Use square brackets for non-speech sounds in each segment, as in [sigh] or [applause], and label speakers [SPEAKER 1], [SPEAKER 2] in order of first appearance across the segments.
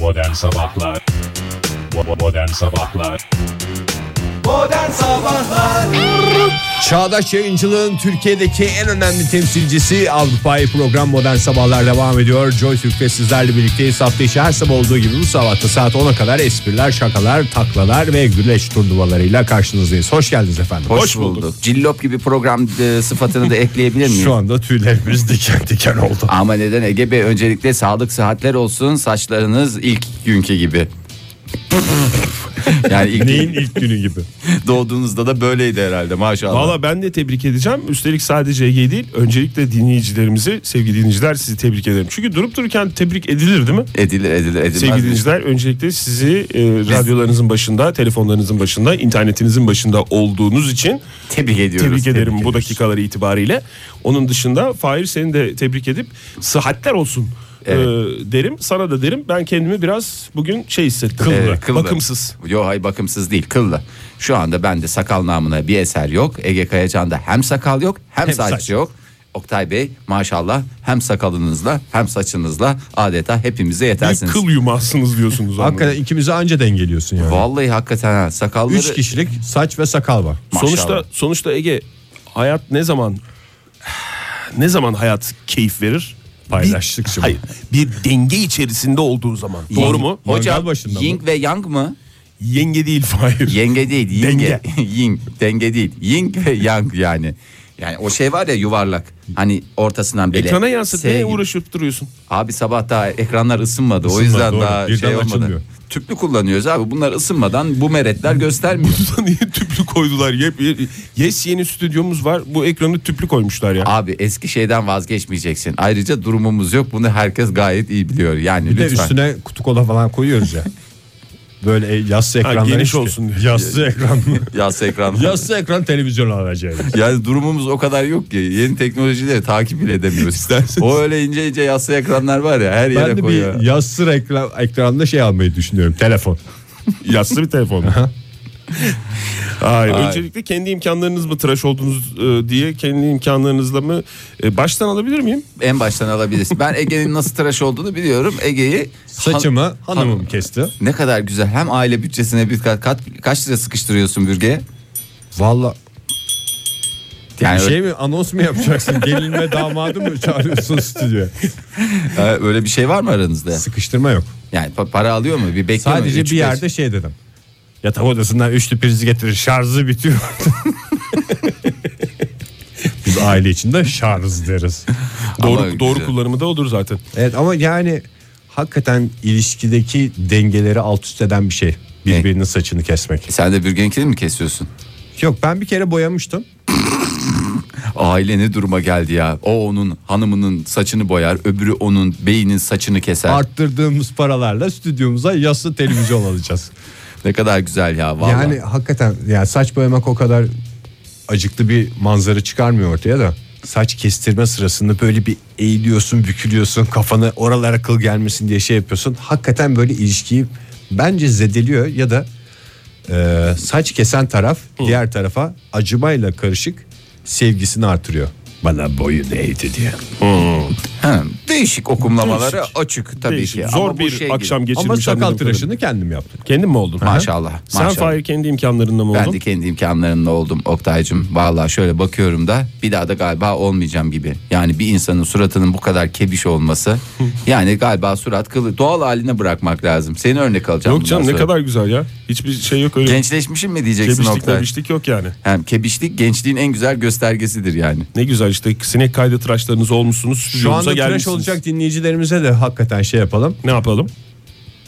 [SPEAKER 1] Modern Sabahlar Bo- Modern Sabahlar
[SPEAKER 2] Modern Sabahlar
[SPEAKER 3] Çağdaş yayıncılığın Türkiye'deki en önemli temsilcisi Avrupa'yı program Modern Sabahlar devam ediyor. Joy Türk'te sizlerle birlikteyiz. Hafta içi her sabah olduğu gibi bu sabahta saat 10'a kadar espriler, şakalar, taklalar ve güreş turnuvalarıyla karşınızdayız. Hoş geldiniz efendim.
[SPEAKER 2] Hoş bulduk. Cillop gibi program e, sıfatını da ekleyebilir
[SPEAKER 4] [laughs]
[SPEAKER 2] miyim?
[SPEAKER 3] Şu anda tüylerimiz diken diken oldu.
[SPEAKER 2] Ama neden Ege Bey öncelikle sağlık sıhhatler olsun saçlarınız ilk günkü gibi. [laughs] yani ilk [laughs]
[SPEAKER 4] Neyin ilk günü gibi.
[SPEAKER 2] doğduğunuzda da böyleydi herhalde maşallah.
[SPEAKER 4] Valla ben de tebrik edeceğim. Üstelik sadece Ege değil. Öncelikle dinleyicilerimizi, sevgili dinleyiciler sizi tebrik ederim. Çünkü durup dururken tebrik edilir değil mi?
[SPEAKER 2] Edilir edilir edilmez.
[SPEAKER 4] Sevgili dinleyiciler öncelikle sizi e, radyolarınızın başında, telefonlarınızın başında, internetinizin başında olduğunuz için
[SPEAKER 2] Tebrik ediyoruz.
[SPEAKER 4] tebrik ederim bu dakikaları itibariyle. Onun dışında Fahir seni de tebrik edip sıhhatler olsun
[SPEAKER 2] Evet.
[SPEAKER 4] e, derim. Sana da derim ben kendimi biraz bugün şey hissettim.
[SPEAKER 2] Ee,
[SPEAKER 4] Kıllı,
[SPEAKER 2] kıllı.
[SPEAKER 4] bakımsız.
[SPEAKER 2] Yo hay bakımsız değil kıllı. Şu anda bende sakal namına bir eser yok. Ege Kayacan'da hem sakal yok hem, saç,
[SPEAKER 4] saç.
[SPEAKER 2] yok. Oktay Bey maşallah hem sakalınızla hem saçınızla adeta hepimize
[SPEAKER 4] Bir
[SPEAKER 2] yetersiniz.
[SPEAKER 4] kıl yumağısınız diyorsunuz. anlamında.
[SPEAKER 3] Hakikaten ikimizi anca dengeliyorsun yani.
[SPEAKER 2] Vallahi hakikaten ha, sakalları...
[SPEAKER 3] Üç kişilik saç ve sakal var.
[SPEAKER 2] Maşallah.
[SPEAKER 4] Sonuçta sonuçta Ege hayat ne zaman ne zaman hayat keyif verir?
[SPEAKER 3] Paylaştıkça
[SPEAKER 4] Bir,
[SPEAKER 3] mı?
[SPEAKER 4] hayır, bir denge içerisinde olduğu zaman. Doğru mu?
[SPEAKER 3] Mangal
[SPEAKER 2] Hocam
[SPEAKER 3] başında mı?
[SPEAKER 2] Ying ve Yang mı?
[SPEAKER 4] Yenge değil Fahir.
[SPEAKER 2] Yenge değil. Yenge.
[SPEAKER 4] Denge.
[SPEAKER 2] [laughs] Ying. Denge değil. Ying ve Yang yani. Yani o şey var ya yuvarlak. Hani ortasından bile.
[SPEAKER 4] Ekrana yansıt.
[SPEAKER 2] S
[SPEAKER 4] Neye
[SPEAKER 2] gibi.
[SPEAKER 4] uğraşıp duruyorsun?
[SPEAKER 2] Abi sabah daha ekranlar ısınmadı. o
[SPEAKER 3] Isınmadı,
[SPEAKER 2] yüzden
[SPEAKER 3] doğru.
[SPEAKER 2] daha
[SPEAKER 3] Birden
[SPEAKER 2] şey olmadı.
[SPEAKER 3] açılmıyor.
[SPEAKER 2] Tüplü kullanıyoruz abi. Bunlar ısınmadan bu meretler göstermiyor.
[SPEAKER 4] Niye tüplü koydular? Yep, ye- yes yeni stüdyomuz var. Bu ekranı tüplü koymuşlar ya.
[SPEAKER 2] abi eski şeyden vazgeçmeyeceksin. Ayrıca durumumuz yok. Bunu herkes gayet iyi biliyor. Yani
[SPEAKER 3] Bir de
[SPEAKER 2] lütfen.
[SPEAKER 3] üstüne kutu kola falan koyuyoruz
[SPEAKER 4] [laughs]
[SPEAKER 3] ya. Böyle yassı ekranlar
[SPEAKER 4] geniş
[SPEAKER 3] işte.
[SPEAKER 4] olsun
[SPEAKER 2] [laughs]
[SPEAKER 4] diye.
[SPEAKER 3] Yassı ekran mı?
[SPEAKER 2] Yaz ekran.
[SPEAKER 3] Yassı ekran televizyon alacağız.
[SPEAKER 2] Yani durumumuz o kadar yok ki yeni teknolojileri takip bile edemiyoruz. O öyle ince ince yassı ekranlar var ya her yere
[SPEAKER 3] Ben de
[SPEAKER 2] koyuyor.
[SPEAKER 3] bir yassı ekran, ekranda şey almayı düşünüyorum.
[SPEAKER 2] [laughs]
[SPEAKER 3] Telefon.
[SPEAKER 4] Yassı bir telefon. Hayır,
[SPEAKER 2] Hayır.
[SPEAKER 4] öncelikle kendi imkanlarınız mı tıraş oldunuz e, diye kendi imkanlarınızla mı e, baştan alabilir miyim?
[SPEAKER 2] En baştan alabilirsin. Ben Ege'nin nasıl tıraş olduğunu biliyorum. Ege'yi
[SPEAKER 3] Saçımı
[SPEAKER 2] Han-
[SPEAKER 3] hanımım kesti.
[SPEAKER 2] Ne kadar güzel. Hem aile bütçesine bir kat, kat- kaç lira sıkıştırıyorsun bürgeye?
[SPEAKER 3] Valla
[SPEAKER 2] Yani
[SPEAKER 3] şey mi anons mu yapacaksın? Gelin ve damadı mı çağırıyorsun stüdyoya?
[SPEAKER 2] Ee, öyle bir şey var mı aranızda?
[SPEAKER 3] Sıkıştırma yok.
[SPEAKER 2] Yani pa- para alıyor mu? Bir bekliyor mu?
[SPEAKER 3] Sadece
[SPEAKER 2] Üç,
[SPEAKER 3] bir
[SPEAKER 2] beş-
[SPEAKER 3] yerde şey dedim. Yatak odasından üçlü priz getirir şarjı bitiyor. Biz aile içinde şarj deriz.
[SPEAKER 2] [laughs] Ama
[SPEAKER 4] Doğru doğru
[SPEAKER 2] güzel.
[SPEAKER 4] kullanımı da odur zaten.
[SPEAKER 3] Evet ama yani hakikaten ilişkideki dengeleri alt üst eden bir şey. Birbirinin saçını kesmek.
[SPEAKER 2] E Sen de bürgenkini mi kesiyorsun? [laughs]
[SPEAKER 3] Yok ben bir kere boyamıştım.
[SPEAKER 2] Aile ne duruma geldi ya? O onun hanımının saçını boyar, öbürü onun beyinin saçını keser.
[SPEAKER 3] Arttırdığımız paralarla stüdyomuza yassı televizyon alacağız.
[SPEAKER 2] ne kadar güzel ya vallahi.
[SPEAKER 3] Yani hakikaten yani saç boyamak o kadar acıklı bir manzara çıkarmıyor ortaya da saç kestirme sırasında böyle bir eğiliyorsun, bükülüyorsun, kafana oralara kıl gelmesin diye şey yapıyorsun. Hakikaten böyle ilişkiyi bence zedeliyor ya da e, saç kesen taraf diğer tarafa acımayla karışık sevgisini artırıyor. Bana boyun eğdi diye.
[SPEAKER 2] Ha, değişik okumlamaları
[SPEAKER 4] Değişik.
[SPEAKER 2] açık tabii
[SPEAKER 4] Değişik.
[SPEAKER 2] ki.
[SPEAKER 4] Zor
[SPEAKER 2] Ama bu
[SPEAKER 4] bir
[SPEAKER 2] şey gibi.
[SPEAKER 4] akşam geçirmiş.
[SPEAKER 3] Ama sakal
[SPEAKER 4] anladığım kadarıyla.
[SPEAKER 3] tıraşını kendim yaptım.
[SPEAKER 4] Kendin mi oldun?
[SPEAKER 2] Maşallah,
[SPEAKER 4] Sen
[SPEAKER 2] maşallah.
[SPEAKER 4] Fahir kendi imkanlarında mı
[SPEAKER 2] Ben
[SPEAKER 4] oldun?
[SPEAKER 2] de kendi imkanlarımla oldum Oktay'cım. Vallahi şöyle bakıyorum da bir daha da galiba olmayacağım gibi. Yani bir insanın suratının bu kadar kebiş
[SPEAKER 4] [laughs]
[SPEAKER 2] olması. yani galiba surat kılı doğal haline bırakmak lazım. Seni örnek alacağım.
[SPEAKER 4] Yok canım
[SPEAKER 2] bundan
[SPEAKER 4] ne
[SPEAKER 2] sonra.
[SPEAKER 4] kadar güzel ya. Hiçbir şey yok öyle.
[SPEAKER 2] Gençleşmişim mi diyeceksin
[SPEAKER 4] Kebişlik
[SPEAKER 2] Oktay?
[SPEAKER 4] mebişlik yok yani.
[SPEAKER 2] Hem kebişlik gençliğin en güzel göstergesidir yani.
[SPEAKER 4] Ne güzel işte sinek kaydı tıraşlarınız olmuşsunuz.
[SPEAKER 3] Şu
[SPEAKER 4] stüdyomuza
[SPEAKER 3] anda tıraş
[SPEAKER 4] gelmişsiniz.
[SPEAKER 3] olacak dinleyicilerimize de hakikaten şey yapalım.
[SPEAKER 4] Ne yapalım?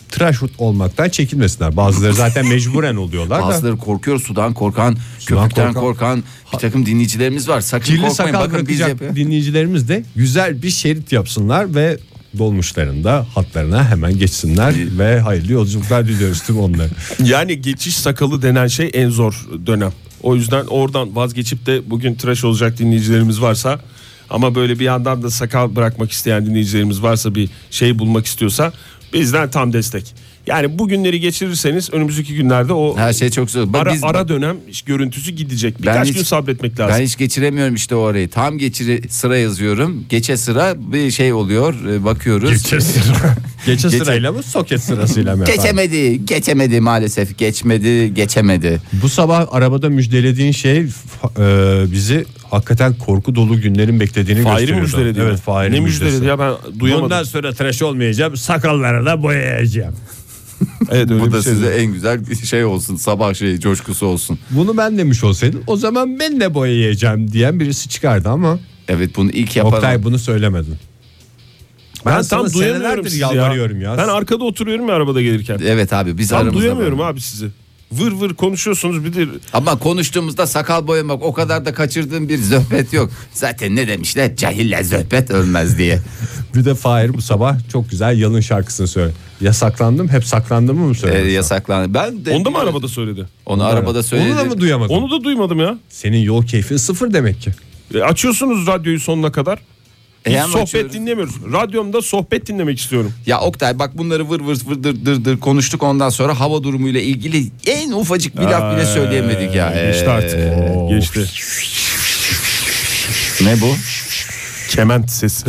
[SPEAKER 3] tıraş olmaktan çekinmesinler. Bazıları
[SPEAKER 4] [laughs]
[SPEAKER 3] zaten mecburen oluyorlar da.
[SPEAKER 2] Bazıları korkuyor sudan korkan,
[SPEAKER 3] Sudan
[SPEAKER 2] köpükten korkan.
[SPEAKER 3] korkan.
[SPEAKER 2] bir takım dinleyicilerimiz var. Sakın
[SPEAKER 3] Kirli
[SPEAKER 2] korkmayın
[SPEAKER 3] sakal
[SPEAKER 2] bakın biz
[SPEAKER 3] bırakacak
[SPEAKER 2] yapıyoruz.
[SPEAKER 3] dinleyicilerimiz de güzel bir şerit yapsınlar ve dolmuşlarında hatlarına hemen geçsinler ve hayırlı yolculuklar diliyoruz tüm
[SPEAKER 2] [laughs]
[SPEAKER 3] onlara.
[SPEAKER 4] Yani geçiş sakalı denen şey en zor dönem. O yüzden oradan vazgeçip de bugün tıraş olacak dinleyicilerimiz varsa ama böyle bir yandan da sakal bırakmak isteyen dinleyicilerimiz varsa bir şey bulmak istiyorsa bizden tam destek. Yani bugünleri geçirirseniz önümüzdeki günlerde o
[SPEAKER 2] Her şey çok zor. Bak
[SPEAKER 4] ara,
[SPEAKER 2] biz-
[SPEAKER 4] ara dönem görüntüsü gidecek. Birkaç
[SPEAKER 2] hiç-
[SPEAKER 4] gün sabretmek lazım.
[SPEAKER 2] Ben hiç geçiremiyorum işte o arayı. Tam geçiri sıra yazıyorum. Geçe sıra bir şey oluyor. e, Bakıyoruz. [laughs]
[SPEAKER 3] Geçe sıra. Geçe
[SPEAKER 2] Geçe-
[SPEAKER 3] sırayla mı soket sırasıyla mı? efendim?
[SPEAKER 2] Geçemedi, geçemedi maalesef. Geçmedi, geçemedi.
[SPEAKER 3] Bu sabah arabada müjdelediğin şey fa- e, bizi hakikaten korku dolu günlerin beklediğini
[SPEAKER 4] Fahir'i
[SPEAKER 3] gösteriyordu.
[SPEAKER 4] müjdeledi.
[SPEAKER 3] Evet Fahir'in
[SPEAKER 4] Ne
[SPEAKER 3] müjdesi.
[SPEAKER 4] müjdeledi ya ben duyamadım.
[SPEAKER 3] Bundan sonra tıraş olmayacağım sakallara da boyayacağım.
[SPEAKER 4] Evet öyle
[SPEAKER 2] Bu da
[SPEAKER 4] bir şey.
[SPEAKER 2] size en güzel şey olsun. Sabah şeyi coşkusu olsun.
[SPEAKER 3] Bunu ben demiş olsaydın o zaman ben de boyayacağım diyen birisi çıkardı ama
[SPEAKER 2] Evet bunu ilk yapan.
[SPEAKER 3] Oktay bunu söylemedin.
[SPEAKER 4] Ben,
[SPEAKER 3] sana
[SPEAKER 4] tam
[SPEAKER 3] senelerdir
[SPEAKER 4] duyamıyorum sizi
[SPEAKER 3] yalvarıyorum
[SPEAKER 4] [laughs]
[SPEAKER 3] ya.
[SPEAKER 4] Ben arkada oturuyorum ya arabada gelirken.
[SPEAKER 2] Evet abi biz
[SPEAKER 4] Tam
[SPEAKER 2] aramızda.
[SPEAKER 4] duyamıyorum abi sizi. Vır vır konuşuyorsunuz bir de
[SPEAKER 2] Ama konuştuğumuzda sakal boyamak o kadar da kaçırdığım bir zöhbet yok. Zaten ne demişler? Cahille zöhbet ölmez diye.
[SPEAKER 3] Bir de Fahir bu sabah çok güzel yalın şarkısını söyle. Yasaklandım hep saklandım mı
[SPEAKER 2] e,
[SPEAKER 3] söyledin?
[SPEAKER 2] yasaklandı. Ben de
[SPEAKER 4] Onda mı arabada söyledi?
[SPEAKER 2] Onu arabada söyledi.
[SPEAKER 3] Onu da mı duyamadın?
[SPEAKER 4] Onu da duymadım ya.
[SPEAKER 3] Senin yol keyfin sıfır demek ki.
[SPEAKER 4] E, açıyorsunuz radyoyu sonuna kadar.
[SPEAKER 2] E,
[SPEAKER 4] Hiç
[SPEAKER 2] ama
[SPEAKER 4] sohbet
[SPEAKER 2] açıyoruz.
[SPEAKER 4] dinlemiyoruz. Radyomda sohbet dinlemek istiyorum.
[SPEAKER 2] Ya Oktay bak bunları vır vır vır dır dır dır konuştuk ondan sonra hava durumuyla ilgili en ufacık bir laf bile söyleyemedik ya.
[SPEAKER 4] Geçti
[SPEAKER 2] Ee,
[SPEAKER 4] artık. Geçti.
[SPEAKER 2] Ne bu?
[SPEAKER 4] Kement sesi.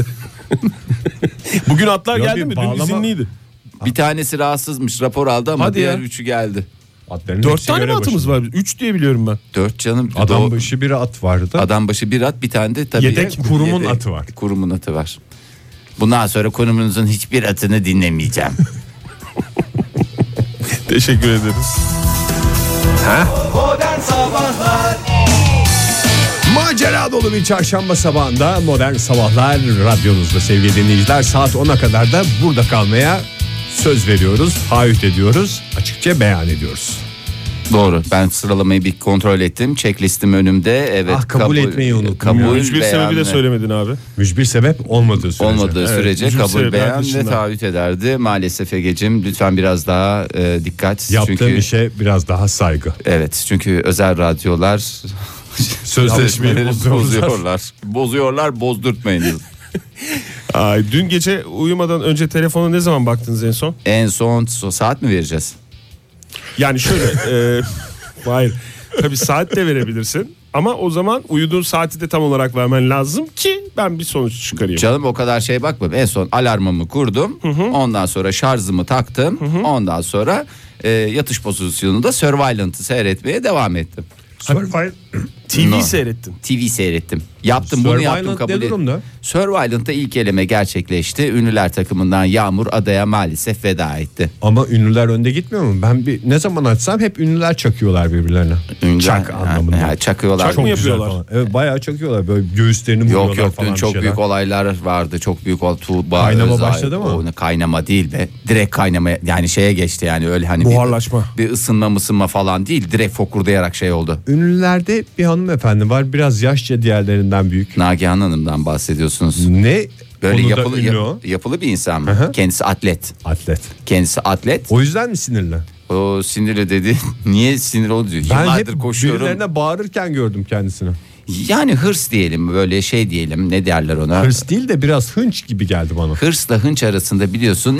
[SPEAKER 4] Bugün atlar
[SPEAKER 3] Ya
[SPEAKER 4] geldi
[SPEAKER 3] bir
[SPEAKER 4] mi? Dün
[SPEAKER 3] bağlama-
[SPEAKER 4] izinliydi.
[SPEAKER 2] Bir tanesi rahatsızmış rapor aldı ama
[SPEAKER 4] Hadi
[SPEAKER 2] diğer
[SPEAKER 4] ya.
[SPEAKER 2] üçü geldi.
[SPEAKER 3] Atların
[SPEAKER 4] Dört
[SPEAKER 3] hepsi
[SPEAKER 4] tane mi
[SPEAKER 3] göre
[SPEAKER 4] atımız
[SPEAKER 3] başında.
[SPEAKER 4] var? Üç diye biliyorum ben.
[SPEAKER 2] Dört canım.
[SPEAKER 3] Adam
[SPEAKER 2] Doğ-
[SPEAKER 3] başı bir at vardı.
[SPEAKER 2] Adam başı bir at bir tane de tabii.
[SPEAKER 3] Yedek kurumun atı var.
[SPEAKER 2] Kurumun atı var. Bundan sonra kurumunuzun hiçbir
[SPEAKER 3] [laughs]
[SPEAKER 2] atını dinlemeyeceğim.
[SPEAKER 4] Teşekkür ederiz.
[SPEAKER 3] Macera dolu bir çarşamba sabahında modern sabahlar radyonuzda sevgili dinleyiciler. Saat 10'a kadar da burada kalmaya söz veriyoruz, taahhüt ediyoruz, açıkça beyan ediyoruz.
[SPEAKER 2] Doğru. Ben sıralamayı bir kontrol ettim. Checklistim önümde. Evet. e,
[SPEAKER 3] Ah, kabul etmeyi unuttum ya.
[SPEAKER 2] Kabul
[SPEAKER 4] Hiçbir
[SPEAKER 2] beyanı-
[SPEAKER 4] sebebi de söylemedin abi.
[SPEAKER 3] Mücbir sebep olmadığı sürece.
[SPEAKER 2] olmadığı
[SPEAKER 4] Evet,
[SPEAKER 2] sürece
[SPEAKER 4] üzüm
[SPEAKER 2] kabul
[SPEAKER 4] sebepler
[SPEAKER 2] beyan ve
[SPEAKER 4] dışında.
[SPEAKER 2] taahhüt ederdi. Maalesef Ege'cim lütfen biraz daha e, dikkat.
[SPEAKER 3] Yaptığın şey.
[SPEAKER 2] çünkü
[SPEAKER 3] işe biraz daha saygı.
[SPEAKER 2] evet çünkü özel radyolar [laughs]
[SPEAKER 3] Sözleşmeleri bozuyorlar.
[SPEAKER 2] bozuyorlar. Bozuyorlar, bozdurtmayınız.
[SPEAKER 4] Ay, dün gece uyumadan önce telefona ne zaman baktınız en son?
[SPEAKER 2] en son so- saat mi vereceğiz?
[SPEAKER 4] Yani şöyle. [laughs] e, hayır. Tabii saat de verebilirsin. Ama o zaman uyuduğun saati de tam olarak vermen lazım ki ben bir sonuç çıkarayım.
[SPEAKER 2] Canım o kadar şey bakmam. En son alarmımı kurdum. Ondan sonra şarjımı taktım. Ondan sonra e, yatış pozisyonunda Surveillant'ı seyretmeye devam ettim.
[SPEAKER 4] [clears throat] TV
[SPEAKER 2] No.
[SPEAKER 4] seyrettin.
[SPEAKER 2] TV seyrettim. Yaptım bunu
[SPEAKER 3] Survivor
[SPEAKER 2] yaptım kabul
[SPEAKER 3] ne
[SPEAKER 2] ettim.
[SPEAKER 3] durumda?
[SPEAKER 2] Survivalent'ta ilk eleme gerçekleşti. Ünlüler takımından Yağmur adaya maalesef veda etti.
[SPEAKER 3] Ama ünlüler önde gitmiyor mu? Ben bir ne zaman açsam hep ünlüler çakıyorlar birbirlerine.
[SPEAKER 2] Ünlüler-
[SPEAKER 3] Çak
[SPEAKER 2] Ha,
[SPEAKER 3] anlamında.
[SPEAKER 2] ha, çakıyorlar.
[SPEAKER 4] Çak mı
[SPEAKER 3] Güzel
[SPEAKER 4] yapıyorlar?
[SPEAKER 3] falan. Evet bayağı çakıyorlar böyle göğüslerini vuruyorlar
[SPEAKER 2] Yok yok
[SPEAKER 3] falan
[SPEAKER 2] dün
[SPEAKER 3] bir
[SPEAKER 2] çok
[SPEAKER 3] şeyler.
[SPEAKER 2] büyük olaylar vardı. Çok büyük olay. Tuğba
[SPEAKER 3] Kaynama
[SPEAKER 2] Özay-
[SPEAKER 3] başladı mı?
[SPEAKER 2] o ne, kaynama değil be. Direkt kaynama yani şeye geçti yani öyle hani bir-
[SPEAKER 4] Buharlaşma.
[SPEAKER 2] Bir, ısınma mısınma falan değil. Direkt fokurdayarak şey oldu.
[SPEAKER 3] Ünlülerde bir hanımefendi var biraz yaşça diğerlerinden büyük.
[SPEAKER 2] Nagihan Hanım'dan bahsediyorsunuz.
[SPEAKER 3] Ne
[SPEAKER 2] Böyle
[SPEAKER 3] konuda
[SPEAKER 2] yapılı,
[SPEAKER 3] ünlü
[SPEAKER 2] yap-
[SPEAKER 3] o?
[SPEAKER 2] yapılı bir insan mı?
[SPEAKER 3] hı.
[SPEAKER 2] Kendisi atlet.
[SPEAKER 3] Atlet.
[SPEAKER 2] Kendisi atlet.
[SPEAKER 3] O yüzden mi sinirli?
[SPEAKER 2] O sinirli dedi. [laughs] Niye sinir oldu diyor.
[SPEAKER 3] Ben
[SPEAKER 2] Yıllardır
[SPEAKER 3] hep
[SPEAKER 2] koşuyorum.
[SPEAKER 3] birilerine bağırırken gördüm kendisini.
[SPEAKER 2] Yani hırs diyelim böyle şey diyelim ne derler ona.
[SPEAKER 3] Hırs değil de biraz hınç gibi geldi bana.
[SPEAKER 2] Hırsla hınç arasında biliyorsun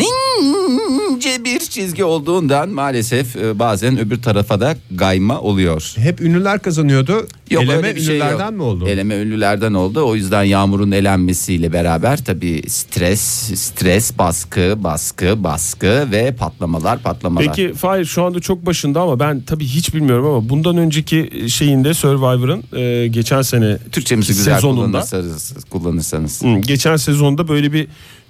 [SPEAKER 2] ince bir çizgi olduğundan maalesef e, bazen öbür tarafa da gayma oluyor.
[SPEAKER 3] Hep ünlüler kazanıyordu. Eleme
[SPEAKER 2] öyle bir şey yok.
[SPEAKER 3] ünlülerden mi oldu?
[SPEAKER 2] Eleme ünlülerden oldu. O yüzden Yağmur'un elenmesiyle beraber tabii stres, stres, baskı, baskı, baskı ve patlamalar, patlamalar.
[SPEAKER 4] Peki Fahir şu anda çok başında ama ben tabii hiç bilmiyorum ama bundan önceki şeyinde Survivor'ın e, geçen sene
[SPEAKER 2] Türkçemizi güzel
[SPEAKER 4] sezonunda
[SPEAKER 2] kullanırsanız, kullanırsanız.
[SPEAKER 4] Hı, geçen sezonda böyle bir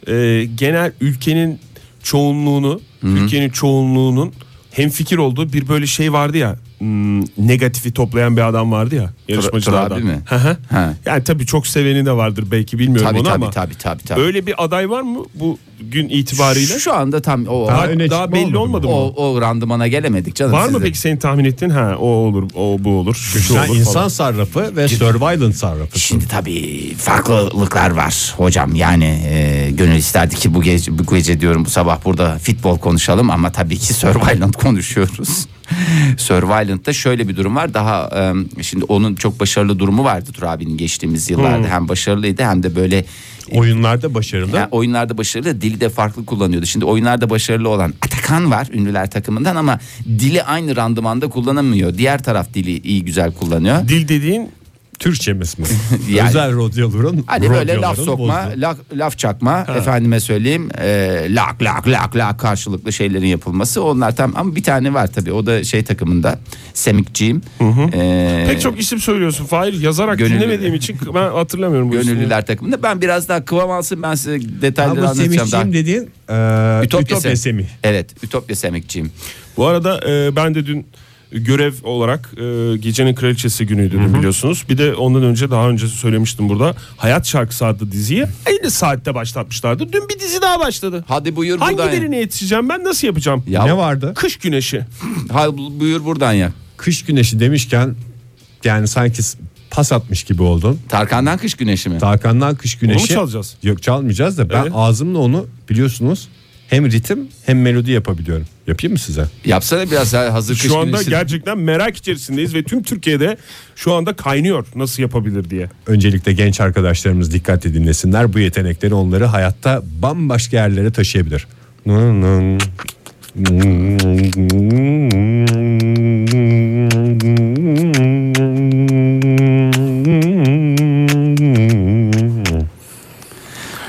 [SPEAKER 4] e, genel ülkenin çoğunluğunu, ülkenin çoğunluğunun hem fikir olduğu bir böyle şey vardı ya. hmm, negatifi toplayan bir adam vardı ya yarışmacılardan.
[SPEAKER 2] Turabi mi?
[SPEAKER 4] Hı hı.
[SPEAKER 2] Ha.
[SPEAKER 4] Yani tabii çok seveni de vardır belki bilmiyorum
[SPEAKER 2] Tabii
[SPEAKER 4] onu
[SPEAKER 2] tabii,
[SPEAKER 4] ama.
[SPEAKER 2] tabii tabii tabii.
[SPEAKER 4] Öyle bir aday var mı bu gün itibariyle?
[SPEAKER 2] Şu anda tam o
[SPEAKER 3] Daha
[SPEAKER 4] Daha,
[SPEAKER 3] öne
[SPEAKER 4] daha
[SPEAKER 3] çıkma
[SPEAKER 4] belli
[SPEAKER 3] olmadı
[SPEAKER 4] olmadı
[SPEAKER 3] mı?
[SPEAKER 4] mı?
[SPEAKER 2] o, o randımana gelemedik canım.
[SPEAKER 4] Var mı
[SPEAKER 2] sizin.
[SPEAKER 4] peki senin tahmin ettiğin? Ha o olur, o bu olur, şu, şu
[SPEAKER 3] Sen
[SPEAKER 4] olur
[SPEAKER 3] insan
[SPEAKER 4] falan.
[SPEAKER 3] sarrafı ve survivalent sarrafı.
[SPEAKER 2] Şimdi tabii farklılıklar var hocam. Yani e, gönül isterdi ki bu gece, bu gece diyorum bu sabah burada futbol konuşalım ama tabii ki Survivalent konuşuyoruz. Survivalent'ta şöyle bir durum var. Daha e, şimdi onun çok başarılı durumu vardı Tur abinin geçtiğimiz yıllarda. Hem başarılıydı hem de böyle
[SPEAKER 3] Hmm. Oyunlarda başarılı.
[SPEAKER 2] Ya oyunlarda başarılı dili de farklı kullanıyordu. Şimdi oyunlarda başarılı olan Atakan var ünlüler takımından ama dili aynı randımanda kullanamıyor. Diğer taraf dili iyi güzel kullanıyor.
[SPEAKER 4] Dil dediğin
[SPEAKER 2] [laughs]
[SPEAKER 3] Türkçemiz mi?
[SPEAKER 2] Yani-
[SPEAKER 3] Özel rodyolurun.
[SPEAKER 2] Hani böyle laf
[SPEAKER 3] rodyoların
[SPEAKER 2] sokma,
[SPEAKER 3] bozdu.
[SPEAKER 2] laf, laf çakma, efendime söyleyeyim, e, lak lak lak lak karşılıklı şeylerin yapılması. Onlar tam ama bir tane var tabii. O da şey takımında. Semikciğim. E,
[SPEAKER 4] pek çok isim söylüyorsun Fahir. Yazarak
[SPEAKER 2] Gönüllü-
[SPEAKER 4] dinlemediğim için ben hatırlamıyorum bu isimleri.
[SPEAKER 2] Gönüllüler takımında. Ben biraz daha kıvam alsın ben size detayları
[SPEAKER 3] Ama
[SPEAKER 2] anlatacağım daha.
[SPEAKER 3] Semih'ciğim dediğin e, Ütopya,
[SPEAKER 2] Sem-
[SPEAKER 3] Semih.
[SPEAKER 2] Evet, Ütopya Semikciğim.
[SPEAKER 4] Bu arada e, ben de dün görev olarak e, gecenin kraliçesi günüydü dün biliyorsunuz. Bir de ondan önce daha önce söylemiştim burada. Hayat şarkısı adlı diziyi aynı saatte başlatmışlardı. Dün bir dizi daha başladı.
[SPEAKER 2] Hadi buyur buradan.
[SPEAKER 4] Hangilerine yetişeceğim ben nasıl yapacağım?
[SPEAKER 2] Ya,
[SPEAKER 3] Ne vardı?
[SPEAKER 4] Kış güneşi.
[SPEAKER 2] Hadi buyur buradan ya.
[SPEAKER 3] Kış güneşi demişken yani sanki s- pas atmış gibi oldun.
[SPEAKER 2] Tarkan'dan kış güneşi mi?
[SPEAKER 3] Tarkan'dan kış güneşi.
[SPEAKER 4] Onu mu çalacağız?
[SPEAKER 3] Yok çalmayacağız da ben
[SPEAKER 4] Evet.
[SPEAKER 3] ağzımla onu biliyorsunuz hem ritim hem melodi yapabiliyorum. Yapayım mı size?
[SPEAKER 2] Yapsana biraz daha hazır kış
[SPEAKER 4] Şu anda
[SPEAKER 2] güneşi.
[SPEAKER 4] gerçekten merak içerisindeyiz ve tüm Türkiye'de şu anda kaynıyor nasıl yapabilir diye.
[SPEAKER 3] Öncelikle genç arkadaşlarımız dikkatle dinlesinler. Bu yetenekleri onları hayatta bambaşka yerlere taşıyabilir.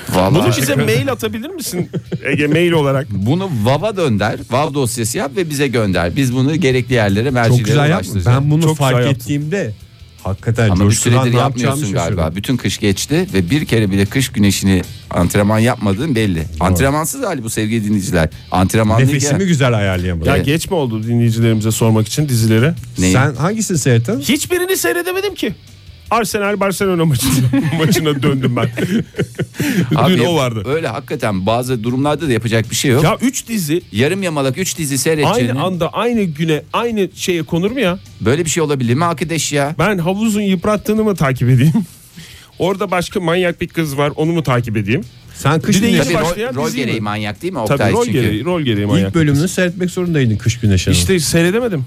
[SPEAKER 2] Vallahi.
[SPEAKER 4] Bunu bize mail
[SPEAKER 2] [laughs]
[SPEAKER 4] atabilir misin? Ege mail olarak.
[SPEAKER 2] Bunu VAV'a dönder. VAV dosyası yap ve bize gönder. Biz bunu gerekli yerlere
[SPEAKER 3] Çok güzel
[SPEAKER 2] mercilere
[SPEAKER 3] yaptın.
[SPEAKER 2] ulaştıracağız.
[SPEAKER 3] Ben bunu
[SPEAKER 4] Çok güzel
[SPEAKER 3] fark
[SPEAKER 4] yaptın.
[SPEAKER 3] ettiğimde hakikaten
[SPEAKER 2] Ama bir
[SPEAKER 3] coşkudan
[SPEAKER 2] süredir
[SPEAKER 3] ne yapacağımı
[SPEAKER 2] yapmıyorsun
[SPEAKER 3] şaşırdım.
[SPEAKER 2] galiba. Bütün kış geçti ve bir kere bile kış güneşini antrenman yapmadığın belli. Antrenmansız hali bu sevgili dinleyiciler. Antrenmanlıyken
[SPEAKER 3] Nefesimi güzel ayarlayamadım.
[SPEAKER 4] Ya
[SPEAKER 2] Evet.
[SPEAKER 4] geç mi oldu dinleyicilerimize sormak için dizileri?
[SPEAKER 2] Neyi?
[SPEAKER 3] Sen hangisini seyrettin?
[SPEAKER 4] Hiçbirini seyredemedim ki. Arsenal Barcelona maçına, [laughs] maçına
[SPEAKER 2] [laughs]
[SPEAKER 4] döndüm ben.
[SPEAKER 2] Abi
[SPEAKER 4] Dün o vardı.
[SPEAKER 2] Öyle hakikaten bazı durumlarda da yapacak bir şey yok.
[SPEAKER 4] Ya 3 dizi
[SPEAKER 2] Yarım yamalak 3 dizi seyredeceğini
[SPEAKER 4] aynı anda aynı güne aynı şey- şeye konur mu ya?
[SPEAKER 2] böyle bir şey olabilir mi arkadaş ya?
[SPEAKER 4] Ben havuzun yıprattığını mı takip edeyim? [laughs] Orada başka manyak bir kız var onu mu takip edeyim?
[SPEAKER 3] Sen kış
[SPEAKER 4] Bir de
[SPEAKER 3] güneşi
[SPEAKER 4] yeni
[SPEAKER 2] Tabii
[SPEAKER 4] başlayan
[SPEAKER 2] rol, rol
[SPEAKER 4] dizi mi?
[SPEAKER 2] gereği manyak değil mi Oktay?
[SPEAKER 4] Tabii rol
[SPEAKER 2] çünkü?
[SPEAKER 4] gereği, rol gereği
[SPEAKER 3] ilk
[SPEAKER 4] manyak.
[SPEAKER 3] bölümünü seyretmek zorundaydın kış güneşini.
[SPEAKER 4] İşte seyredemedim.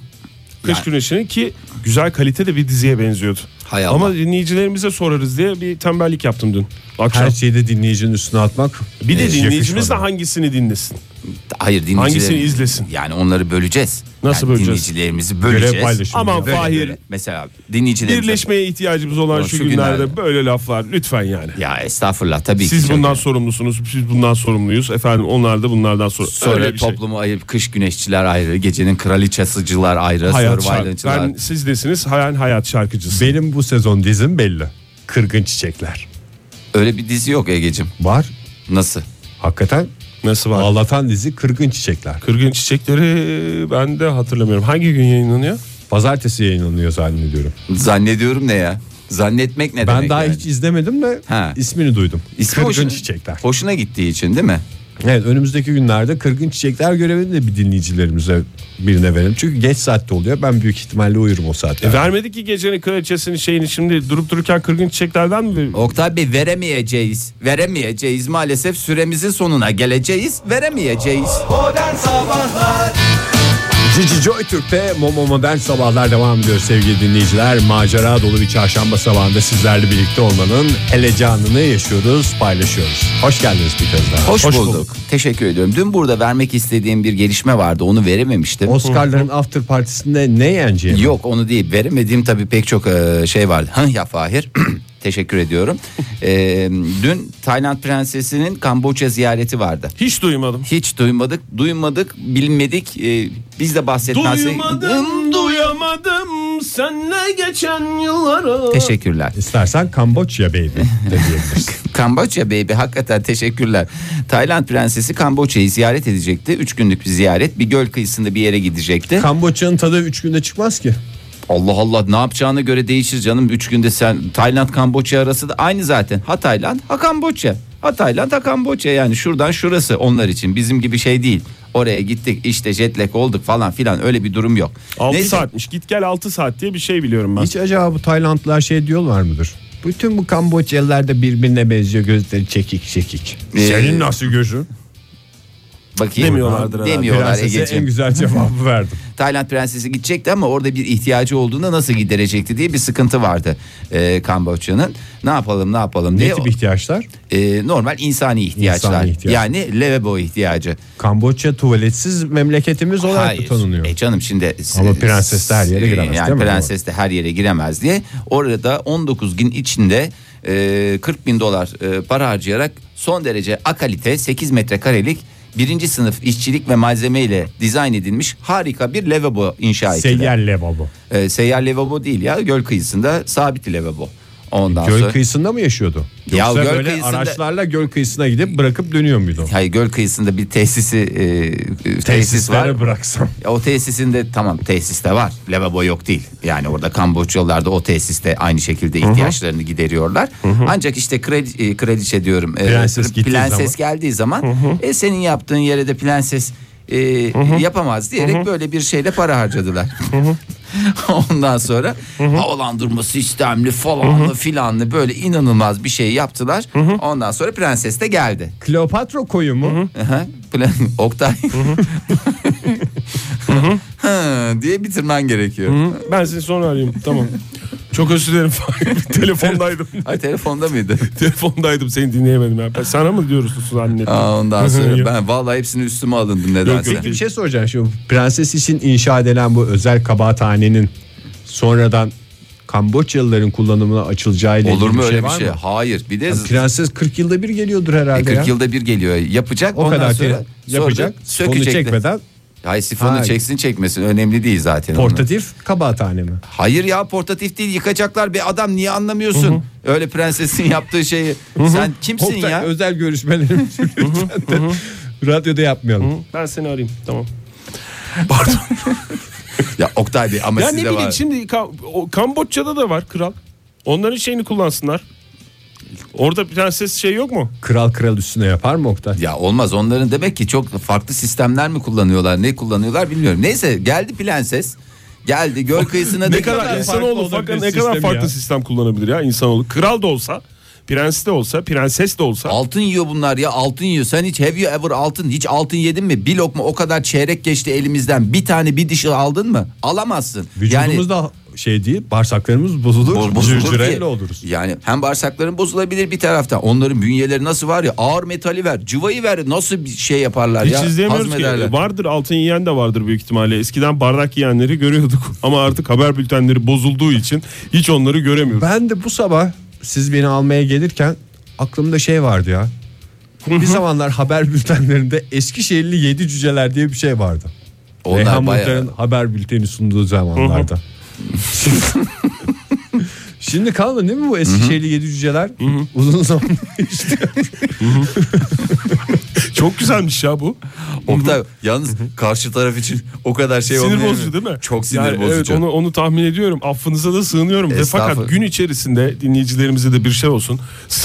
[SPEAKER 4] Kış
[SPEAKER 2] Yani.
[SPEAKER 4] Güneşi'ni ki güzel kalitede bir diziye benziyordu.
[SPEAKER 2] Hay Allah.
[SPEAKER 4] Ama dinleyicilerimize sorarız diye bir tembellik yaptım dün akşam.
[SPEAKER 3] her şeyi de dinleyicinin üstüne atmak.
[SPEAKER 4] bir de
[SPEAKER 3] hiç
[SPEAKER 4] dinleyicimiz de
[SPEAKER 3] yakışmadı.
[SPEAKER 4] hangisini dinlesin?
[SPEAKER 2] Hayır dinleyiciler.
[SPEAKER 4] Hangisini izlesin?
[SPEAKER 2] Yani onları böleceğiz.
[SPEAKER 4] Nasıl
[SPEAKER 2] Yani
[SPEAKER 4] böleceğiz?
[SPEAKER 2] Dinleyicilerimizi böleceğiz.
[SPEAKER 3] Görev paylaşımı
[SPEAKER 4] Aman
[SPEAKER 3] yap.
[SPEAKER 2] Böyle
[SPEAKER 4] Fahir.
[SPEAKER 2] böyle. Mesela dinleyicilerimize.
[SPEAKER 4] Birleşmeye ihtiyacımız olan
[SPEAKER 2] Ulan
[SPEAKER 4] şu,
[SPEAKER 2] şu
[SPEAKER 4] günlerde,
[SPEAKER 2] günlerde.
[SPEAKER 4] böyle laflar lütfen yani.
[SPEAKER 2] Ya estağfurullah tabii ki.
[SPEAKER 4] Siz
[SPEAKER 2] çok-
[SPEAKER 4] bundan sorumlusunuz, biz bundan sorumluyuz. Efendim onlar da bunlardan sorumlu. Öyle
[SPEAKER 2] Sonra
[SPEAKER 4] bir şey.
[SPEAKER 2] toplumu ayırıp kış güneşçiler ayrı, gecenin kraliçesıcılar ayrı,
[SPEAKER 4] hayat şarkı.
[SPEAKER 2] survivalcılar.
[SPEAKER 4] Ben siz desiniz hayal hayat şarkıcısı.
[SPEAKER 3] Benim bu sezon dizim belli. Kırgın Çiçekler.
[SPEAKER 2] Öyle bir dizi yok Ege'cim.
[SPEAKER 3] Var.
[SPEAKER 2] Nasıl?
[SPEAKER 3] Hakikaten
[SPEAKER 4] Nasıl var?
[SPEAKER 3] ağlatan dizi Kırgın Çiçekler.
[SPEAKER 4] Kırgın çiçekleri ben de hatırlamıyorum. Hangi gün yayınlanıyor?
[SPEAKER 3] Pazartesi yayınlanıyor zannediyorum.
[SPEAKER 2] Zannediyorum ne ya? Zannetmek ne demek
[SPEAKER 3] Ben daha
[SPEAKER 2] yani?
[SPEAKER 3] hiç izlemedim de
[SPEAKER 2] Ha.
[SPEAKER 3] ismini duydum.
[SPEAKER 2] İsmi
[SPEAKER 3] Kırgın
[SPEAKER 2] hoşuna-
[SPEAKER 3] Çiçekler.
[SPEAKER 2] Hoşuna gittiği için değil mi?
[SPEAKER 3] Evet önümüzdeki günlerde Kırgın Çiçekler görevini de bir dinleyicilerimize birine verelim. Çünkü geç saatte oluyor. Ben büyük ihtimalle uyurum o saatte.
[SPEAKER 4] E, vermedi ki gecenin kraliçesinin şeyini şimdi durup dururken kırgın çiçeklerden mi?
[SPEAKER 2] Oktay Bey veremeyeceğiz. Veremeyeceğiz maalesef süremizin sonuna geleceğiz. Veremeyeceğiz.
[SPEAKER 3] Cici Joy Türk'te Momo Modern Sabahlar devam ediyor sevgili dinleyiciler. Macera dolu bir çarşamba sabahında sizlerle birlikte olmanın heyecanını yaşıyoruz, paylaşıyoruz. Hoş geldiniz bir kez daha.
[SPEAKER 2] Hoş, bulduk. Teşekkür ediyorum. Dün burada vermek istediğim bir gelişme vardı. Onu verememiştim.
[SPEAKER 3] Oscar'ların after partisinde ne yeneceğim?
[SPEAKER 2] Yok onu değil. Veremediğim tabii pek çok e, şey vardı. Hı ya Fahir. [clears throat] Teşekkür ediyorum. E, dün Tayland prensesinin Kamboçya ziyareti vardı.
[SPEAKER 4] Hiç duymadım.
[SPEAKER 2] Hiç duymadık, duymadık, bilmedik. E, biz de bahsetmezsek.
[SPEAKER 4] Duymadım, duyamadım senle geçen yılları.
[SPEAKER 2] Teşekkürler.
[SPEAKER 3] İstersen Kamboçya baby de diyebilirsin.
[SPEAKER 2] [laughs] Kamboçya baby hakikaten teşekkürler. Tayland prensesi Kamboçya'yı ziyaret edecekti. Üç günlük bir ziyaret. Bir göl kıyısında bir yere gidecekti.
[SPEAKER 3] Kamboçya'nın tadı 3 günde çıkmaz ki.
[SPEAKER 2] Allah Allah ne yapacağına göre değişir canım. Üç günde sen Tayland Kamboçya arası da aynı zaten. Ha Tayland ha Kamboçya. Ha Tayland ha Kamboçya yani şuradan şurası onlar için. Bizim gibi şey değil. Oraya gittik işte jetlag olduk falan filan öyle bir durum yok.
[SPEAKER 4] 6
[SPEAKER 2] Neyse,
[SPEAKER 4] saatmiş. Git gel 6 saat diye bir şey biliyorum ben.
[SPEAKER 3] Hiç acaba bu Taylandlılar şey diyorlar mıdır? Bütün bu Kamboçyalılar da birbirine benziyor gözleri çekik çekik.
[SPEAKER 2] Ee,
[SPEAKER 3] nasıl gözün?
[SPEAKER 2] Bakayım.
[SPEAKER 4] Demiyorlardır herhalde.
[SPEAKER 2] Demiyorlar
[SPEAKER 3] Prensese
[SPEAKER 2] Ege'ciğim.
[SPEAKER 3] en güzel
[SPEAKER 4] [laughs]
[SPEAKER 3] cevabı verdim.
[SPEAKER 2] [laughs] Tayland prensesi gidecekti ama orada bir ihtiyacı olduğunda nasıl giderecekti diye bir sıkıntı vardı e, Kamboçya'nın. Ne yapalım ne yapalım
[SPEAKER 3] ne
[SPEAKER 2] diye.
[SPEAKER 3] tip ihtiyaçlar?
[SPEAKER 2] E, normal insani ihtiyaçlar.
[SPEAKER 3] İnsani ihtiyaç.
[SPEAKER 2] Yani lavabo ihtiyacı.
[SPEAKER 3] Kamboçya tuvaletsiz memleketimiz olarak mı tanınıyor?
[SPEAKER 2] E canım şimdi
[SPEAKER 3] Ama prenses de her yere giremez,
[SPEAKER 2] Yani
[SPEAKER 3] değil mi?
[SPEAKER 2] prenses de her yere giremez diye orada 19 gün içinde e, 40 bin dolar e, para harcayarak son derece akalite 8 metrekarelik birinci sınıf işçilik ve malzeme ile dizayn edilmiş harika bir lavabo inşa ettiler.
[SPEAKER 3] Seyyar lavabo.
[SPEAKER 2] E, seyyar lavabo değil ya göl kıyısında sabit lavabo. Ondan
[SPEAKER 3] Göl
[SPEAKER 2] sonra
[SPEAKER 3] kıyısında mı yaşıyordu?
[SPEAKER 2] Ya
[SPEAKER 3] Yoksa
[SPEAKER 2] göl
[SPEAKER 3] böyle
[SPEAKER 2] kıyısında-
[SPEAKER 3] araçlarla göl kıyısına gidip bırakıp dönüyor muydu?
[SPEAKER 2] hayır göl kıyısında bir tesisi e, e, tesis var.
[SPEAKER 3] Tesislere bıraksam.
[SPEAKER 2] Ya o tesisinde tamam tesiste var. Lavabo yok değil. Yani orada Kamboçyalılar da o tesiste aynı şekilde ihtiyaçlarını gideriyorlar. Ancak işte kredi, e, krediçe diyorum. e,
[SPEAKER 3] Prenses
[SPEAKER 2] pr-
[SPEAKER 3] gittiği
[SPEAKER 2] prenses geldiği zaman e, senin yaptığın yere de prenses e, yapamaz diyerek böyle bir şeyle para harcadılar. [laughs] Ondan sonra havalandırma sistemli falanlı filanlı böyle inanılmaz bir şey yaptılar. Ondan sonra prenses de geldi.
[SPEAKER 3] Kleopatra koyu mu?
[SPEAKER 2] Aha, plan [laughs] Oktay. [laughs] Hı, diye bitirmen gerekiyor.
[SPEAKER 4] Ben seni sonra arayayım tamam. Çok özür dilerim.
[SPEAKER 2] [laughs]
[SPEAKER 4] Telefondaydım.
[SPEAKER 2] Ay telefonda mıydı?
[SPEAKER 4] [laughs] Telefondaydım seni dinleyemedim. Ya. Ben- Sana mı diyoruz Susan anne?
[SPEAKER 2] Aa, ondan
[SPEAKER 4] Yok.
[SPEAKER 2] sonra ben vallahi hepsini üstüme alındım nedense.
[SPEAKER 4] yok,
[SPEAKER 3] Bir şey soracağım şimdi. Prenses için inşa edilen bu özel kabahathanenin sonradan Kamboçyalıların kullanımına açılacağı ile
[SPEAKER 2] Olur
[SPEAKER 3] ilgili
[SPEAKER 2] mu öyle
[SPEAKER 3] var
[SPEAKER 2] bir şey?
[SPEAKER 3] mı?
[SPEAKER 2] Hayır. Bir de
[SPEAKER 3] Ya Prenses 40 yılda bir geliyordur herhalde
[SPEAKER 2] 40
[SPEAKER 3] ya.
[SPEAKER 2] yılda bir geliyor. Yapacak
[SPEAKER 3] O
[SPEAKER 2] ondan
[SPEAKER 3] kadar
[SPEAKER 2] sonra
[SPEAKER 3] sonra yapacak.
[SPEAKER 2] sonra
[SPEAKER 3] Sifonu
[SPEAKER 2] sökecekler.
[SPEAKER 3] çekmeden
[SPEAKER 2] Hayır sifonu
[SPEAKER 3] Ha.
[SPEAKER 2] çeksin çekmesin önemli değil zaten. onun.
[SPEAKER 3] portatif [laughs] kabahathane mi?
[SPEAKER 2] Hayır ya portatif değil yıkacaklar bir adam niye anlamıyorsun? Öyle prensesin yaptığı şeyi. Sen kimsin
[SPEAKER 3] Oktay,
[SPEAKER 2] ya?
[SPEAKER 3] Özel
[SPEAKER 2] [laughs]
[SPEAKER 3] görüşmelerimizi lütfen de radyoda yapmayalım.
[SPEAKER 4] Ben seni arayayım tamam.
[SPEAKER 2] Ya Oktay Bey ama
[SPEAKER 4] Ya ne
[SPEAKER 2] siz de
[SPEAKER 4] bileyim
[SPEAKER 2] var.
[SPEAKER 4] şimdi Ka- o- Kamboçya'da da var kral. Onların şeyini kullansınlar. Orada prenses şey yok mu?
[SPEAKER 3] Kral kral üstüne yapar mı Oktay?
[SPEAKER 2] Ya olmaz onların demek ki çok farklı sistemler mi kullanıyorlar ne kullanıyorlar bilmiyorum. Neyse geldi prenses geldi göl kıyısına
[SPEAKER 4] Ne
[SPEAKER 2] dedi
[SPEAKER 4] kadar
[SPEAKER 2] ki,
[SPEAKER 4] insanoğlu
[SPEAKER 3] farklı
[SPEAKER 4] fakat
[SPEAKER 3] olabilir
[SPEAKER 4] ne kadar
[SPEAKER 3] sistemi
[SPEAKER 4] farklı
[SPEAKER 3] ya.
[SPEAKER 4] sistem kullanabilir ya insanoğlu. Kral da olsa, prens de olsa, prenses de olsa.
[SPEAKER 2] Altın yiyor bunlar ya altın yiyor. Sen hiç have you ever altın hiç altın yedin mi? Bir lokma o kadar çeyrek geçti elimizden. Bir tane bir dişi aldın mı? Alamazsın.
[SPEAKER 3] Vücudumuz da şey değil bağırsaklarımız bozulur.
[SPEAKER 2] bo- bozulur
[SPEAKER 3] cırcırayla
[SPEAKER 2] diye.
[SPEAKER 3] oluruz.
[SPEAKER 2] Yani hem bağırsakların bozulabilir bir taraftan. Onların bünyeleri nasıl var ya ağır metali ver, cıvayı ver. Nasıl bir şey yaparlar
[SPEAKER 4] Hiç
[SPEAKER 2] ya?
[SPEAKER 4] izleyemiyoruz ki.
[SPEAKER 2] hazmederler.
[SPEAKER 4] Vardır altın yiyen de vardır büyük ihtimalle. Eskiden bardak yiyenleri görüyorduk. [laughs] Ama artık haber bültenleri bozulduğu için hiç onları göremiyoruz.
[SPEAKER 3] Ben de bu sabah siz beni almaya gelirken aklımda şey vardı ya. Bir zamanlar haber bültenlerinde Eskişehirli yedi cüceler diye bir şey vardı. Reyhan
[SPEAKER 2] bayağı-
[SPEAKER 3] Muhtar'ın haber bülteni sunduğu zamanlarda. [laughs] Şimdi kaldı değil mi bu Eskişehirli yedi cüceler? Uzun zaman [laughs] işte.
[SPEAKER 4] Çok güzelmiş ya bu.
[SPEAKER 2] Oktay yalnız karşı taraf için o kadar şey
[SPEAKER 4] sinir
[SPEAKER 2] olmuyor.
[SPEAKER 4] bozucu değil mi?
[SPEAKER 2] Çok sinir
[SPEAKER 4] Yani
[SPEAKER 2] bozucu.
[SPEAKER 4] Evet onu onu tahmin ediyorum. Affınıza da sığınıyorum. Ve fakat
[SPEAKER 2] Estağfurullah.
[SPEAKER 4] gün içerisinde dinleyicilerimize de bir şey olsun. [laughs]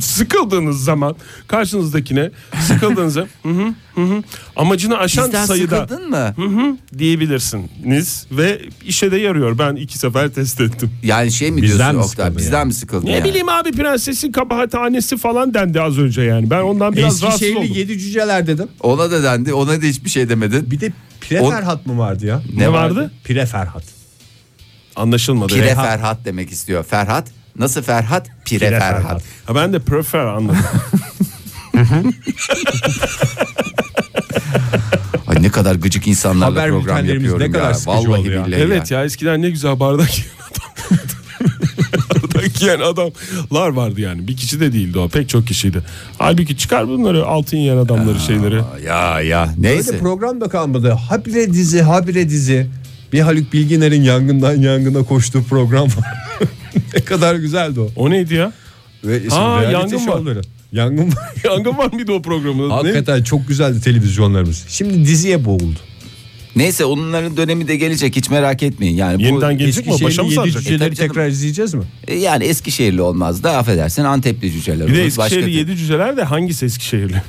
[SPEAKER 4] sıkıldığınız zaman karşınızdakine sıkıldığınızda [laughs] hı hı, hı hı, amacını aşan
[SPEAKER 2] Bizden
[SPEAKER 4] sayıda
[SPEAKER 2] sıkıldın mı?
[SPEAKER 4] hı hı diyebilirsiniz ve işe de yarıyor. Ben iki sefer test ettim.
[SPEAKER 2] Yani şey mi
[SPEAKER 3] Bizden mi
[SPEAKER 2] diyorsun Oktay?
[SPEAKER 3] sıkıldın
[SPEAKER 2] Bizden mi sıkıldın?
[SPEAKER 4] Ne
[SPEAKER 2] yani?
[SPEAKER 4] bileyim abi prensesin kabahathanesi falan dendi az önce yani. Ben ondan biraz rahatsız oldum.
[SPEAKER 3] Eskişehirli yedi cüceler dedim.
[SPEAKER 2] Ona da dendi. Ona da hiçbir şey demedin.
[SPEAKER 3] Bir de Pire
[SPEAKER 2] O-
[SPEAKER 3] Ferhat mı vardı ya?
[SPEAKER 4] ne vardı?
[SPEAKER 3] Pire Ferhat.
[SPEAKER 4] Anlaşılmadı.
[SPEAKER 2] Pire
[SPEAKER 4] Reha-
[SPEAKER 2] Ferhat demek istiyor. Ferhat nasıl Ferhat? Pire,
[SPEAKER 3] Pire
[SPEAKER 2] Ferhat.
[SPEAKER 3] Ferhat.
[SPEAKER 4] Ha, ben de prefer
[SPEAKER 3] [laughs]
[SPEAKER 4] anladım.
[SPEAKER 2] [laughs] Ay ne kadar gıcık insanlarla
[SPEAKER 3] Haber
[SPEAKER 2] program
[SPEAKER 3] bültenlerimiz
[SPEAKER 2] yapıyorum
[SPEAKER 3] ne
[SPEAKER 2] ya.
[SPEAKER 3] kadar sıkıcı
[SPEAKER 2] Vallahi
[SPEAKER 3] oldu ya.
[SPEAKER 2] billahi
[SPEAKER 4] Evet ya eskiden ne güzel bardak yiyen adam. [laughs] bardak yiyen adamlar vardı yani. Bir kişi de değildi o. Pek çok kişiydi. Halbuki çıkar bunları altın yiyen adamları şeyleri.
[SPEAKER 2] Ya ya
[SPEAKER 3] Öyle
[SPEAKER 2] neyse.
[SPEAKER 3] program da kalmadı. Habire dizi, habire dizi. Bir Haluk Bilginer'in yangından yangına koştuğu program var. [laughs] ne kadar güzeldi o.
[SPEAKER 4] O neydi ya?
[SPEAKER 3] Ve işte
[SPEAKER 4] Aa,
[SPEAKER 3] reality
[SPEAKER 4] yangın var.
[SPEAKER 3] şovları. Yangın var.
[SPEAKER 4] [laughs] Yangın var mıydı o programda? Ne?
[SPEAKER 3] Hakikaten çok güzeldi televizyonlarımız. Şimdi diziye boğuldu.
[SPEAKER 2] Neyse onların dönemi de gelecek hiç merak etmeyin. Yani bu
[SPEAKER 4] Yeniden gelecek mi? o? Başa mı
[SPEAKER 3] Eskişehir'in yedi
[SPEAKER 4] saracak?
[SPEAKER 2] E,
[SPEAKER 3] cüceleri
[SPEAKER 2] tabii canım.
[SPEAKER 3] tekrar izleyeceğiz mi?
[SPEAKER 2] e, yani Eskişehirli olmaz da affedersin Antepli cüceler.
[SPEAKER 4] Bir de
[SPEAKER 2] olur,
[SPEAKER 4] Eskişehir'li
[SPEAKER 2] başka-
[SPEAKER 4] yedi cüceler de hangisi Eskişehir'li?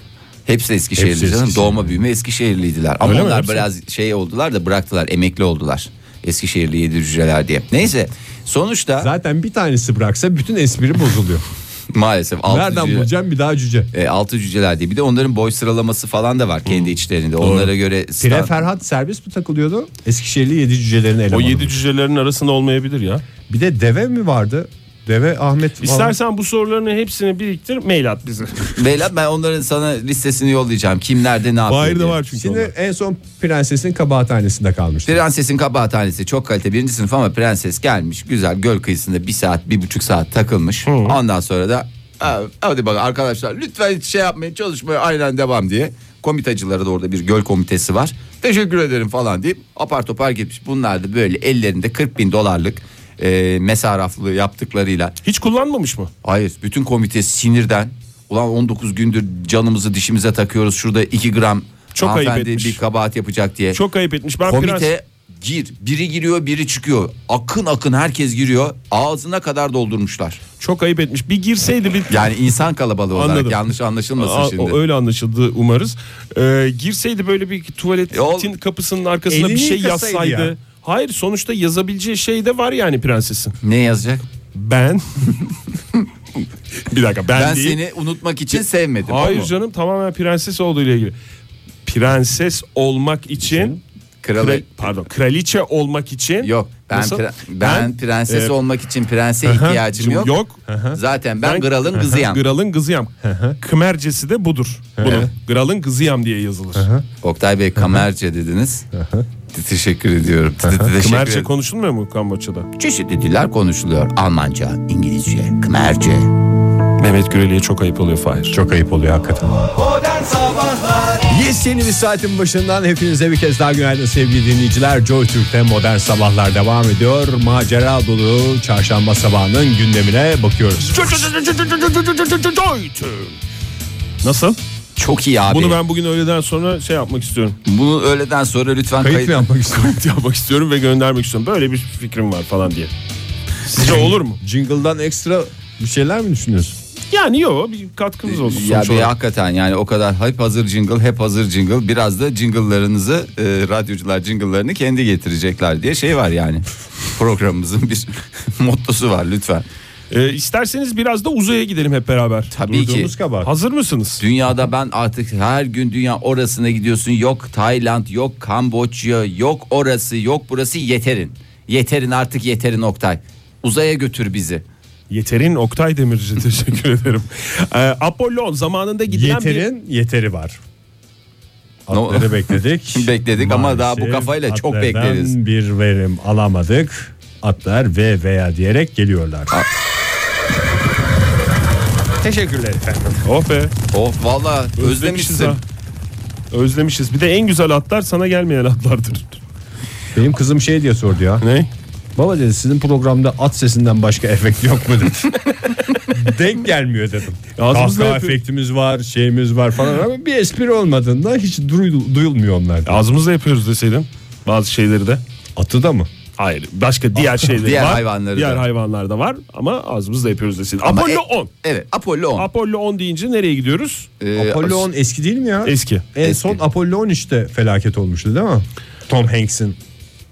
[SPEAKER 2] Hepsi Eskişehirli
[SPEAKER 3] Hepsi
[SPEAKER 2] canım.
[SPEAKER 3] Eskişehirli.
[SPEAKER 2] Doğma büyüme Eskişehirliydiler. Ama
[SPEAKER 4] Öyle mi?
[SPEAKER 2] onlar
[SPEAKER 4] Hepsi.
[SPEAKER 2] biraz şey oldular da bıraktılar. Emekli oldular. Eskişehirli yedi cüceler diye. Neyse sonuçta
[SPEAKER 3] Zaten bir tanesi bıraksa bütün espri bozuluyor.
[SPEAKER 2] [laughs] Maalesef altı
[SPEAKER 3] Nereden
[SPEAKER 2] cüce-
[SPEAKER 3] bulacağım bir daha cüce?
[SPEAKER 2] e, altı cüceler diye. Bir de onların boy sıralaması falan da var kendi içlerinde. Onlara göre
[SPEAKER 3] Pire
[SPEAKER 2] stand-
[SPEAKER 3] Ferhat serbest mi takılıyordu? Eskişehirli yedi cücelerin elemanı.
[SPEAKER 4] O yedi cücelerin arasında olmayabilir ya.
[SPEAKER 3] Bir de deve mi vardı? Deve Ahmet.
[SPEAKER 4] İstersen bu soruların hepsini biriktir mail at bize.
[SPEAKER 2] Beyler ben onların sana listesini yollayacağım. Kim nerede ne yapıyor
[SPEAKER 4] Bahir de
[SPEAKER 2] diye.
[SPEAKER 4] var çünkü.
[SPEAKER 3] Şimdi
[SPEAKER 4] onlar.
[SPEAKER 3] en son prensesin kabahathanesinde kalmıştı.
[SPEAKER 2] Prensesin kabahathanesi çok kalite birinci sınıf ama prenses gelmiş güzel göl kıyısında bir saat bir buçuk saat takılmış. Ondan sonra da "Ha, hadi bak arkadaşlar lütfen hiç şey yapmayın çalışmaya aynen devam diye. Komitacıları da orada bir göl komitesi var. Teşekkür ederim falan deyip apar topar gitmiş. Bunlar da böyle ellerinde 40 bin dolarlık e, mesaraflı yaptıklarıyla
[SPEAKER 4] Hiç kullanmamış mı?
[SPEAKER 2] Hayır bütün komite sinirden ulan 19 gündür canımızı dişimize takıyoruz şurada 2 gram
[SPEAKER 4] Çok ayıp
[SPEAKER 2] hanımefendi
[SPEAKER 4] etmiş.
[SPEAKER 2] bir kabahat yapacak diye.
[SPEAKER 4] Çok ayıp etmiş. Ben
[SPEAKER 2] Komite
[SPEAKER 4] prens-
[SPEAKER 2] gir biri giriyor biri çıkıyor akın akın herkes giriyor ağzına kadar doldurmuşlar.
[SPEAKER 4] çok ayıp etmiş. Bir girseydi bir
[SPEAKER 2] Yani insan kalabalığı olarak
[SPEAKER 4] Anladım.
[SPEAKER 2] yanlış anlaşılmasın
[SPEAKER 4] Aa,
[SPEAKER 2] şimdi.
[SPEAKER 4] o öyle anlaşıldı umarız. Ee, girseydi böyle bir tuvaletin
[SPEAKER 2] E, ol-
[SPEAKER 4] kapısının arkasına bir
[SPEAKER 3] Elini
[SPEAKER 4] şey
[SPEAKER 3] yıkasaydı
[SPEAKER 4] yazsaydı.
[SPEAKER 3] ya.
[SPEAKER 4] Hayır sonuçta yazabileceği şey de var yani prensesin.
[SPEAKER 2] Ne yazacak?
[SPEAKER 4] Ben [laughs] Bir dakika ben,
[SPEAKER 2] Ben
[SPEAKER 4] değil.
[SPEAKER 2] seni unutmak için sevmedim. o
[SPEAKER 4] Hayır
[SPEAKER 2] mu?
[SPEAKER 4] canım tamamen prenses olduğu ile ilgili. Prenses olmak için
[SPEAKER 2] Kralı-
[SPEAKER 4] kral- pardon kraliçe olmak için
[SPEAKER 2] Yok ben
[SPEAKER 4] Nasıl?
[SPEAKER 2] pre- ben, prenses
[SPEAKER 4] e,
[SPEAKER 2] olmak için prense ihtiyacım
[SPEAKER 4] şimdi
[SPEAKER 2] yok.
[SPEAKER 4] yok.
[SPEAKER 2] Zaten ben, kralın kızıyım.
[SPEAKER 4] Kralın kızıyam. Kımercesi de budur. Bunun. Kralın kızıyam diye yazılır.
[SPEAKER 2] Oktay Bey kamerce dediniz. Teşekkür ediyorum. Teşekkür
[SPEAKER 4] Kımerce
[SPEAKER 2] ederim.
[SPEAKER 4] konuşulmuyor mu Kamboçya'da?
[SPEAKER 2] Çeşitli diller konuşuluyor. Almanca, İngilizce, Kmerce.
[SPEAKER 4] Mehmet Güreli'ye çok ayıp oluyor Fahir.
[SPEAKER 3] Çok ayıp oluyor hakikaten. Yes yeni bir saatin başından hepinize bir kez daha günaydın sevgili dinleyiciler. Joy Türk'te modern sabahlar devam ediyor. Macera dolu çarşamba sabahının gündemine bakıyoruz.
[SPEAKER 4] Nasıl?
[SPEAKER 2] Çok iyi abi.
[SPEAKER 4] Bunu
[SPEAKER 2] Bunu,
[SPEAKER 4] ben bugün öğleden sonra şey yapmak istiyorum.
[SPEAKER 2] öğleden sonra lütfen kayıt.
[SPEAKER 3] Kayıt mı yapmak istiyorum?
[SPEAKER 4] yapmak [laughs] istiyorum ve göndermek istiyorum. Böyle bir fikrim var falan diye. Sizce olur mu?
[SPEAKER 3] Jingle'dan ekstra bir şeyler mi düşünüyorsun?
[SPEAKER 4] Yani yok bir katkınız olsun
[SPEAKER 2] Ee, Ya
[SPEAKER 4] sonuç
[SPEAKER 2] bir
[SPEAKER 4] olarak.
[SPEAKER 2] hakikaten yani o kadar hep hazır jingle, hep hazır jingle. Biraz da jingle'larınızı e, radyocular jingle'larını kendi getirecekler diye şey var
[SPEAKER 4] [laughs]
[SPEAKER 2] yani. Programımızın bir [laughs] mottosu var lütfen.
[SPEAKER 4] Ee, isterseniz biraz da uzaya gidelim hep beraber.
[SPEAKER 2] Tabii ki.
[SPEAKER 3] Duyduğumuz kabahat.
[SPEAKER 4] Hazır mısınız?
[SPEAKER 2] Dünyada ben artık her gün dünya orasına gidiyorsun. Yok Tayland, yok Kamboçya, yok orası, yok burası yeterin. Yeterin artık yeterin Oktay. Uzaya götür bizi.
[SPEAKER 4] Yeterin Oktay Demirci
[SPEAKER 3] [laughs]
[SPEAKER 4] teşekkür ederim. Ee, Apollo zamanında gidilen bir...
[SPEAKER 3] Yeterin yeteri var.
[SPEAKER 2] No-
[SPEAKER 3] Atları bekledik.
[SPEAKER 2] [laughs] Bekledik ama daha bu kafayla çok
[SPEAKER 3] atlardan
[SPEAKER 2] bekleriz.
[SPEAKER 3] bir verim alamadık. Atlar ve veya diyerek geliyorlar. Teşekkürler efendim.
[SPEAKER 4] Oh be
[SPEAKER 2] Oh valla
[SPEAKER 4] özlemişiz
[SPEAKER 2] özlemişsin.
[SPEAKER 4] ha. Özlemişiz. Bir de en güzel atlar sana gelmeyen atlardır.
[SPEAKER 3] Benim kızım şey diye sordu ya.
[SPEAKER 4] Ne?
[SPEAKER 3] Baba dedi sizin programda at sesinden başka efekt yok mu dedi. [laughs] Denk gelmiyor dedim.
[SPEAKER 4] Ağzımızla
[SPEAKER 3] Kahkaha
[SPEAKER 4] yapıyor.
[SPEAKER 3] efektimiz var, şeyimiz var falan ama bir espri olmadığında hiç duyu- duyulmuyor onlar.
[SPEAKER 4] Ağzımızla yapıyoruz deseydim bazı şeyleri de.
[SPEAKER 3] Atı da mı?
[SPEAKER 4] Hayır başka diğer şeyleri
[SPEAKER 2] Diğer
[SPEAKER 4] var.
[SPEAKER 2] hayvanları
[SPEAKER 4] diğer
[SPEAKER 2] da.
[SPEAKER 4] hayvanlar da var ama ağzımızla yapıyoruz deseydim.
[SPEAKER 2] Ama
[SPEAKER 4] Apollo
[SPEAKER 2] e-
[SPEAKER 4] 10.
[SPEAKER 2] Evet Apollo 10.
[SPEAKER 4] Apollo 10 deyince nereye gidiyoruz?
[SPEAKER 2] Ee,
[SPEAKER 3] e, Apollo 10 eski değil mi ya?
[SPEAKER 4] Eski.
[SPEAKER 3] En
[SPEAKER 2] Eski.
[SPEAKER 3] son Apollo 13'te felaket olmuştu değil mi? Tom Hanks'in.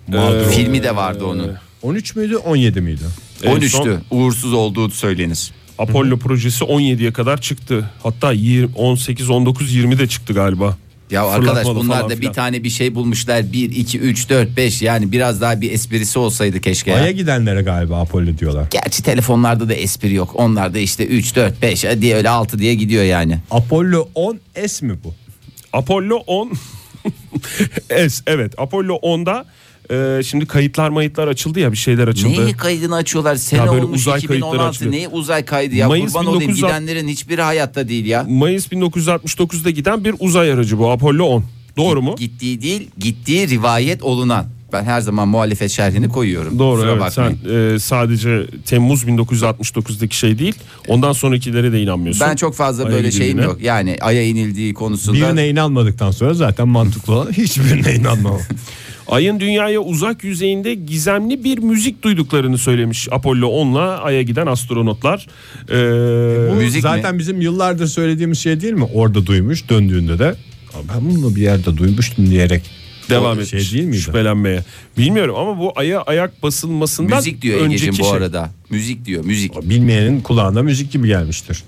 [SPEAKER 3] mağduru.
[SPEAKER 2] Filmi de vardı onun.
[SPEAKER 3] 13 müydü 17 miydi?
[SPEAKER 4] en
[SPEAKER 2] 13'tü.
[SPEAKER 4] son-
[SPEAKER 2] Uğursuz olduğu söylenir.
[SPEAKER 4] Apollo projesi 17'ye kadar çıktı. Hatta 20, 18, 19, 20 de çıktı galiba.
[SPEAKER 2] Ya
[SPEAKER 4] Fırlatmalı
[SPEAKER 2] arkadaş bunlar
[SPEAKER 4] falan
[SPEAKER 2] da bir
[SPEAKER 4] filan.
[SPEAKER 2] tane bir şey bulmuşlar. 1, 2, 3, 4, 5 yani biraz daha bir esprisi olsaydı keşke. ya.
[SPEAKER 3] Ay'a gidenlere galiba Apollo diyorlar.
[SPEAKER 2] Gerçi telefonlarda da espri yok. Onlar da işte 3, 4, 5 diye öyle 6 diye gidiyor yani.
[SPEAKER 3] Apollo 10S
[SPEAKER 4] [laughs]
[SPEAKER 3] mi bu?
[SPEAKER 4] Apollo 10 es evet Apollo 10'da e, şimdi kayıtlar mayıtlar açıldı ya bir şeyler açıldı.
[SPEAKER 2] Neyi kaydını açıyorlar? Sene
[SPEAKER 4] Ya böyle
[SPEAKER 2] olmuş
[SPEAKER 4] uzay kayıtları
[SPEAKER 2] 2016.
[SPEAKER 4] açılıyor.
[SPEAKER 2] Neyi uzay kaydı ya?
[SPEAKER 4] Mayıs
[SPEAKER 2] Kurban olayım
[SPEAKER 4] 1900
[SPEAKER 2] gidenlerin hiçbiri hayatta değil ya.
[SPEAKER 4] Mayıs 1969'da giden bir uzay aracı bu Apollo 10. Doğru mu?
[SPEAKER 2] Gittiği değil, gittiği rivayet olunan. Ben her zaman muhalefet şerhini koyuyorum.
[SPEAKER 4] Doğru
[SPEAKER 2] Kusura
[SPEAKER 4] evet
[SPEAKER 2] bakmayın.
[SPEAKER 4] sen e, sadece Temmuz 1969'daki şey değil ondan sonrakilere de inanmıyorsun.
[SPEAKER 2] Ben çok fazla
[SPEAKER 4] Ay'a
[SPEAKER 2] böyle
[SPEAKER 4] gidildiğine.
[SPEAKER 2] şeyim yok. Yani aya inildiği konusunda
[SPEAKER 3] Birine inanmadıktan sonra zaten mantıklı olan [laughs] hiçbirine inanmam.
[SPEAKER 4] [laughs] Ay'ın dünyaya uzak yüzeyinde gizemli bir müzik duyduklarını söylemiş Apollo 10'la Ay'a giden astronotlar. E,
[SPEAKER 2] Ee, müzik
[SPEAKER 3] zaten
[SPEAKER 2] mi?
[SPEAKER 3] bizim yıllardır söylediğimiz şey değil mi? Orada duymuş döndüğünde de "Aa, ben bunu bir yerde duymuştum diyerek
[SPEAKER 4] devam
[SPEAKER 3] O şey
[SPEAKER 4] etmiş
[SPEAKER 3] değil miydi?
[SPEAKER 4] şüphelenmeye. Bilmiyorum ama bu aya ayak basılmasından
[SPEAKER 2] Müzik diyor
[SPEAKER 4] önceki
[SPEAKER 2] Ege'cim bu
[SPEAKER 4] şey.
[SPEAKER 2] arada. Müzik diyor müzik.
[SPEAKER 3] Bilmeyenin kulağına müzik gibi gelmiştir.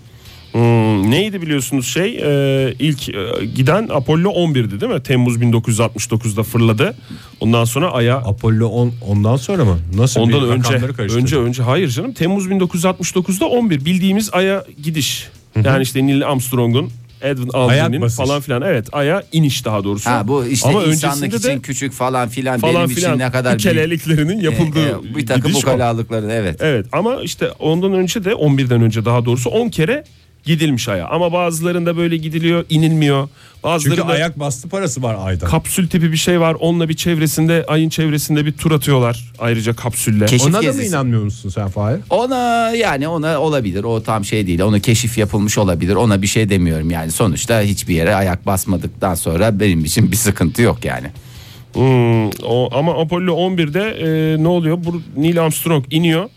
[SPEAKER 4] Hmm, neydi biliyorsunuz şey e, ilk e, giden Apollo 11'di değil mi? Temmuz 1969'da fırladı. Ondan sonra aya
[SPEAKER 3] Apollo 10 ondan sonra mı? Nasıl
[SPEAKER 4] ondan
[SPEAKER 3] bir
[SPEAKER 4] önce
[SPEAKER 3] rakamları karıştırdın?
[SPEAKER 4] önce önce hayır canım Temmuz 1969'da 11 bildiğimiz aya gidiş. Yani işte Neil Armstrong'un Edwin Aldrin'in
[SPEAKER 3] basış.
[SPEAKER 4] falan filan evet aya iniş daha doğrusu.
[SPEAKER 2] Ha bu işte
[SPEAKER 4] Ama
[SPEAKER 2] insanlık
[SPEAKER 4] öncesinde
[SPEAKER 2] için
[SPEAKER 4] de
[SPEAKER 2] küçük falan filan
[SPEAKER 4] falan
[SPEAKER 2] benim için
[SPEAKER 4] filan
[SPEAKER 2] ne kadar büyük.
[SPEAKER 4] keleliklerinin yapıldığı
[SPEAKER 2] E, e, bir takım
[SPEAKER 4] gidiş o.
[SPEAKER 2] ukalalıkların evet.
[SPEAKER 4] Evet ama işte ondan önce de 11'den önce daha doğrusu 10 kere gidilmiş aya. Ama bazılarında böyle gidiliyor, inilmiyor.
[SPEAKER 3] Çünkü
[SPEAKER 4] Bazılarında
[SPEAKER 3] ayak bastı parası var ayda.
[SPEAKER 4] kapsül tipi bir şey var. Onunla bir çevresinde, ayın çevresinde bir tur atıyorlar. Ayrıca kapsülle.
[SPEAKER 2] Keşif
[SPEAKER 3] Ona da mı
[SPEAKER 2] gezisi.
[SPEAKER 3] inanmıyor musun sen Fahir?
[SPEAKER 2] Ona yani ona olabilir. O tam şey değil. Ona keşif yapılmış olabilir. Ona bir şey demiyorum yani. Sonuçta hiçbir yere ayak basmadıktan sonra benim için bir sıkıntı yok yani.
[SPEAKER 4] Hmm, o, ama Apollo 11'de e, ne oluyor? Bu Neil Armstrong iniyor.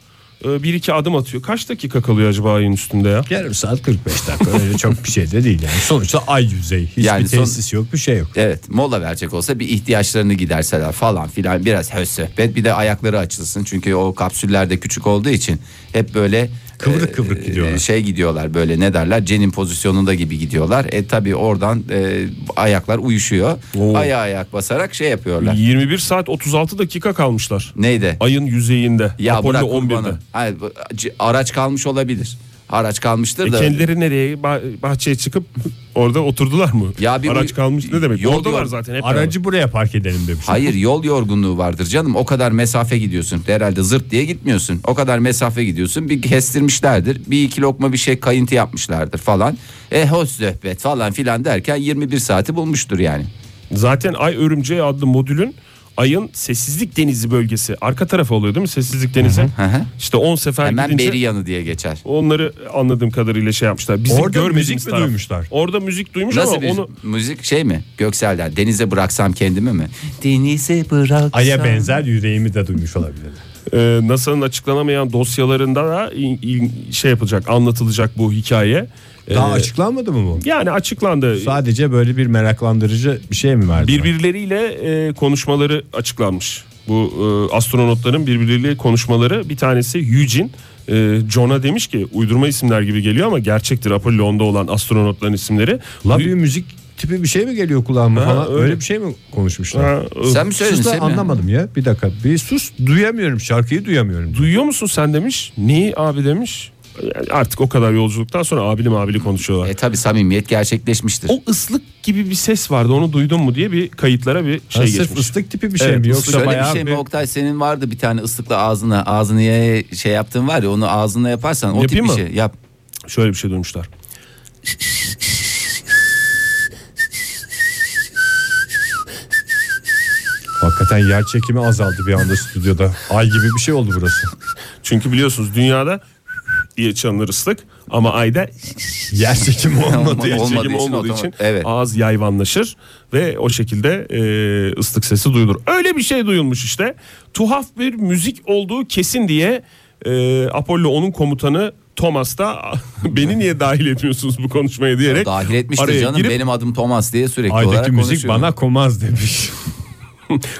[SPEAKER 4] E, bir iki adım atıyor. Kaç dakika kalıyor acaba ayın üstünde ya?
[SPEAKER 3] Yarım saat 45 dakika öyle çok bir şey de değil yani. Sonuçta ay yüzeyi. Hiçbir
[SPEAKER 2] Yani son-
[SPEAKER 3] tesis yok bir şey yok.
[SPEAKER 2] Evet mola verecek olsa bir ihtiyaçlarını giderseler falan filan biraz höz sohbet bir de ayakları açılsın çünkü o kapsüller de küçük olduğu için hep böyle
[SPEAKER 3] Kıvrık kıvrık gidiyorlar.
[SPEAKER 2] Şey gidiyorlar böyle ne derler cenin pozisyonunda gibi gidiyorlar. E tabi oradan e, ayaklar uyuşuyor.
[SPEAKER 4] Oo.
[SPEAKER 2] Aya ayak basarak şey yapıyorlar.
[SPEAKER 4] 21 saat 36 dakika kalmışlar.
[SPEAKER 2] Neydi?
[SPEAKER 4] Ayın yüzeyinde.
[SPEAKER 2] Ya
[SPEAKER 4] Apollo
[SPEAKER 2] bırak
[SPEAKER 4] 11'de.
[SPEAKER 2] kurbanı. Hayır, bu- c- araç kalmış olabilir. Araç kalmıştır
[SPEAKER 4] E
[SPEAKER 2] da.
[SPEAKER 4] kendileri nereye Bah- bahçeye çıkıp orada oturdular mı?
[SPEAKER 2] Ya bir
[SPEAKER 4] Araç
[SPEAKER 2] bu-
[SPEAKER 4] kalmış ne demek?
[SPEAKER 2] yol
[SPEAKER 4] Oradalar
[SPEAKER 2] yok.
[SPEAKER 4] zaten hep. beraber.
[SPEAKER 3] Aracı buraya park edelim demiş.
[SPEAKER 2] Hayır yol yorgunluğu vardır canım. O kadar mesafe gidiyorsun. Herhalde zırt diye gitmiyorsun. O kadar mesafe gidiyorsun. Bir kestirmişlerdir. Bir iki lokma bir şey kayıntı yapmışlardır falan. E hoş sohbet falan filan derken 21 saati bulmuştur yani.
[SPEAKER 4] Zaten Ay Örümceği adlı modülün Ay'ın Sessizlik Denizi bölgesi arka tarafı oluyor değil mi? Sessizlik Denizi.
[SPEAKER 2] hı.
[SPEAKER 4] işte 10 sefer
[SPEAKER 2] Hemen
[SPEAKER 4] gidince
[SPEAKER 2] beri yanı diye geçer.
[SPEAKER 4] onları anladığım kadarıyla şey yapmışlar. Bizim
[SPEAKER 3] Orada
[SPEAKER 4] görmediğimiz
[SPEAKER 3] müzik mi
[SPEAKER 4] taraf.
[SPEAKER 3] duymuşlar?
[SPEAKER 4] Orada müzik duymuş
[SPEAKER 2] Nasıl
[SPEAKER 4] ama
[SPEAKER 2] bir
[SPEAKER 4] onu
[SPEAKER 2] müzik şey mi? Göksel'den denize bıraksam kendimi mi? Denize bıraksam.
[SPEAKER 3] Aya benzer yüreğimi de duymuş olabilir.
[SPEAKER 4] e, NASA'nın açıklanamayan dosyalarında da in- in- şey yapılacak, anlatılacak bu hikaye.
[SPEAKER 2] Ee,
[SPEAKER 4] E,
[SPEAKER 3] Daha açıklanmadı mı bu?
[SPEAKER 4] yani açıklandı.
[SPEAKER 3] Sadece böyle bir meraklandırıcı bir şey mi verdi?
[SPEAKER 4] Birbirleriyle e, konuşmaları açıklanmış. Bu e, astronotların birbirleriyle konuşmaları bir tanesi Eugene e, John'a demiş ki uydurma isimler gibi geliyor ama gerçektir Apollo 10'da olan astronotların isimleri.
[SPEAKER 3] La bir müzik tipi bir şey mi geliyor kulağıma
[SPEAKER 4] Ha,
[SPEAKER 3] falan? Öyle.
[SPEAKER 4] öyle.
[SPEAKER 3] bir şey mi konuşmuşlar?
[SPEAKER 4] Ha, e,
[SPEAKER 2] Sen mi söyledin
[SPEAKER 3] Sus da
[SPEAKER 2] sen mi?
[SPEAKER 3] anlamadım ya. Bir dakika. Bir sus duyamıyorum şarkıyı duyamıyorum.
[SPEAKER 4] Duyuyor musun sen demiş. Neyi abi demiş. Yani artık o kadar yolculuktan sonra abili mabili konuşuyorlar.
[SPEAKER 2] E tabi samimiyet gerçekleşmiştir.
[SPEAKER 4] O ıslık gibi bir ses vardı onu duydun mu diye bir kayıtlara bir şey
[SPEAKER 3] Ha, sırf
[SPEAKER 4] geçmiş.
[SPEAKER 3] ıslık tipi bir şey
[SPEAKER 4] Evet,
[SPEAKER 3] mi
[SPEAKER 4] ıslık.
[SPEAKER 3] yoksa
[SPEAKER 2] Şöyle bir
[SPEAKER 3] bayağı
[SPEAKER 2] şey mi
[SPEAKER 3] bir-
[SPEAKER 2] Oktay senin vardı bir tane ıslıkla ağzına ağzını ye- şey yaptığın var ya onu ağzına yaparsan o
[SPEAKER 4] Yapayım
[SPEAKER 2] tip bir
[SPEAKER 4] mı?
[SPEAKER 2] şey yap.
[SPEAKER 4] Şöyle bir şey duymuşlar.
[SPEAKER 3] Hakikaten yer çekimi azaldı bir anda stüdyoda. Ay gibi bir şey oldu burası.
[SPEAKER 4] Çünkü biliyorsunuz dünyada diye çalınır ıslık ama ayda
[SPEAKER 3] Yer çekimi olmadı.
[SPEAKER 2] [laughs] Olmadı.
[SPEAKER 4] Diğer
[SPEAKER 2] Olmadığı
[SPEAKER 4] çekim
[SPEAKER 2] için
[SPEAKER 4] olmadığı için,
[SPEAKER 2] otomatik- evet.
[SPEAKER 4] ağız yayvanlaşır ve o şekilde e, ıslık sesi duyulur. Öyle bir şey duyulmuş işte. Tuhaf bir müzik olduğu kesin diye e, Apollo onun komutanı Thomas da [laughs] beni niye dahil etmiyorsunuz bu konuşmaya diyerek
[SPEAKER 2] Dahil etmiştir
[SPEAKER 4] araya
[SPEAKER 2] canım
[SPEAKER 4] girip
[SPEAKER 2] benim adım Thomas diye sürekli olarak
[SPEAKER 3] Aydaki müzik
[SPEAKER 2] konuşuyorum.
[SPEAKER 3] bana komaz demiş.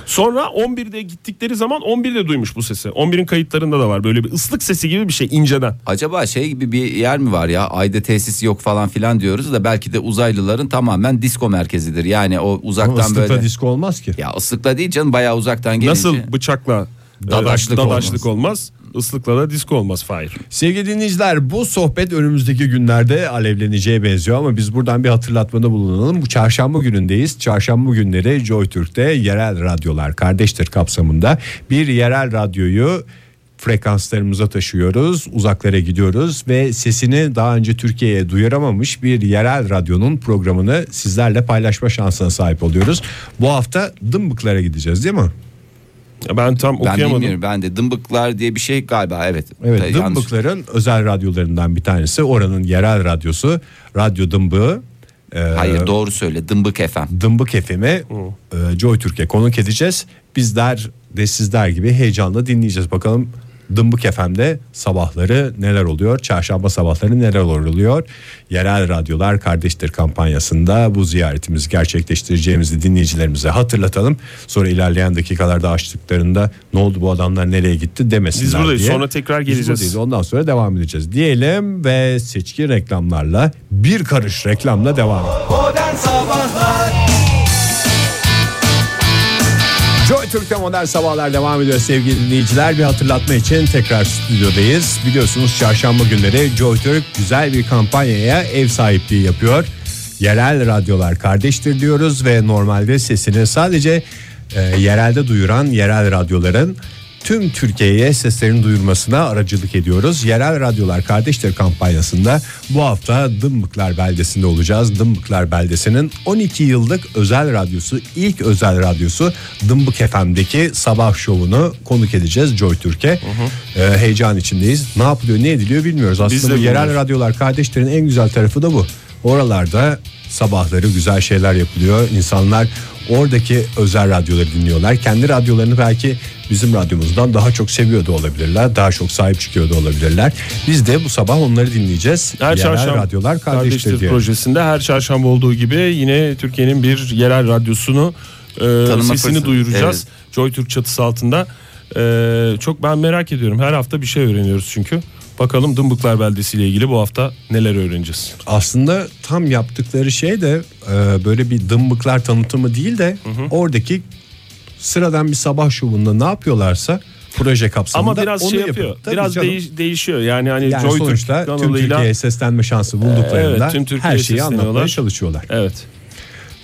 [SPEAKER 4] sonra 11'de gittikleri zaman 11'de duymuş bu sesi. 11'in kayıtlarında da var böyle bir ıslık sesi gibi bir şey inceden.
[SPEAKER 2] Acaba şey gibi bir yer mi var ya ayda tesis yok falan filan diyoruz da belki de uzaylıların tamamen disko merkezidir. Yani o uzaktan
[SPEAKER 3] Islıkta
[SPEAKER 2] böyle.
[SPEAKER 3] disko olmaz ki.
[SPEAKER 2] Ya ıslıkla değil canım bayağı uzaktan gelince.
[SPEAKER 4] Nasıl bıçakla e,
[SPEAKER 2] Dadaşlık
[SPEAKER 4] dadaşlık olmaz. ıslıkla da disk olmaz Fahir.
[SPEAKER 3] Sevgili dinleyiciler bu sohbet önümüzdeki günlerde alevleneceğe benziyor ama biz buradan bir hatırlatmada bulunalım. Bu çarşamba günündeyiz. Çarşamba günleri JoyTürk'te yerel radyolar kardeştir kapsamında bir yerel radyoyu frekanslarımıza taşıyoruz. Uzaklara gidiyoruz ve sesini daha önce Türkiye'ye duyuramamış bir yerel radyonun programını sizlerle paylaşma şansına sahip oluyoruz. Bu hafta Dımbıklara gideceğiz değil mi?
[SPEAKER 4] Ya Ben tam
[SPEAKER 2] Ben
[SPEAKER 4] okuyamadım.
[SPEAKER 2] bilmiyorum ben de dımbıklar diye bir şey galiba evet.
[SPEAKER 3] Evet
[SPEAKER 2] Yanlış.
[SPEAKER 3] Dımbıkların özel radyolarından bir tanesi oranın yerel radyosu Radyo Dımbığı. Ee,
[SPEAKER 2] Hayır doğru söyle dımbık efem.
[SPEAKER 3] Dımbık e, FM'e Joy Türkiye konuk edeceğiz. Bizler de sizler gibi heyecanla dinleyeceğiz. Bakalım Dımbık FM'de sabahları neler oluyor? Çarşamba sabahları neler oluyor? Yerel radyolar kardeştir kampanyasında bu ziyaretimizi gerçekleştireceğimizi dinleyicilerimize hatırlatalım. Sonra ilerleyen dakikalarda açtıklarında ne oldu bu adamlar nereye gitti demesinler
[SPEAKER 4] Biz buradayız,
[SPEAKER 3] diye.
[SPEAKER 4] sonra tekrar
[SPEAKER 3] Biz
[SPEAKER 4] geleceğiz.
[SPEAKER 3] buradayız, ondan sonra devam edeceğiz diyelim ve seçki reklamlarla bir karış reklamla devam edelim. Joy Türk'te modern sabahlar devam ediyor sevgili dinleyiciler. Bir hatırlatma için tekrar stüdyodayız. Biliyorsunuz çarşamba günleri Joy Türk güzel bir kampanyaya ev sahipliği yapıyor. Yerel radyolar kardeştir diyoruz ve normalde sesini sadece e, yerelde duyuran yerel radyoların tüm Türkiye'ye seslerini duyurmasına aracılık ediyoruz. Yerel Radyolar Kardeştir kampanyasında bu hafta Dımbıklar Beldesi'nde olacağız. Dımbıklar Beldesi'nin 12 yıllık özel radyosu, ilk özel radyosu Dımbık FM'deki sabah şovunu konuk edeceğiz Joy Türk'e. Ee, heyecan içindeyiz. Ne yapılıyor, ne ediliyor bilmiyoruz. Aslında
[SPEAKER 4] Biz de
[SPEAKER 3] bu yerel
[SPEAKER 4] bilmiyoruz.
[SPEAKER 3] radyolar kardeşlerin en güzel tarafı da bu. Oralarda sabahları güzel şeyler yapılıyor. İnsanlar oradaki özel radyoları dinliyorlar. Kendi radyolarını belki bizim radyomuzdan daha çok seviyordu olabilirler. Daha çok sahip çıkıyordu olabilirler. Biz de bu sabah onları dinleyeceğiz.
[SPEAKER 4] Her
[SPEAKER 3] Yerel
[SPEAKER 4] çarşamba
[SPEAKER 3] radyolar kardeştir diye.
[SPEAKER 4] projesinde her çarşamba olduğu gibi yine Türkiye'nin bir yerel radyosunu e, sesini
[SPEAKER 2] fırsatı,
[SPEAKER 4] duyuracağız. Joy Türk çatısı altında. E, çok ben merak ediyorum. Her hafta bir şey öğreniyoruz çünkü. Bakalım Dımbıklar Beldesi ile ilgili bu hafta neler öğreneceğiz.
[SPEAKER 3] Aslında tam yaptıkları şey de e, böyle bir dımbıklar tanıtımı değil de oradaki sıradan bir sabah şovunda ne yapıyorlarsa proje kapsamında
[SPEAKER 4] Ama biraz
[SPEAKER 3] onu
[SPEAKER 4] şey yapıyor.
[SPEAKER 3] yapıp- Tabii
[SPEAKER 4] biraz
[SPEAKER 3] canım.
[SPEAKER 4] değiş- değişiyor. Yani hani
[SPEAKER 3] Yani
[SPEAKER 4] Joy
[SPEAKER 3] sonuçta
[SPEAKER 4] Türk
[SPEAKER 3] tüm
[SPEAKER 4] kanalıyla
[SPEAKER 3] Türkiye'ye seslenme şansı bulduklarında
[SPEAKER 4] Evet, tüm Türkiye'ye
[SPEAKER 3] her şeyi anlatmaya
[SPEAKER 4] sesleniyorlar.
[SPEAKER 3] çalışıyorlar.
[SPEAKER 4] evet.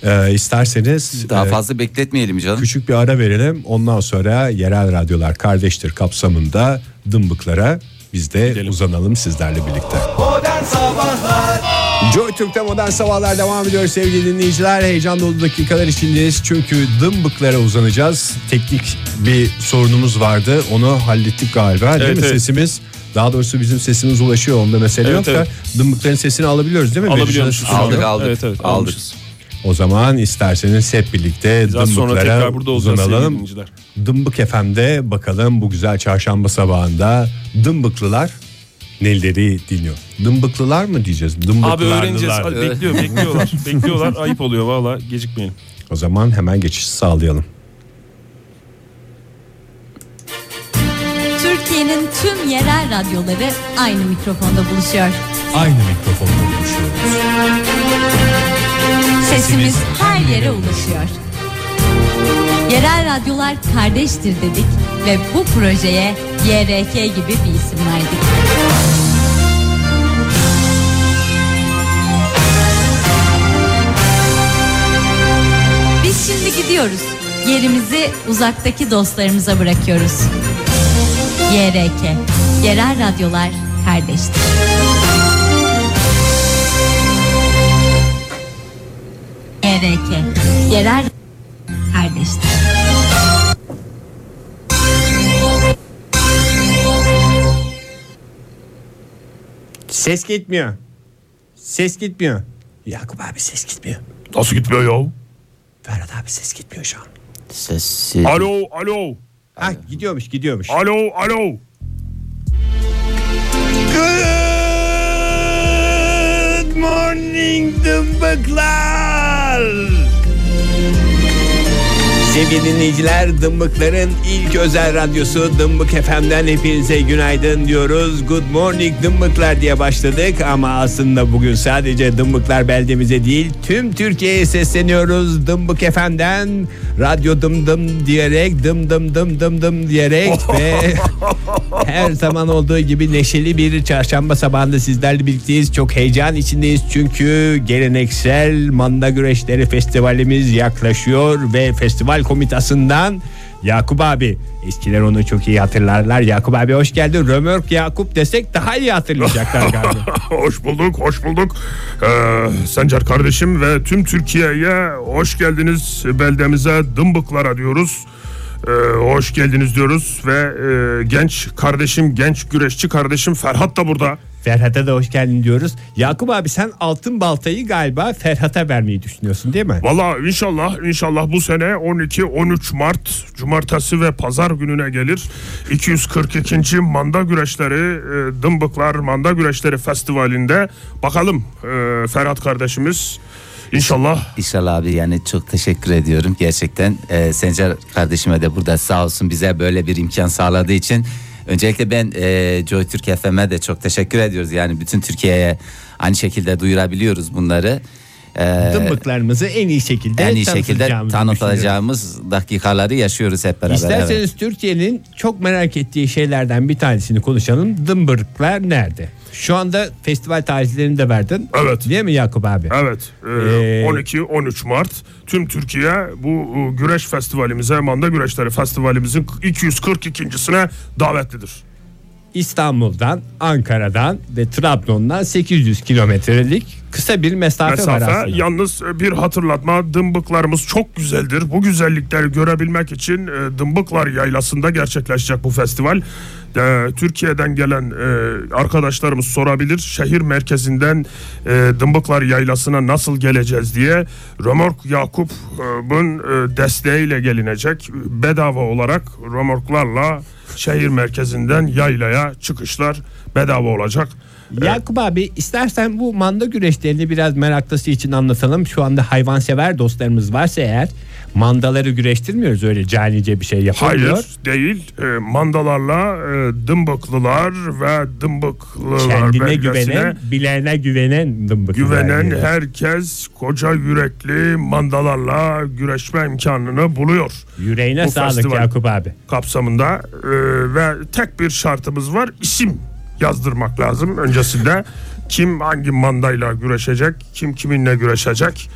[SPEAKER 3] Ee, isterseniz
[SPEAKER 2] Daha
[SPEAKER 3] e,
[SPEAKER 2] fazla bekletmeyelim canım.
[SPEAKER 3] küçük bir ara verelim. Ondan sonra yerel radyolar kardeştir kapsamında dımbıklara biz de uzanalım sizlerle birlikte. Joy Türk'te modern sabahlar devam ediyor sevgili dinleyiciler. Heyecan dolu dakikalar içindeyiz. Çünkü dımbıklara uzanacağız. Teknik bir sorunumuz vardı. Onu hallettik galiba değil
[SPEAKER 4] Evet,
[SPEAKER 3] mi?
[SPEAKER 4] evet.
[SPEAKER 3] Sesimiz daha doğrusu bizim sesimiz ulaşıyor. Onda mesele
[SPEAKER 4] Evet,
[SPEAKER 3] yok da
[SPEAKER 4] evet.
[SPEAKER 3] dımbıkların sesini alabiliyoruz değil mi?
[SPEAKER 4] Alabiliyoruz.
[SPEAKER 3] Verici-
[SPEAKER 4] şu anda.
[SPEAKER 2] Aldık, aldık,
[SPEAKER 4] Evet, evet,
[SPEAKER 2] aldık.
[SPEAKER 4] almışız.
[SPEAKER 3] O zaman isterseniz hep birlikte
[SPEAKER 4] Biraz sonra
[SPEAKER 3] dımbıklara
[SPEAKER 4] tekrar burada olacağız sevgili
[SPEAKER 3] uzanalım.
[SPEAKER 4] dinleyiciler.
[SPEAKER 3] Dımbık FM'de bakalım bu güzel çarşamba sabahında dımbıklılar neleri dinliyor? Dımbıklılar mı diyeceğiz?
[SPEAKER 4] Abi öğreneceğiz.
[SPEAKER 3] Dımbıklarlılar. [laughs]
[SPEAKER 4] Hadi Bekliyor, bekliyorlar. bekliyorlar. Ayıp oluyor valla. Gecikmeyelim.
[SPEAKER 3] O zaman hemen geçiş sağlayalım.
[SPEAKER 5] Türkiye'nin tüm yerel radyoları aynı mikrofonda buluşuyor.
[SPEAKER 3] Aynı mikrofonla konuşuyoruz.
[SPEAKER 5] Sesimiz her yere ulaşıyor. Yerel radyolar kardeştir dedik ve bu projeye YRK gibi bir isim verdik. Biz şimdi gidiyoruz. Yerimizi uzaktaki dostlarımıza bırakıyoruz. YRK, Yerel Radyolar Kardeştir. YRK, Yerel Kardeştir.
[SPEAKER 3] Ses gitmiyor. Ses gitmiyor. Yakup abi ses gitmiyor.
[SPEAKER 4] Nasıl gitmiyor ya?
[SPEAKER 3] Ferhat abi ses gitmiyor şu an.
[SPEAKER 2] Sessiz.
[SPEAKER 4] Alo, alo.
[SPEAKER 3] Ha gidiyormuş gidiyormuş.
[SPEAKER 4] Alo, alo.
[SPEAKER 3] Good morning dımbıklar. Sevgili dinleyiciler Dımbıkların ilk özel radyosu Dımbık FM'den hepinize günaydın diyoruz. Good morning Dımbıklar diye başladık ama aslında bugün sadece Dımbıklar beldemize değil tüm Türkiye'ye sesleniyoruz. Dımbık FM'den radyo dım dım diyerek dım dım dım dım dım diyerek [laughs] ve her zaman olduğu gibi neşeli bir çarşamba sabahında sizlerle birlikteyiz. Çok heyecan içindeyiz çünkü geleneksel manda güreşleri festivalimiz yaklaşıyor ve festival komitasından Yakup abi eskiler onu çok iyi hatırlarlar. Yakup abi hoş geldin. Römörk Yakup desek daha iyi hatırlayacaklar galiba.
[SPEAKER 6] [laughs] Hoş bulduk, hoş bulduk. Ee, Sencer kardeşim ve tüm Türkiye'ye hoş geldiniz beldemize dımbıklara diyoruz. Ee, hoş geldiniz diyoruz ve e, genç kardeşim, genç güreşçi kardeşim Ferhat da burada.
[SPEAKER 3] Ferhat'a da hoş geldin diyoruz. Yakup abi sen altın baltayı galiba Ferhat'a vermeyi düşünüyorsun değil mi?
[SPEAKER 4] Valla inşallah inşallah bu sene 12-13 Mart Cumartesi ve Pazar gününe gelir. 242. Manda Güreşleri e, Dımbıklar Manda Güreşleri Festivali'nde bakalım e, Ferhat kardeşimiz inşallah
[SPEAKER 2] İnşallah abi yani çok teşekkür ediyorum. Gerçekten e, Sencer kardeşime de burada sağ olsun bize böyle bir imkan sağladığı için. Öncelikle ben e, Joy Türk FM'e de çok teşekkür ediyoruz. Yani bütün Türkiye'ye aynı şekilde duyurabiliyoruz bunları. E,
[SPEAKER 3] Dımbıklarımızı en iyi şekilde
[SPEAKER 2] en iyi şekilde
[SPEAKER 3] tanıtacağımızı
[SPEAKER 2] tanıtacağımız dakikaları yaşıyoruz hep beraber. evet.
[SPEAKER 3] İsterseniz Türkiye'nin çok merak ettiği şeylerden bir tanesini konuşalım. Dımbırıklar nerede? Şu anda festival tarihlerini de verdin.
[SPEAKER 4] Evet.
[SPEAKER 3] Değil mi Yakup abi?
[SPEAKER 4] evet e,
[SPEAKER 3] Ee,
[SPEAKER 4] 12-13 Mart tüm Türkiye bu e, güreş festivalimize Manda Güreşleri Festivalimizin 242.sine davetlidir.
[SPEAKER 3] İstanbul'dan, Ankara'dan ve Trabzon'dan 800 kilometrelik kısa bir mesafe, var
[SPEAKER 4] mesafe.
[SPEAKER 3] aslında.
[SPEAKER 4] Yalnız e, bir hatırlatma dımbıklarımız çok güzeldir. Bu güzellikleri görebilmek için e, Dımbıklar Yaylası'nda gerçekleşecek bu festival. E, Türkiye'den gelen e, arkadaşlarımız sorabilir. Şehir merkezinden e, Dımbıklar Yaylası'na nasıl geleceğiz diye. Römork Yakup'un e, desteğiyle gelinecek. Bedava olarak römorklarla şehir merkezinden yaylaya çıkışlar bedava olacak.
[SPEAKER 3] Yakup abi istersen bu manda güreşlerini biraz meraklısı için anlatalım. Şu anda hayvansever dostlarımız varsa eğer mandaları güreştirmiyoruz öyle canice bir şey yapılmıyor.
[SPEAKER 4] Hayır değil. E, mandalarla e, dımbıklılar ve dımbıklılar
[SPEAKER 3] Kendine
[SPEAKER 4] belgesine
[SPEAKER 3] güvenen, bilene güvenen dımbıklar
[SPEAKER 4] güvenen
[SPEAKER 3] diyor.
[SPEAKER 4] herkes koca yürekli mandalarla güreşme imkanını buluyor.
[SPEAKER 3] Yüreğine
[SPEAKER 4] Bu
[SPEAKER 3] sağlık
[SPEAKER 4] festival-
[SPEAKER 3] Yakup abi.
[SPEAKER 4] kapsamında e, ve tek bir şartımız var isim yazdırmak lazım öncesinde kim hangi mandayla güreşecek kim kiminle güreşecek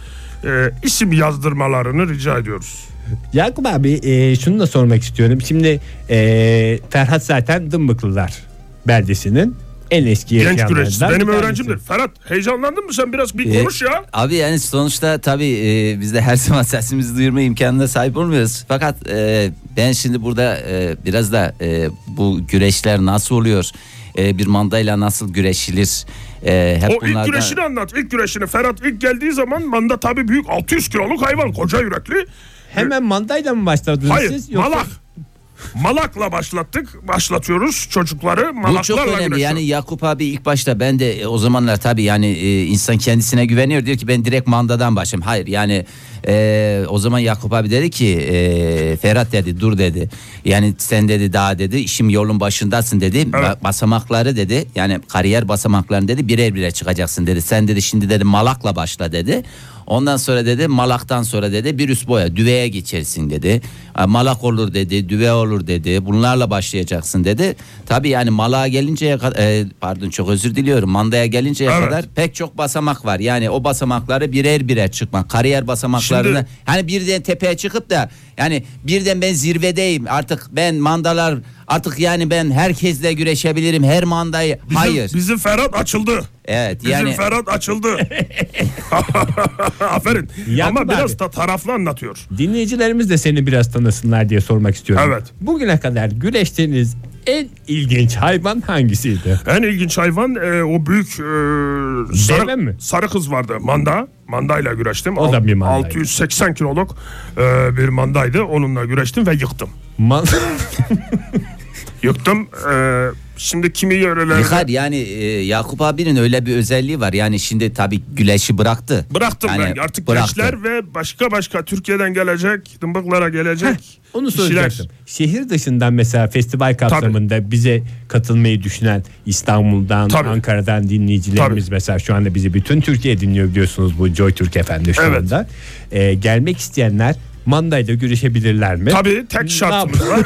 [SPEAKER 4] e, isim yazdırmalarını rica ediyoruz.
[SPEAKER 3] Yakup abi e, şunu da sormak istiyorum. Şimdi e, Ferhat zaten Dımbıklılar beldesinin en eski
[SPEAKER 4] Genç
[SPEAKER 3] yaşayanlarından.
[SPEAKER 4] güreşçi
[SPEAKER 3] bir
[SPEAKER 4] benim
[SPEAKER 3] tanesi.
[SPEAKER 4] öğrencimdir. Ferhat heyecanlandın mı sen biraz bir
[SPEAKER 2] Ee,
[SPEAKER 4] konuş ya.
[SPEAKER 2] Abi yani sonuçta tabii e, biz de her [laughs] zaman sesimizi duyurma imkanına sahip olmuyoruz. Fakat e, ben şimdi burada e, biraz da e, bu güreşler nasıl oluyor? E, bir mandayla nasıl güreşilir? E, hep
[SPEAKER 4] O ilk
[SPEAKER 2] bunlardan-
[SPEAKER 4] güreşini anlat. İlk güreşini. Ferhat ilk geldiği zaman manda tabii büyük 600 kiloluk hayvan. Koca yürekli.
[SPEAKER 3] Hemen mandayla mı başladınız
[SPEAKER 4] Hayır
[SPEAKER 3] siz? Yoksa-
[SPEAKER 4] malak. Malakla başlattık. Başlatıyoruz çocukları.
[SPEAKER 2] Bu
[SPEAKER 4] Malaklarla
[SPEAKER 2] çok önemli
[SPEAKER 4] güreşiyor.
[SPEAKER 2] yani Yakup abi ilk başta ben de e, o zamanlar tabii yani e, insan kendisine güveniyor diyor ki ben direkt mandadan başlayayım. Hayır yani e, o zaman Yakup abi dedi ki e, Ferhat dedi dur dedi yani sen dedi daha dedi işim yolun başındasın dedi Ba- basamakları dedi yani kariyer basamaklarını dedi birer birer çıkacaksın dedi sen dedi şimdi dedi malakla başla dedi. Ondan sonra dedi malaktan sonra dedi bir üst boya düveye geçersin dedi. E, Malak olur dedi, düve olur dedi. Bunlarla başlayacaksın dedi. Tabii yani malağa gelinceye kadar pardon çok özür diliyorum. Mandaya gelinceye
[SPEAKER 4] Evet.
[SPEAKER 2] kadar pek çok basamak var. Yani o basamakları birer birer çıkmak. Kariyer basamaklarını
[SPEAKER 4] Şimdi-
[SPEAKER 2] hani birden tepeye çıkıp da yani birden ben zirvedeyim. Artık ben mandalar artık yani ben herkesle güreşebilirim. Her mandayı.
[SPEAKER 4] Bizim-
[SPEAKER 2] Hayır.
[SPEAKER 4] Bizim Ferhat açıldı.
[SPEAKER 2] evet
[SPEAKER 4] Bizim
[SPEAKER 2] yani
[SPEAKER 4] Ferhat açıldı.
[SPEAKER 2] [laughs]
[SPEAKER 4] [laughs] Aferin.
[SPEAKER 3] Yakup
[SPEAKER 4] Ama biraz
[SPEAKER 3] abi.
[SPEAKER 4] da taraflı anlatıyor.
[SPEAKER 3] Dinleyicilerimiz de seni biraz tanısınlar diye sormak istiyorum.
[SPEAKER 4] Evet.
[SPEAKER 3] Bugüne kadar güreştiğiniz en ilginç hayvan hangisiydi?
[SPEAKER 4] En ilginç hayvan e, o büyük e,
[SPEAKER 3] Deve
[SPEAKER 4] sarı,
[SPEAKER 3] mi?
[SPEAKER 4] sarı kız vardı. Manda. Mandayla güreştim.
[SPEAKER 3] O da
[SPEAKER 4] Alt-
[SPEAKER 3] bir mandaydı.
[SPEAKER 4] 680 kiloluk e, bir mandaydı. Onunla güreştim ve yıktım. [laughs]
[SPEAKER 3] Man-
[SPEAKER 4] Yıktım. E, şimdi kimi yörelerde...
[SPEAKER 2] Yıkar yani e, Yakup abinin öyle bir özelliği var. Yani şimdi tabii güleşi bıraktı.
[SPEAKER 4] Bıraktım
[SPEAKER 2] Yani
[SPEAKER 4] ben. Artık
[SPEAKER 2] bıraktı.
[SPEAKER 4] gençler ve başka başka Türkiye'den gelecek, dımbıklara gelecek.
[SPEAKER 3] Onu
[SPEAKER 4] kişiler-
[SPEAKER 3] soracaktım. Şehir dışından mesela festival kapsamında bize katılmayı düşünen İstanbul'dan,
[SPEAKER 4] Tabii.
[SPEAKER 3] Ankara'dan dinleyicilerimiz mesela şu anda bizi bütün Türkiye dinliyor biliyorsunuz bu Joy Türk efendi şu
[SPEAKER 4] Evet.
[SPEAKER 3] anda. Ee, gelmek isteyenler mandayla güreşebilirler mi?
[SPEAKER 4] Tabii tek şartımız var.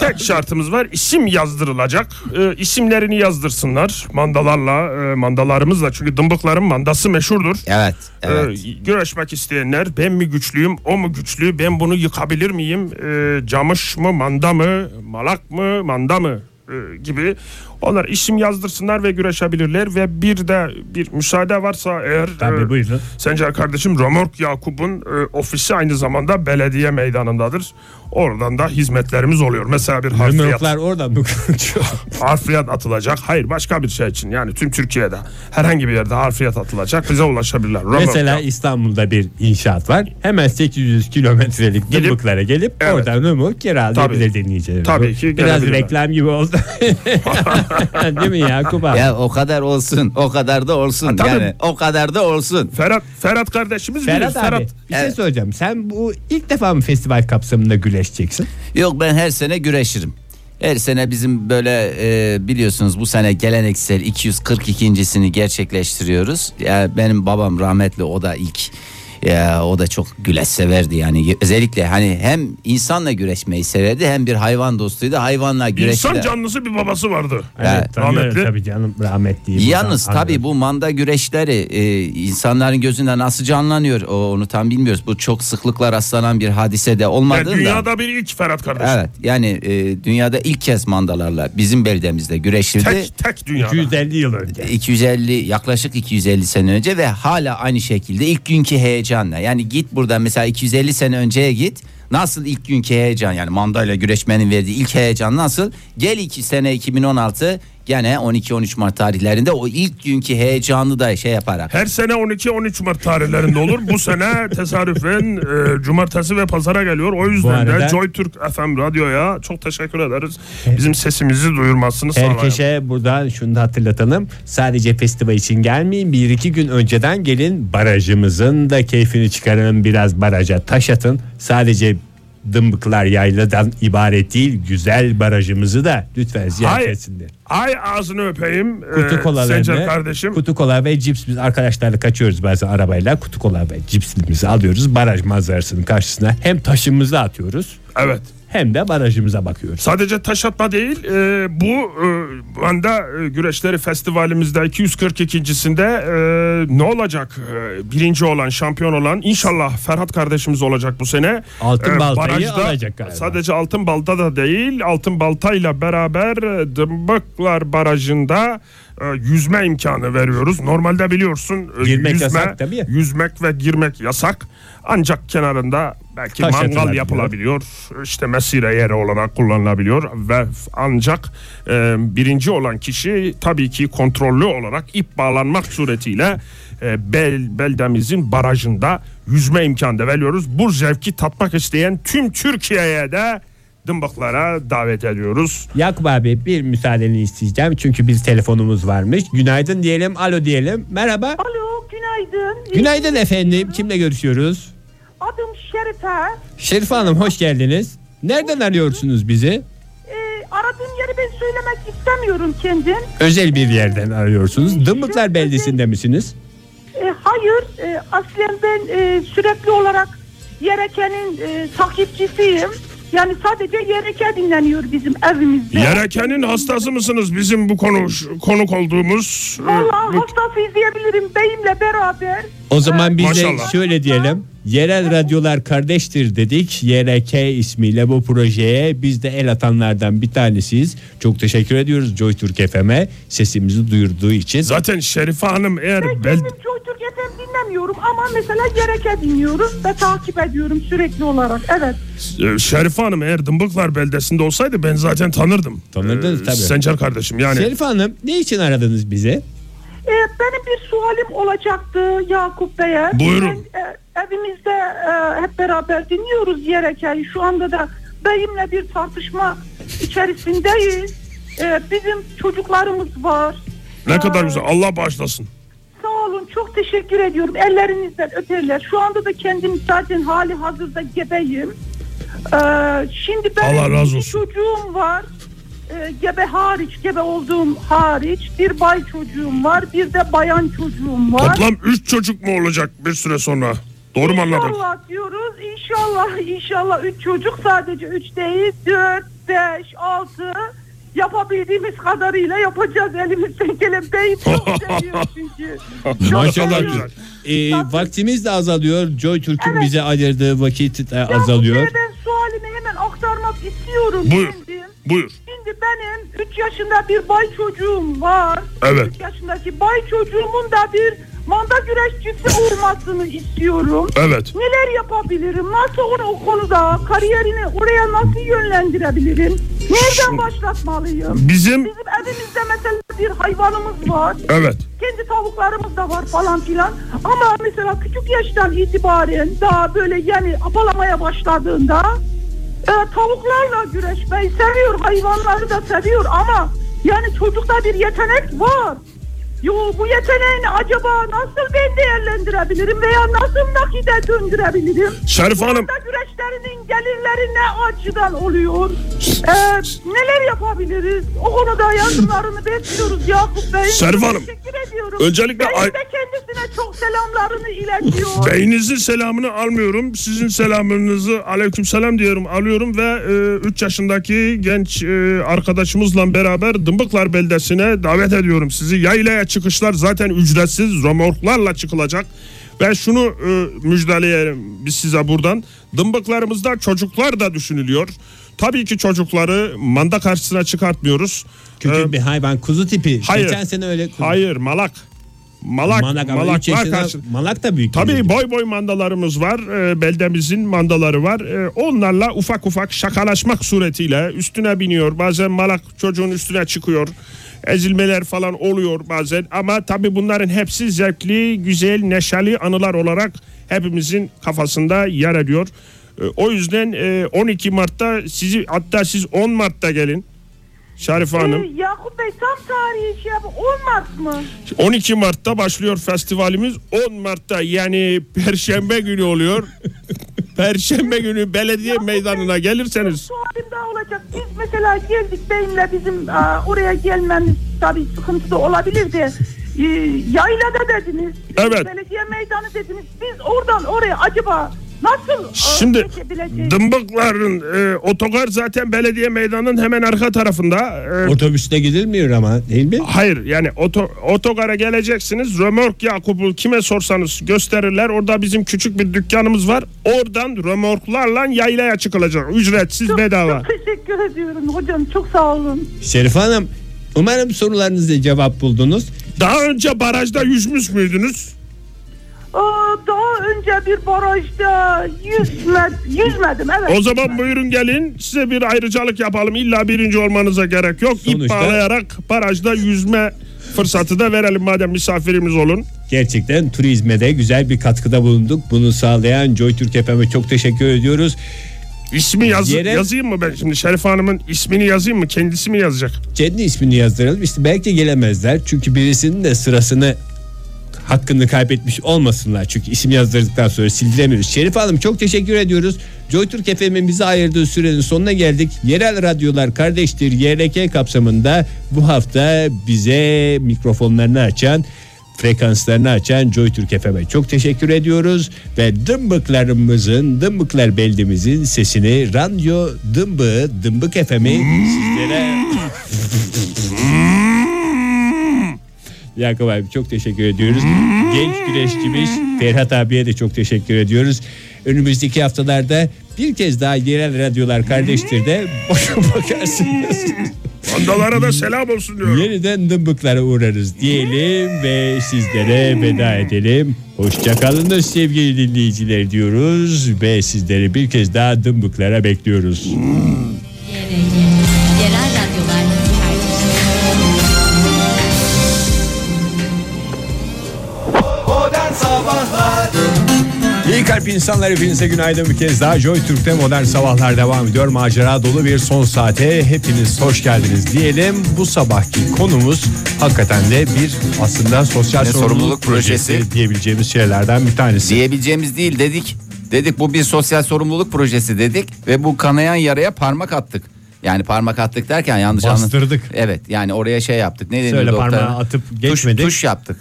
[SPEAKER 4] tek şartımız var. İsim yazdırılacak. E, isimlerini yazdırsınlar mandalarla, e, mandalarımızla. Çünkü dımbıkların mandası meşhurdur.
[SPEAKER 2] Evet, evet.
[SPEAKER 4] E, güreşmek isteyenler ben mi güçlüyüm, o mu Ee, güçlü, ben bunu yıkabilir miyim? E, camış mı, manda mı, malak mı, manda mı? e, gibi. Onlar isim yazdırsınlar ve güreşebilirler ve bir de bir müsaade varsa eğer e,
[SPEAKER 3] Tabii buyurun.
[SPEAKER 4] Sencer kardeşim Romork Yakup'un e, ofisi aynı zamanda belediye meydanındadır. Oradan da hizmetlerimiz oluyor. Mesela bir harfiyat,
[SPEAKER 3] Numaroklar orada mı konuşuyor?
[SPEAKER 4] [laughs] harfiyat atılacak. Hayır başka bir şey için yani tüm Türkiye'de herhangi bir yerde harfiyat atılacak bize ulaşabilirler. Romork
[SPEAKER 3] Mesela İstanbul'da bir inşaat var. Hemen 800 kilometrelik
[SPEAKER 4] Gidip-
[SPEAKER 3] dımbıklara gelip
[SPEAKER 4] Evet.
[SPEAKER 3] oradan ömür kiralayabilir
[SPEAKER 4] Tabii.
[SPEAKER 3] dinleyicilerimiz.
[SPEAKER 4] Tabii
[SPEAKER 3] Bu
[SPEAKER 4] ki
[SPEAKER 3] Biraz
[SPEAKER 4] gelebilirler.
[SPEAKER 3] reklam gibi oldu. [laughs] Değil mi Yakup abi?
[SPEAKER 2] Ya o kadar olsun, o kadar da olsun.
[SPEAKER 4] tabii.
[SPEAKER 2] yani o kadar da olsun.
[SPEAKER 4] Ferhat, Ferhat kardeşimiz bilir.
[SPEAKER 3] Ferhat abi bir şey
[SPEAKER 2] Evet.
[SPEAKER 3] söyleyeceğim. Sen bu ilk defa mı festival kapsamında güreşeceksin?
[SPEAKER 2] Yok ben her sene güreşirim. Her sene bizim böyle e, biliyorsunuz bu sene geleneksel 242.sini gerçekleştiriyoruz. Ya benim babam rahmetli o da ilk ya o da çok güleş severdi yani özellikle hani hem insanla güreşmeyi severdi hem bir hayvan dostuydu hayvanla güreşti.
[SPEAKER 4] İnsan canlısı bir babası vardı.
[SPEAKER 2] Evet,
[SPEAKER 4] rahmetli.
[SPEAKER 3] Tabii canım rahmetli.
[SPEAKER 2] Yalnız
[SPEAKER 3] Buradan
[SPEAKER 2] tabii bu manda güreşleri e, insanların gözünde nasıl canlanıyor o, onu tam bilmiyoruz. Bu çok sıklıkla rastlanan bir hadise de
[SPEAKER 4] Yani
[SPEAKER 2] olmadığından.
[SPEAKER 4] dünyada bir ilk Ferhat kardeşim.
[SPEAKER 2] Evet yani e, dünyada ilk kez mandalarla bizim beldemizde güreşildi.
[SPEAKER 4] Tek, tek dünyada.
[SPEAKER 3] 250 yıl önce.
[SPEAKER 2] 250 yaklaşık 250 sene önce ve hala aynı şekilde ilk günkü heyecanla. Yani git buradan mesela 250 sene önceye git. Nasıl ilk günkü heyecan yani mandayla güreşmenin verdiği ilk heyecan nasıl? Gel 2 sene 2016 gene 12-13 Mart tarihlerinde o ilk günkü heyecanı da şey yaparak.
[SPEAKER 4] Her sene 12-13 Mart tarihlerinde olur. Bu sene tesadüfen e, cumartesi ve pazara geliyor. O yüzden
[SPEAKER 3] Bu arada-
[SPEAKER 4] de Joy Türk FM radyoya çok teşekkür ederiz. Bizim sesimizi duyurmasını sağlayan.
[SPEAKER 3] Herkese buradan şunu da hatırlatalım. Sadece festival için gelmeyin. Bir iki gün önceden gelin barajımızın da keyfini çıkarın. Biraz baraja taş atın. Sadece dımbıklar yayladan ibaret değil. Güzel barajımızı da lütfen ziyaret
[SPEAKER 4] Hayır.
[SPEAKER 3] etsinler.
[SPEAKER 4] Ay ağzını öpeyim.
[SPEAKER 3] Kutu
[SPEAKER 4] Kutu
[SPEAKER 3] kolalarını,
[SPEAKER 4] e, Sencer kardeşim.
[SPEAKER 3] kutu kola ve cips biz arkadaşlarla kaçıyoruz bazen arabayla kutu kola ve cipsimizi alıyoruz baraj manzarasının karşısına hem taşımızı atıyoruz
[SPEAKER 4] Evet.
[SPEAKER 3] hem de barajımıza bakıyoruz.
[SPEAKER 4] Sadece taş atma değil e, bu e, anda e, güreşleri festivalimizde 242.sinde e, ne olacak? E, birinci olan şampiyon olan inşallah Ferhat kardeşimiz olacak bu sene.
[SPEAKER 3] Altın
[SPEAKER 4] E,
[SPEAKER 3] baltayı alacak galiba.
[SPEAKER 4] Sadece altın balta da değil altın baltayla beraber e, Dımbıklar Barajı'nda e, yüzme imkanı veriyoruz. Normalde biliyorsun e,
[SPEAKER 3] Girmek
[SPEAKER 4] yüzme,
[SPEAKER 3] yasak tabii.
[SPEAKER 4] yüzmek ve girmek yasak. Ancak kenarında belki
[SPEAKER 3] Taş
[SPEAKER 4] mangal
[SPEAKER 3] atılabiliyor.
[SPEAKER 4] yapılabiliyor. İşte mesire yeri olarak kullanılabiliyor ve ancak e, birinci olan kişi tabii ki kontrollü olarak ip bağlanmak suretiyle e, bel, beldemizin barajında yüzme imkanı da veriyoruz. Bu zevki tatmak isteyen tüm Türkiye'ye de dımbıklara davet ediyoruz.
[SPEAKER 3] Yakup abi bir müsaadeni isteyeceğim çünkü bir telefonumuz varmış. Günaydın diyelim, alo diyelim. Merhaba.
[SPEAKER 7] Alo günaydın.
[SPEAKER 3] Günaydın efendim. Kimle görüşüyoruz?
[SPEAKER 7] Adım Şerife.
[SPEAKER 3] Şerife Hanım hoş geldiniz. Nereden arıyorsunuz bizi?
[SPEAKER 7] Ee, aradığım yeri ben söylemek istemiyorum kendim.
[SPEAKER 3] Özel bir yerden arıyorsunuz. Dımbıklar beldesinde misiniz?
[SPEAKER 7] Ee, hayır e, aslen ben e, sürekli olarak Yereke'nin e, takipçisiyim. Yani sadece Yereke dinleniyor bizim evimizde.
[SPEAKER 4] Yereke'nin hastası mısınız? Bizim bu konu konuk olduğumuz e,
[SPEAKER 7] Vallahi
[SPEAKER 4] bu-
[SPEAKER 7] hastası diyebilirim beyimle beraber.
[SPEAKER 3] O zaman biz de
[SPEAKER 4] Maşallah.
[SPEAKER 3] şöyle diyelim. Yerel radyolar kardeştir dedik. YRK ismiyle bu projeye biz de el atanlardan bir tanesiyiz. Çok teşekkür ediyoruz Joy Türk FM'e sesimizi duyurduğu için.
[SPEAKER 4] zaten Şerife Hanım eğer
[SPEAKER 7] Ben
[SPEAKER 4] bel,
[SPEAKER 7] kendim Joy Türk FM dinlemiyorum ama mesela Yereke dinliyorum ve takip ediyorum sürekli olarak. Evet.
[SPEAKER 4] Ee, Şerife Hanım eğer Dımbıklar beldesinde olsaydı ben zaten tanırdım.
[SPEAKER 3] Tanırdınız
[SPEAKER 4] Ee,
[SPEAKER 3] tabii.
[SPEAKER 4] Sencer kardeşim yani.
[SPEAKER 3] Şerif Hanım ne için aradınız
[SPEAKER 4] [laughs]
[SPEAKER 3] bizi?
[SPEAKER 7] Ee, benim bir sualim olacaktı Yakup Bey'e.
[SPEAKER 4] Buyurun.
[SPEAKER 7] Ben, e, evimizde e, hep beraber dinliyoruz Yerekel. Şu anda da beyimle bir tartışma içerisindeyiz. E, bizim çocuklarımız var.
[SPEAKER 4] ne kadar güzel Allah bağışlasın.
[SPEAKER 7] Sağ olun çok teşekkür ediyorum. Ellerinizden öperler. Şu anda da kendim zaten hali hazırda gebeyim. E, şimdi benim
[SPEAKER 4] Allah razı
[SPEAKER 7] iki
[SPEAKER 4] olsun.
[SPEAKER 7] çocuğum var. E, gebe hariç, gebe olduğum hariç bir bay çocuğum var, bir de bayan çocuğum var.
[SPEAKER 4] Toplam 3 çocuk mu olacak bir süre sonra? Doğru mu anladım?
[SPEAKER 7] İnşallah diyoruz. İnşallah, inşallah. Üç çocuk sadece üç değil. Dört, beş, altı. Yapabildiğimiz kadarıyla yapacağız elimizden gelen.
[SPEAKER 4] [laughs]
[SPEAKER 7] Beyim çok seviyor çünkü. Çok
[SPEAKER 4] Maşallah
[SPEAKER 7] seviyor.
[SPEAKER 4] güzel.
[SPEAKER 3] Ee,
[SPEAKER 7] Tabii.
[SPEAKER 3] vaktimiz de azalıyor. Joy Türk'ün
[SPEAKER 7] Evet.
[SPEAKER 3] bize ayırdığı vakit de
[SPEAKER 7] Ya bu
[SPEAKER 3] azalıyor.
[SPEAKER 7] kere Ben sualimi hemen aktarmak istiyorum.
[SPEAKER 4] Buyur.
[SPEAKER 7] kendim.
[SPEAKER 4] Buyur.
[SPEAKER 7] Şimdi Şimdi benim 3 yaşında bir bay çocuğum var.
[SPEAKER 4] Evet.
[SPEAKER 7] 3 yaşındaki bay çocuğumun da bir manda güreşçisi olmasını istiyorum.
[SPEAKER 4] Evet.
[SPEAKER 7] Neler yapabilirim? Nasıl onu o konuda kariyerini oraya nasıl yönlendirebilirim? Nereden başlatmalıyım?
[SPEAKER 4] Bizim
[SPEAKER 7] Bizim evimizde mesela bir hayvanımız var.
[SPEAKER 4] evet.
[SPEAKER 7] Kendi tavuklarımız da var falan filan. Ama mesela küçük yaştan itibaren daha böyle yani apalamaya başladığında e, tavuklarla güreşmeyi seviyor. Hayvanları da seviyor ama yani çocukta bir yetenek var. Yo bu yeteneğini acaba nasıl ben değerlendirebilirim veya nasıl nakide döndürebilirim?
[SPEAKER 4] Şerife Hanım
[SPEAKER 7] Burada güreşlerinin gelirleri ne açıdan oluyor? Ee, neler yapabiliriz? O konuda yardımlarını bekliyoruz Yakup Bey.
[SPEAKER 4] Serva Hanım,
[SPEAKER 7] Teşekkür ediyorum.
[SPEAKER 4] öncelikle
[SPEAKER 7] Benim
[SPEAKER 4] ay-
[SPEAKER 7] de kendisine çok selamlarını iletiyor.
[SPEAKER 4] beyninizin selamını almıyorum. Sizin selamınızı aleykümselam diyorum alıyorum ve 3 yaşındaki genç e, arkadaşımızla beraber Dımbıklar beldesine davet ediyorum sizi. Yaylaya çıkışlar zaten ücretsiz romorklarla çıkılacak. Ve şunu e, müjdeleyelim biz size buradan. Dımbıklarımızda çocuklar da düşünülüyor. Tabii ki çocukları manda karşısına çıkartmıyoruz.
[SPEAKER 3] Küçük
[SPEAKER 4] E,
[SPEAKER 3] bir hayvan kuzu tipi.
[SPEAKER 4] hayır.
[SPEAKER 3] Geçen sene öyle kuzu.
[SPEAKER 4] Hayır malak. Malak,
[SPEAKER 3] Malak, ama
[SPEAKER 4] malaklar
[SPEAKER 3] üç yaşında
[SPEAKER 4] karşı-
[SPEAKER 3] malak da büyük.
[SPEAKER 4] Tabii
[SPEAKER 3] geliyor.
[SPEAKER 4] boy boy mandalarımız var. Ee, beldemizin mandaları var. Ee, onlarla ufak ufak şakalaşmak suretiyle üstüne biniyor. Bazen malak çocuğun üstüne çıkıyor. Ezilmeler falan oluyor bazen. Ama tabii bunların hepsi zevkli, güzel, neşeli anılar olarak hepimizin kafasında yer ediyor. Ee, o yüzden e, 12 Mart'ta sizi hatta siz 10 Mart'ta gelin. Şarife Hanım.
[SPEAKER 7] Ee, Yakup Bey tam tarihi şey yap- olmaz mı?
[SPEAKER 4] 12 Mart'ta başlıyor festivalimiz. 10 Mart'ta yani Perşembe günü oluyor. Perşembe günü belediye meydanına gelirseniz.
[SPEAKER 7] Sualim daha olacak. Biz mesela geldik beyimle bizim aa, oraya gelmemiz tabii sıkıntılı olabilir de. Ee, yaylada dediniz.
[SPEAKER 4] Evet.
[SPEAKER 7] Belediye meydanı dediniz. Biz oradan oraya acaba nasıl aa,
[SPEAKER 4] Şimdi
[SPEAKER 7] geçebileceğiz?
[SPEAKER 4] Dımbıkların e, otogar zaten belediye meydanının hemen arka tarafında. E,
[SPEAKER 3] Otobüste gidilmiyor ama değil mi?
[SPEAKER 4] Hayır yani oto, otogara geleceksiniz. Römork Yakup'u kime sorsanız gösterirler. Orada bizim küçük bir dükkanımız var. Oradan römorklarla yaylaya çıkılacak. Ücretsiz
[SPEAKER 7] Çok-
[SPEAKER 4] bedava.
[SPEAKER 7] Çok teşekkür ediyorum hocam. Çok sağ olun.
[SPEAKER 3] Şerife Hanım umarım sorularınıza cevap buldunuz.
[SPEAKER 4] Daha önce barajda yüzmüş müydünüz?
[SPEAKER 7] Aa, daha önce bir barajda yüzme, yüzmedim. Evet.
[SPEAKER 4] O zaman buyurun gelin size bir ayrıcalık yapalım. İlla birinci olmanıza gerek yok. İp
[SPEAKER 3] Sonuçta-
[SPEAKER 4] bağlayarak barajda yüzme fırsatı da verelim madem [laughs] misafirimiz olun.
[SPEAKER 3] Gerçekten turizme de güzel bir katkıda bulunduk. Bunu sağlayan Joy Türk FM'e çok teşekkür ediyoruz.
[SPEAKER 4] İsmi yaz-
[SPEAKER 3] Yere-
[SPEAKER 4] yazayım mı ben şimdi? Şerif Hanım'ın ismini yazayım mı? Kendisi mi yazacak?
[SPEAKER 3] Kendi ismini yazdıralım. İşte belki gelemezler. Çünkü birisinin de sırasını hakkını kaybetmiş olmasınlar. Çünkü isim yazdırdıktan sonra sildiremiyoruz. Şerif Hanım çok teşekkür ediyoruz. JoyTürk FM'in bize ayırdığı sürenin sonuna geldik. Yerel Radyolar Kardeştir YRK kapsamında bu hafta bize mikrofonlarını açan frekanslarını açan JoyTürk FM'e çok teşekkür ediyoruz ve dımbıklarımızın dımbıklar beldemizin sesini radyo dımbığı dımbık FM'i sizlere Yakup abi çok teşekkür ediyoruz. Genç güreşçimiz Ferhat abiye de çok teşekkür ediyoruz. Önümüzdeki haftalarda bir kez daha yerel radyolar kardeştir de boşa bakarsınız.
[SPEAKER 4] Andalara da selam olsun diyorum.
[SPEAKER 3] Yeniden dımbıklara uğrarız diyelim ve sizlere veda edelim. Hoşçakalınız sevgili dinleyiciler diyoruz ve sizleri bir kez daha dımbıklara bekliyoruz.
[SPEAKER 5] YRG. Yerel radyolar kardeştir.
[SPEAKER 3] İyi kalp insanlar hepinize günaydın bir kez daha Joy Türk'te modern sabahlar devam ediyor. Macera dolu bir son saate hepiniz hoş geldiniz diyelim. Bu sabahki konumuz hakikaten de bir aslında sosyal
[SPEAKER 2] Ne
[SPEAKER 3] sorumluluk,
[SPEAKER 2] sorumluluk projesi.
[SPEAKER 3] projesi diyebileceğimiz şeylerden bir tanesi.
[SPEAKER 2] Diyebileceğimiz değil dedik. Dedik bu bir sosyal sorumluluk projesi dedik ve bu kanayan yaraya parmak attık. Yani parmak attık derken yanlış anladın.
[SPEAKER 3] Bastırdık.
[SPEAKER 2] Evet yani oraya şey yaptık. Ne deniyor
[SPEAKER 3] Söyle
[SPEAKER 2] doktora?
[SPEAKER 3] parmağı atıp
[SPEAKER 2] Tuş-
[SPEAKER 3] geçmedik.
[SPEAKER 2] Tuş, yaptık.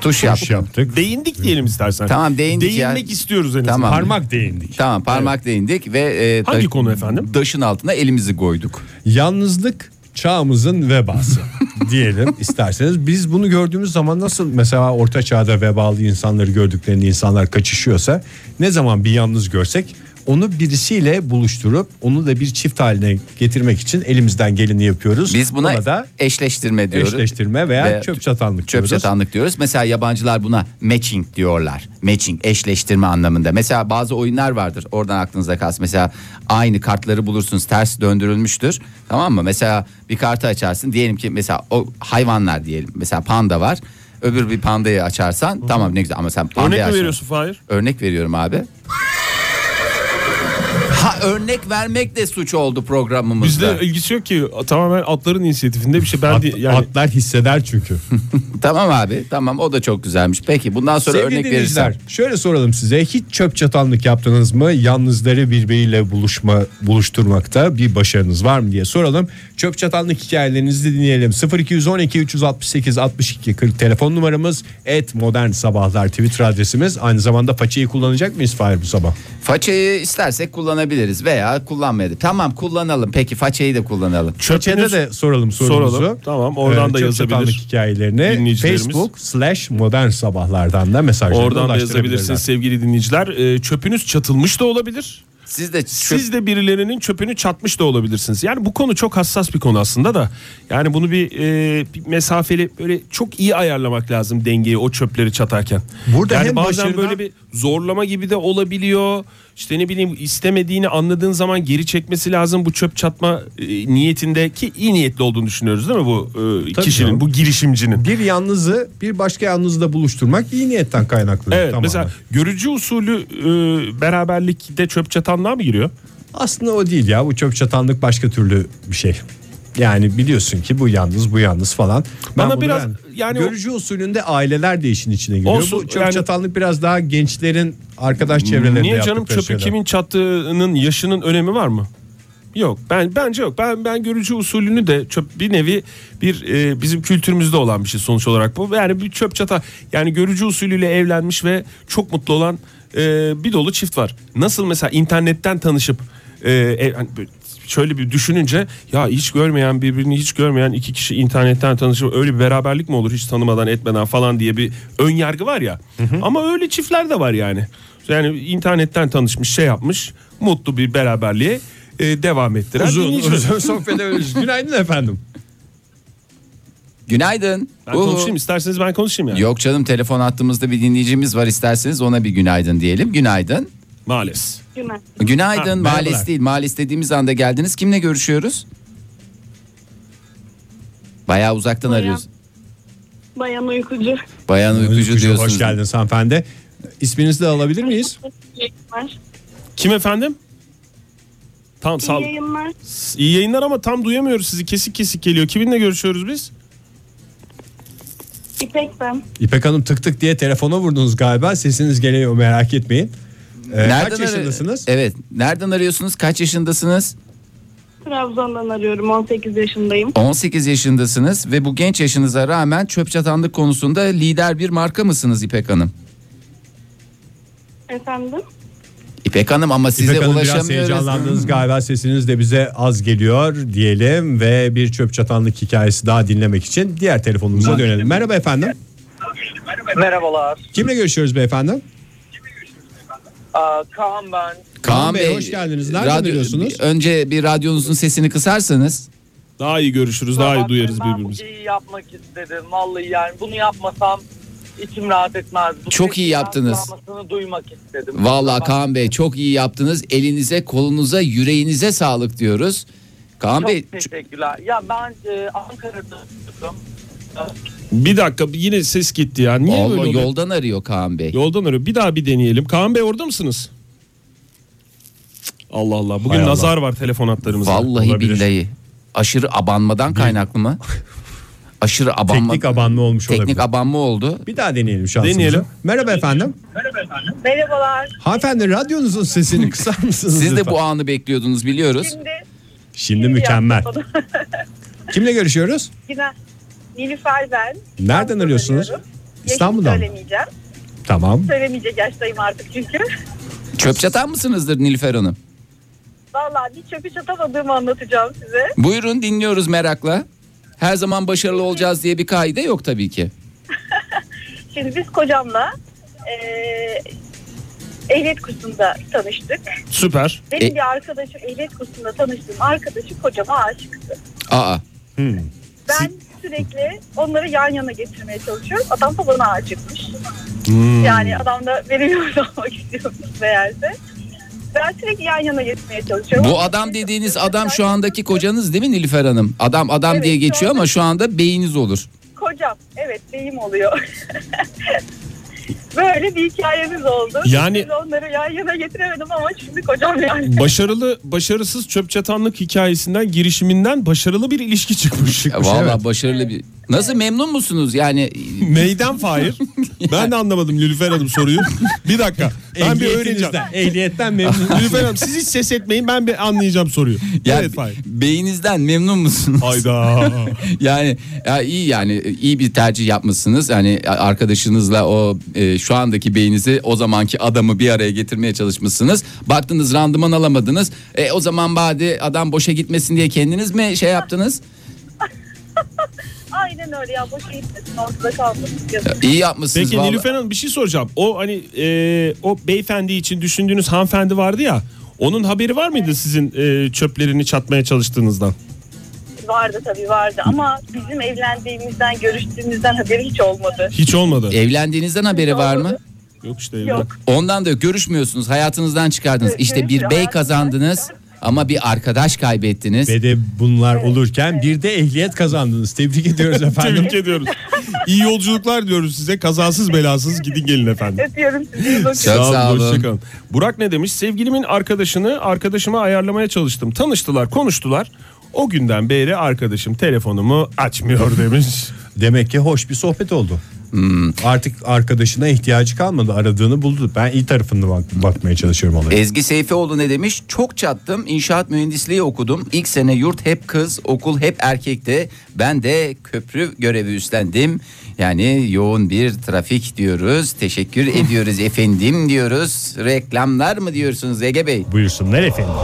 [SPEAKER 2] Tuş yaptık.
[SPEAKER 3] yaptık.
[SPEAKER 8] Değindik diyelim istersen.
[SPEAKER 2] Tamam, değindik ya.
[SPEAKER 8] Değinmek istiyoruz en azından.
[SPEAKER 2] Tamam.
[SPEAKER 3] Parmak değindik.
[SPEAKER 2] Tamam parmak değindik ve e,
[SPEAKER 8] Hangi
[SPEAKER 2] taş-
[SPEAKER 8] konu efendim?
[SPEAKER 2] Taşın altına elimizi koyduk.
[SPEAKER 3] Yalnızlık çağımızın
[SPEAKER 2] [laughs]
[SPEAKER 3] vebası diyelim isterseniz. Biz bunu gördüğümüz zaman nasıl mesela orta çağda vebalı insanları gördüklerini insanlar kaçışıyorsa ne zaman bir yalnız görsek onu birisiyle buluşturup onu da bir çift haline getirmek için elimizden geleni yapıyoruz.
[SPEAKER 2] Biz buna,
[SPEAKER 3] da
[SPEAKER 2] eşleştirme diyoruz.
[SPEAKER 3] eşleştirme veya
[SPEAKER 2] Ve
[SPEAKER 3] çöp çatanlık
[SPEAKER 2] Çöp
[SPEAKER 3] diyoruz.
[SPEAKER 2] çatanlık diyoruz. Mesela yabancılar buna matching diyorlar. Matching eşleştirme anlamında. Mesela bazı oyunlar vardır. Oradan aklınızda kalsın. Mesela aynı kartları bulursunuz ters döndürülmüştür. Tamam mı? Mesela bir kartı açarsın. Diyelim ki mesela o hayvanlar diyelim. Mesela panda var. Öbür bir pandayı açarsan tamam ne güzel ama sen pandayı
[SPEAKER 4] Örnek mi
[SPEAKER 2] açarsan-
[SPEAKER 4] veriyorsun Fahir?
[SPEAKER 2] Örnek veriyorum abi. Ha örnek vermek de suç oldu programımızda.
[SPEAKER 4] Bizde ilgisi yok ki tamamen atların inisiyatifinde bir şey. Ben de- yani
[SPEAKER 3] Atlar hisseder çünkü.
[SPEAKER 2] [laughs] Tamam abi tamam o da çok güzelmiş. Peki bundan sonra
[SPEAKER 3] Sevgili
[SPEAKER 2] örnek
[SPEAKER 3] dinleyiciler,
[SPEAKER 2] verirsen.
[SPEAKER 3] Şöyle soralım size hiç çöp çatanlık yaptınız mı? Yalnızları birbiriyle buluşma buluşturmakta bir başarınız var mı diye soralım. Çöp çatanlık hikayelerinizi dinleyelim. 0212 368 62 40 telefon numaramız. Et modern sabahlar Twitter adresimiz. Aynı zamanda façayı kullanacak mıyız Fahir bu sabah?
[SPEAKER 2] Façayı istersek kullanabiliriz veya kullanmayabiliriz. Tamam kullanalım peki façayı da kullanalım.
[SPEAKER 3] Çöpçede de soralım sorumuzu.
[SPEAKER 4] Soralım. Tamam, oradan da
[SPEAKER 3] çöp
[SPEAKER 4] yazabilir
[SPEAKER 3] çatanlık hikayelerini
[SPEAKER 4] dinleyicilerimiz.
[SPEAKER 3] Facebook slash modern sabahlardan da mesajlarını
[SPEAKER 4] oradan da
[SPEAKER 3] ulaştırabilirler.
[SPEAKER 4] yazabilirsiniz sevgili dinleyiciler. Ee, çöpünüz çatılmış da olabilir.
[SPEAKER 2] Siz de çöp-
[SPEAKER 4] Siz de birilerinin çöpünü çatmış da olabilirsiniz. Yani bu konu çok hassas bir konu aslında da. Yani bunu bir, e, bir mesafeli böyle çok iyi ayarlamak lazım dengeyi o çöpleri çatarken.
[SPEAKER 3] Burada
[SPEAKER 4] yani
[SPEAKER 3] hem
[SPEAKER 4] bazen
[SPEAKER 3] başarıdan-
[SPEAKER 4] böyle bir zorlama gibi de olabiliyor. İşte ne bileyim istemediğini anladığın zaman geri çekmesi lazım bu çöp çatma e, niyetindeki iyi niyetli olduğunu düşünüyoruz değil mi bu e,
[SPEAKER 3] Tabii
[SPEAKER 4] kişinin,
[SPEAKER 3] canım.
[SPEAKER 4] bu girişimcinin?
[SPEAKER 3] bir yalnızı bir başka yalnızla buluşturmak iyi niyetten kaynaklı.
[SPEAKER 4] Evet
[SPEAKER 3] tamamen.
[SPEAKER 4] mesela görücü usulü e, beraberlikte çöp çatanlığa mı giriyor?
[SPEAKER 3] Aslında o değil ya bu çöp çatanlık başka türlü bir şey. Yani biliyorsun ki bu yalnız bu yalnız falan.
[SPEAKER 4] Bana
[SPEAKER 3] bunu
[SPEAKER 4] biraz
[SPEAKER 3] beğendim.
[SPEAKER 4] yani o-
[SPEAKER 3] görücü usulünde aileler de işin içine giriyor.
[SPEAKER 4] Olsun,
[SPEAKER 3] bu çöp
[SPEAKER 4] yani-
[SPEAKER 3] çatanlık biraz daha gençlerin arkadaş çevrelerinde
[SPEAKER 4] Niye canım
[SPEAKER 3] yaptıkları
[SPEAKER 4] çöpü
[SPEAKER 3] şeyler.
[SPEAKER 4] kimin çattığının yaşının önemi var mı? Yok ben bence yok. Ben ben görücü usulünü de çöp bir nevi bir e, bizim kültürümüzde olan bir şey sonuç olarak bu. Yani bir çöp çata yani görücü usulüyle evlenmiş ve çok mutlu olan e, bir dolu çift var. Nasıl mesela internetten tanışıp e, ev- hani böyle şöyle bir düşününce ya hiç görmeyen birbirini hiç görmeyen iki kişi internetten tanışıp öyle bir beraberlik mi olur hiç tanımadan etmeden falan diye bir ön yargı var ya. Ama öyle çiftler de var yani. Yani internetten tanışmış şey yapmış mutlu bir beraberliğe e, devam ettiren
[SPEAKER 3] uzun
[SPEAKER 4] dinleyiciler.
[SPEAKER 3] uzun sohbet
[SPEAKER 4] [laughs]
[SPEAKER 3] ediyoruz. Günaydın efendim.
[SPEAKER 2] Günaydın.
[SPEAKER 4] Ben
[SPEAKER 2] Uhu.
[SPEAKER 4] konuşayım isterseniz ben konuşayım yani.
[SPEAKER 2] Yok canım telefon attığımızda bir dinleyicimiz var isterseniz ona bir günaydın diyelim. Günaydın.
[SPEAKER 4] Maalesef.
[SPEAKER 7] Günaydın.
[SPEAKER 2] Günaydın
[SPEAKER 3] Ha,
[SPEAKER 2] maalesef
[SPEAKER 3] merhabalar.
[SPEAKER 2] değil maalesef dediğimiz anda geldiniz. Kimle görüşüyoruz? Bayağı uzaktan
[SPEAKER 7] Bayan.
[SPEAKER 2] arıyoruz.
[SPEAKER 7] Bayan uykucu.
[SPEAKER 2] Bayan uykucu, diyorsunuz.
[SPEAKER 3] Hoş geldiniz hanımefendi. İsminizi de alabilir miyiz?
[SPEAKER 7] İyi yayınlar.
[SPEAKER 4] Kim efendim? Tam sağ
[SPEAKER 7] İyi yayınlar.
[SPEAKER 4] İyi yayınlar ama tam duyamıyoruz sizi. Kesik kesik geliyor. Kiminle görüşüyoruz biz?
[SPEAKER 7] İpek ben.
[SPEAKER 3] İpek Hanım tık tık diye telefona vurdunuz galiba. Sesiniz geliyor merak etmeyin. Ee, kaç
[SPEAKER 2] arı-
[SPEAKER 3] yaşındasınız?
[SPEAKER 2] Evet. Nereden arıyorsunuz? Kaç yaşındasınız?
[SPEAKER 7] Trabzon'dan arıyorum. 18 yaşındayım.
[SPEAKER 2] 18 yaşındasınız ve bu genç yaşınıza rağmen çöp çatanlık konusunda lider bir marka mısınız İpek Hanım?
[SPEAKER 7] Efendim?
[SPEAKER 2] İpek Hanım ama size
[SPEAKER 3] İpek Hanım biraz
[SPEAKER 2] ulaşamıyoruz. [laughs]
[SPEAKER 3] heyecanlandınız galiba sesiniz de bize az geliyor diyelim ve bir çöp çatanlık hikayesi daha dinlemek için diğer telefonumuza dönelim. Merhaba efendim.
[SPEAKER 9] Merhabalar.
[SPEAKER 3] Kimle görüşüyoruz beyefendi?
[SPEAKER 9] Aa, Kaan ben.
[SPEAKER 2] Kaan
[SPEAKER 3] Bey, hoş geldiniz. Nereden arıyorsunuz?
[SPEAKER 2] Önce bir radyonuzun sesini kısarsanız.
[SPEAKER 4] Daha iyi görüşürüz, daha iyi
[SPEAKER 9] Bakın,
[SPEAKER 4] duyarız
[SPEAKER 9] ben
[SPEAKER 4] birbirimizi.
[SPEAKER 9] bu şeyi yapmak istedim. Vallahi yani bunu yapmasam içim rahat etmez. Bu
[SPEAKER 2] Çok
[SPEAKER 9] sesin
[SPEAKER 2] iyi yaptınız.
[SPEAKER 9] yansımasını duymak istedim.
[SPEAKER 2] Vallahi Kaan Bey çok iyi yaptınız. Elinize, kolunuza, yüreğinize sağlık diyoruz. Kaan
[SPEAKER 9] Çok
[SPEAKER 2] Bey
[SPEAKER 9] teşekkürler. Ya ben e, Ankara'da oturdum.
[SPEAKER 4] Bir dakika yine ses gitti ya. Niye
[SPEAKER 2] Allah
[SPEAKER 4] böyle oluyor?
[SPEAKER 2] yoldan arıyor Kaan Bey.
[SPEAKER 4] Yoldan arıyor. Bir daha bir deneyelim. Kaan Bey orada mısınız? Allah Allah. Bugün
[SPEAKER 3] Hay Allah.
[SPEAKER 4] nazar var telefon hatlarımızda.
[SPEAKER 2] Vallahi
[SPEAKER 4] Olabilir.
[SPEAKER 2] billahi. Aşırı abanmadan kaynaklı
[SPEAKER 3] [laughs]
[SPEAKER 2] mı? Aşırı abanma.
[SPEAKER 3] Teknik abanma olmuş
[SPEAKER 2] Teknik
[SPEAKER 3] olabilir.
[SPEAKER 2] abanma oldu.
[SPEAKER 3] bir daha deneyelim şansımızı.
[SPEAKER 4] Deneyelim.
[SPEAKER 3] Merhaba [laughs] efendim.
[SPEAKER 7] Merhabalar.
[SPEAKER 3] Hanımefendi radyonuzun sesini kısar mısınız
[SPEAKER 2] Siz de
[SPEAKER 3] lütfen?
[SPEAKER 2] bu anı bekliyordunuz biliyoruz.
[SPEAKER 7] Şimdi
[SPEAKER 3] Şimdi mükemmel.
[SPEAKER 7] yapmadım.
[SPEAKER 6] [laughs]
[SPEAKER 3] Kimle görüşüyoruz?
[SPEAKER 7] Günaydın. Nilüfer ben.
[SPEAKER 3] Nereden arıyorsunuz?
[SPEAKER 7] arıyorum. Yaşımı
[SPEAKER 3] İstanbul'dan mı?
[SPEAKER 7] Söylemeyeceğim.
[SPEAKER 3] Tamam.
[SPEAKER 7] Söylemeyecek yaştayım
[SPEAKER 6] [laughs]
[SPEAKER 7] artık çünkü.
[SPEAKER 2] Çöp çatan mısınızdır Nilüfer Hanım?
[SPEAKER 7] Vallahi bir çöpü çatamadığımı anlatacağım size.
[SPEAKER 2] Buyurun dinliyoruz merakla. Her zaman başarılı olacağız diye bir kaide yok tabii ki.
[SPEAKER 7] Şimdi biz kocamla eee,
[SPEAKER 6] e, Ehliyet kursunda tanıştık.
[SPEAKER 4] Süper.
[SPEAKER 6] Benim
[SPEAKER 2] E-
[SPEAKER 6] bir arkadaşım ehliyet kursunda tanıştığım arkadaşı kocama aşıktı.
[SPEAKER 2] Aa
[SPEAKER 6] Ben sürekli onları yan yana getirmeye çalışıyorum. Adam da bana aşıkmış.
[SPEAKER 3] Hmm.
[SPEAKER 2] Hmm.
[SPEAKER 6] Yani adam da benim yolda [laughs] olmak istiyormuş meğerse. Ben sürekli yan yana getirmeye çalışıyorum.
[SPEAKER 2] bu adam dediğiniz adam şu andaki kocanız değil mi Nilüfer Hanım? Adam adam
[SPEAKER 6] Evet,
[SPEAKER 2] diye
[SPEAKER 6] şu
[SPEAKER 2] geçiyor ama şu anda beyiniz olur.
[SPEAKER 6] Kocam evet beyim oluyor. [laughs] Böyle bir hikayemiz oldu.
[SPEAKER 4] Yani-
[SPEAKER 6] Biz onları yan yana getiremedim ama şimdi kocam yani.
[SPEAKER 4] Başarılı, başarısız çöp çatanlık hikayesinden, girişiminden başarılı bir ilişki çıkmış.
[SPEAKER 2] Ya
[SPEAKER 4] çıkmış
[SPEAKER 2] E, Vallahi
[SPEAKER 4] evet.
[SPEAKER 2] başarılı bir. Nasıl memnun musunuz? Yani
[SPEAKER 4] Neyden Fahir? Ben de anlamadım Lülüfer Hanım soruyu. Bir dakika. Ben bir öğreneceğim.
[SPEAKER 3] Ehliyetinizden, ehliyetten
[SPEAKER 4] [laughs]
[SPEAKER 3] memnun.
[SPEAKER 4] Lülüfer Hanım siz hiç ses etmeyin ben bir anlayacağım soruyu.
[SPEAKER 2] yani
[SPEAKER 4] evet Fahir.
[SPEAKER 2] beyninizden memnun musunuz?
[SPEAKER 4] Hayda.
[SPEAKER 2] [laughs] Yani ya iyi yani iyi bir tercih yapmışsınız. Yani arkadaşınızla o e, şu andaki beyinizi o zamanki adamı bir araya getirmeye çalışmışsınız. Baktınız randıman alamadınız. E, o zaman bari adam boşa gitmesin diye kendiniz mi şey yaptınız?
[SPEAKER 6] Aynen öyle ya boşa gitmesin ortada kalmasın. Yazık.
[SPEAKER 2] İyi yapmışsınız.
[SPEAKER 4] Peki
[SPEAKER 2] vallahi.
[SPEAKER 4] Nilüfer Hanım bir şey soracağım. O hani e, o beyefendi için düşündüğünüz hanımefendi vardı ya. Onun haberi var mıydı sizin e, çöplerini çatmaya çalıştığınızdan?
[SPEAKER 6] Vardı tabii vardı ama bizim evlendiğimizden, görüştüğümüzden haberi hiç olmadı.
[SPEAKER 4] Hiç olmadı.
[SPEAKER 2] Evlendiğinizden haberi var mı?
[SPEAKER 4] Yok işte.
[SPEAKER 6] Yok.
[SPEAKER 2] Ondan da görüşmüyorsunuz. Hayatınızdan çıkardınız.
[SPEAKER 6] Evet,
[SPEAKER 2] İşte bir
[SPEAKER 6] görüşmüyor,
[SPEAKER 2] bey
[SPEAKER 6] hayatımdan
[SPEAKER 2] kazandınız ama bir arkadaş kaybettiniz.
[SPEAKER 3] Ve de bunlar olurken bir de ehliyet kazandınız. Tebrik
[SPEAKER 4] [laughs]
[SPEAKER 3] ediyoruz efendim.
[SPEAKER 4] Tebrik ediyoruz. İyi yolculuklar diyoruz size. Kazasız belasız gidin gelin efendim.
[SPEAKER 9] E,
[SPEAKER 6] Öpüyorum sizi. iyi bakın.
[SPEAKER 2] Çok sağ olun.
[SPEAKER 4] hoşça kalın. Burak ne demiş? Sevgilimin arkadaşını arkadaşıma ayarlamaya çalıştım. Tanıştılar, konuştular. O günden beri arkadaşım telefonumu açmıyor demiş.
[SPEAKER 3] [laughs] Demek ki hoş bir sohbet oldu. Artık arkadaşına ihtiyacı kalmadı. Aradığını buldu. Ben iyi tarafını bak- bakmaya çalışıyorum olayı.
[SPEAKER 2] Ezgi Seyfioğlu ne demiş? Çok çattım. İnşaat mühendisliği okudum. İlk sene yurt hep kız, okul hep erkekti. Ben de köprü görevi üstlendim. Yani yoğun bir trafik diyoruz. Teşekkür ediyoruz efendim diyoruz. Reklamlar mı diyorsunuz Ege Bey?
[SPEAKER 3] Buyursunlar efendim.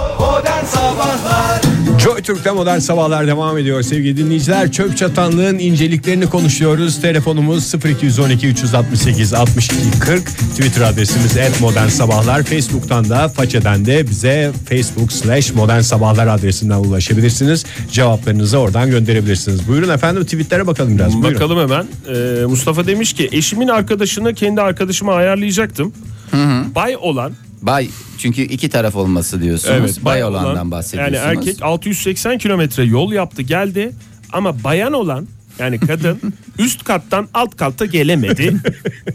[SPEAKER 3] Joy Türk'te modern sabahlar devam ediyor sevgili dinleyiciler. Çöp çatanlığın inceliklerini konuşuyoruz. Telefonumuz 0212 368 62 40. Twitter adresimiz et modern sabahlar. Facebook'tan da façeden de bize facebook slash modern sabahlar adresinden ulaşabilirsiniz. Cevaplarınızı oradan gönderebilirsiniz. Buyurun efendim tweetlere bakalım biraz. Buyurun.
[SPEAKER 4] Bakalım hemen. Ee, Mustafa demiş ki eşimin arkadaşını kendi arkadaşıma ayarlayacaktım. Bay olan,
[SPEAKER 2] Bay çünkü iki taraf olması diyorsunuz. bay, olandan bahsediyorsunuz.
[SPEAKER 4] Yani erkek 680 kilometre yol yaptı geldi ama bayan olan yani
[SPEAKER 3] [laughs]
[SPEAKER 4] kadın üst kattan alt katta gelemedi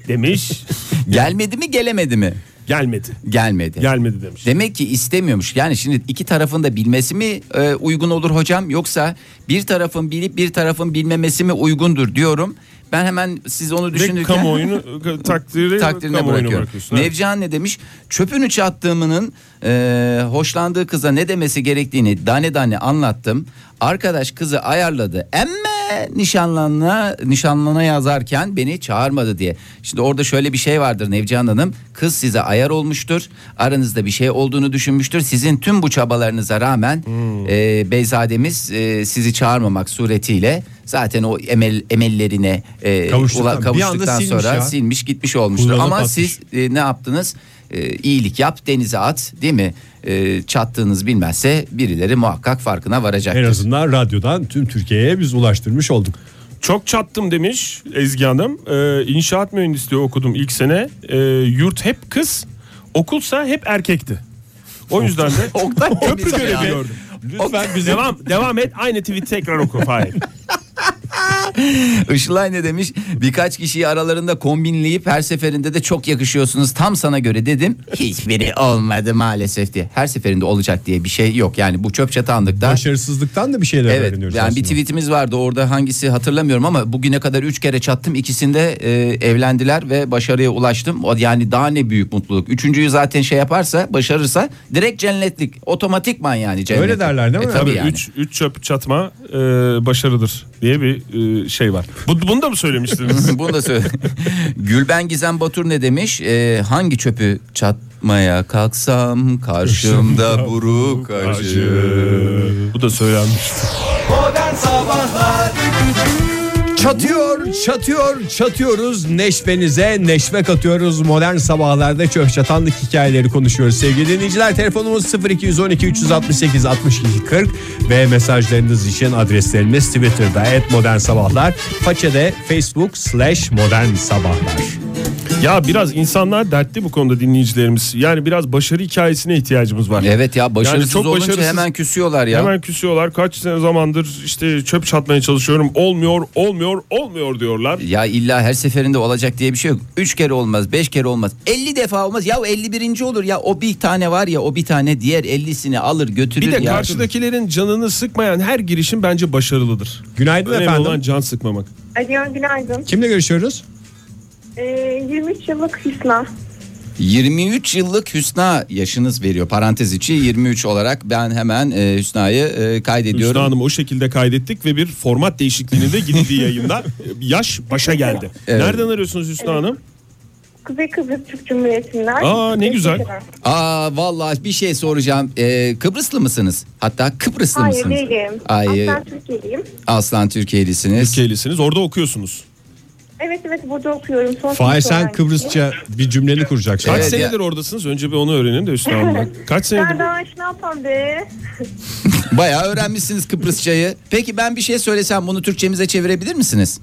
[SPEAKER 4] demiş.
[SPEAKER 2] [laughs] Gelmedi mi gelemedi mi?
[SPEAKER 4] Gelmedi.
[SPEAKER 2] Gelmedi.
[SPEAKER 4] Gelmedi demiş.
[SPEAKER 2] Demek ki istemiyormuş. Yani şimdi iki tarafın da bilmesi mi e, uygun olur hocam yoksa bir tarafın bilip bir tarafın bilmemesi mi uygundur diyorum. Ben hemen siz onu
[SPEAKER 4] Ve
[SPEAKER 2] düşünürken [laughs]
[SPEAKER 4] kamuoyunu e,
[SPEAKER 2] takdirine
[SPEAKER 4] takdiri kamuoyunu
[SPEAKER 2] bırakıyorum.
[SPEAKER 4] bırakıyorsun. Evet.
[SPEAKER 2] Nevcihan ne demiş? Çöpünü çattığımının e, hoşlandığı kıza ne demesi gerektiğini tane tane anlattım. Arkadaş kızı ayarladı. Emme nişanlanına nişanlana yazarken beni çağırmadı diye. Şimdi orada şöyle bir şey vardır Nevcihan Hanım. Kız size ayar olmuştur. Aranızda bir şey olduğunu düşünmüştür. Sizin tüm bu çabalarınıza rağmen
[SPEAKER 3] Hmm.
[SPEAKER 2] e, Beyzademiz e, sizi çağırmamak suretiyle zaten o emel emellerine e,
[SPEAKER 3] Kavuştuk
[SPEAKER 2] ula-
[SPEAKER 3] tabii. Bir anda
[SPEAKER 2] kavuştuktan
[SPEAKER 3] silmiş
[SPEAKER 2] sonra
[SPEAKER 3] ya.
[SPEAKER 2] silmiş gitmiş olmuştur.
[SPEAKER 3] Kullanıp
[SPEAKER 2] Ama
[SPEAKER 3] atmış.
[SPEAKER 2] siz e, ne yaptınız? E, iyilik yap, denize at, değil mi? E, çattığınız bilmezse birileri muhakkak farkına
[SPEAKER 3] En
[SPEAKER 2] varacaktır.
[SPEAKER 3] azından radyodan tüm Türkiye'ye biz ulaştırmış olduk.
[SPEAKER 4] Çok çattım demiş Ezgi Hanım. Ee, inşaat mühendisliği okudum ilk sene. Ee, yurt hep kız, okulsa hep erkekti. O yüzden
[SPEAKER 3] [laughs]
[SPEAKER 4] [laughs] de
[SPEAKER 2] Oktay
[SPEAKER 4] köprü
[SPEAKER 2] Demirci
[SPEAKER 4] görevi
[SPEAKER 2] ya.
[SPEAKER 4] gördüm. Lütfen devam, devam et aynı tweet tekrar oku Hayır.
[SPEAKER 2] [laughs] Işılay ne demiş? Birkaç kişiyi aralarında kombinleyip her seferinde de çok yakışıyorsunuz tam sana göre dedim. Hiçbiri olmadı maalesef diye. Her seferinde olacak diye bir şey yok. Yani bu çöp çatanlıkta
[SPEAKER 3] Başarısızlıktan da bir şeyler
[SPEAKER 2] Evet yani
[SPEAKER 3] öğreniyoruz
[SPEAKER 2] bir
[SPEAKER 3] aslında.
[SPEAKER 2] tweetimiz vardı orada hangisi hatırlamıyorum ama bugüne kadar 3 kere çattım ikisinde e, evlendiler ve başarıya ulaştım. O, yani daha ne büyük mutluluk. Üçüncüyü zaten şey yaparsa başarırsa direkt cennetlik otomatikman yani cennetlik. E,
[SPEAKER 3] Öyle derler değil mi?
[SPEAKER 2] tabii yani.
[SPEAKER 4] 3 3 çöp çatma e, başarıdır diye bir e, şey var. Bu, bunu da mı
[SPEAKER 2] [laughs]
[SPEAKER 4] söylemiştiniz?
[SPEAKER 2] Bunu da söyle. Gülben Gizem Batur ne demiş? E, hangi çöpü çatmaya kalksam karşımda buruk acı.
[SPEAKER 4] Bu da söylenmiş.
[SPEAKER 3] Çatıyor, çatıyor, çatıyoruz. Neşvenize neşve katıyoruz. Modern sabahlarda çöp çatanlık hikayeleri konuşuyoruz. Sevgili dinleyiciler telefonumuz 0212 368 62 40 ve mesajlarınız için adreslerimiz Twitter'da et modern sabahlar. Façede Facebook slash modern sabahlar.
[SPEAKER 4] Ya biraz insanlar dertli bu konuda dinleyicilerimiz. Yani biraz başarı hikayesine ihtiyacımız var.
[SPEAKER 2] Evet ya başarısız
[SPEAKER 4] çok
[SPEAKER 2] olunca
[SPEAKER 4] başarısız-
[SPEAKER 2] hemen küsüyorlar ya.
[SPEAKER 4] Hemen küsüyorlar. Kaç sene zamandır işte çöp çatmaya çalışıyorum. Olmuyor, olmuyor, olmuyor diyorlar.
[SPEAKER 2] Ya illa her seferinde olacak diye bir şey yok. Üç kere olmaz, beş kere olmaz. 50 defa olmaz. Ya 51. olur ya o bir tane var ya o bir tane diğer 50'sini alır götürür
[SPEAKER 4] Bir de
[SPEAKER 2] ya.
[SPEAKER 4] karşıdakilerin canını sıkmayan her girişim bence başarılıdır.
[SPEAKER 3] Günaydın
[SPEAKER 4] Önemli
[SPEAKER 3] efendim.
[SPEAKER 4] olan can sıkmamak.
[SPEAKER 10] Alo günaydın.
[SPEAKER 3] Kimle görüşüyoruz?
[SPEAKER 10] Ee, 23 yıllık Hüsna.
[SPEAKER 2] 23 yıllık Hüsna yaşınız veriyor. Parantez içi 23 olarak ben hemen e, Hüsna'yı e, kaydediyorum.
[SPEAKER 4] Hüsnü Hanım o şekilde kaydettik ve bir format değişikliğine de gidildiği yayında yaş başa geldi.
[SPEAKER 2] Evet.
[SPEAKER 4] Nereden arıyorsunuz Hüsnü Hanım?
[SPEAKER 10] Kuzey Kıbrıs Türk Cumhuriyeti'nden.
[SPEAKER 4] Aa, ne güzel.
[SPEAKER 2] Aa vallahi bir şey soracağım. E, Kıbrıslı mısınız? Hatta Kıbrıslı
[SPEAKER 10] Hayır
[SPEAKER 2] mısınız?
[SPEAKER 10] değilim.
[SPEAKER 2] Ay,
[SPEAKER 10] Aslen Türkiye'liyim.
[SPEAKER 2] Aslan Türkiye'lisiniz.
[SPEAKER 4] Türkiye'lisiniz. Orada okuyorsunuz.
[SPEAKER 10] Evet evet burada okuyorum. Son
[SPEAKER 3] Fahir
[SPEAKER 10] sınıf
[SPEAKER 3] sen
[SPEAKER 10] öğrenciyim.
[SPEAKER 3] Kıbrısça bir cümleni kuracaksın.
[SPEAKER 4] Kaç
[SPEAKER 2] Evet ya.
[SPEAKER 4] senedir oradasınız? Önce bir onu öğrenin de Hüsnü Hanım'dan. Kaç
[SPEAKER 10] Ben
[SPEAKER 4] senedir?
[SPEAKER 10] daha iş ne yapam be?
[SPEAKER 2] [laughs] Bayağı öğrenmişsiniz Kıbrısçayı. Peki ben bir şey söylesem bunu Türkçemize çevirebilir misiniz?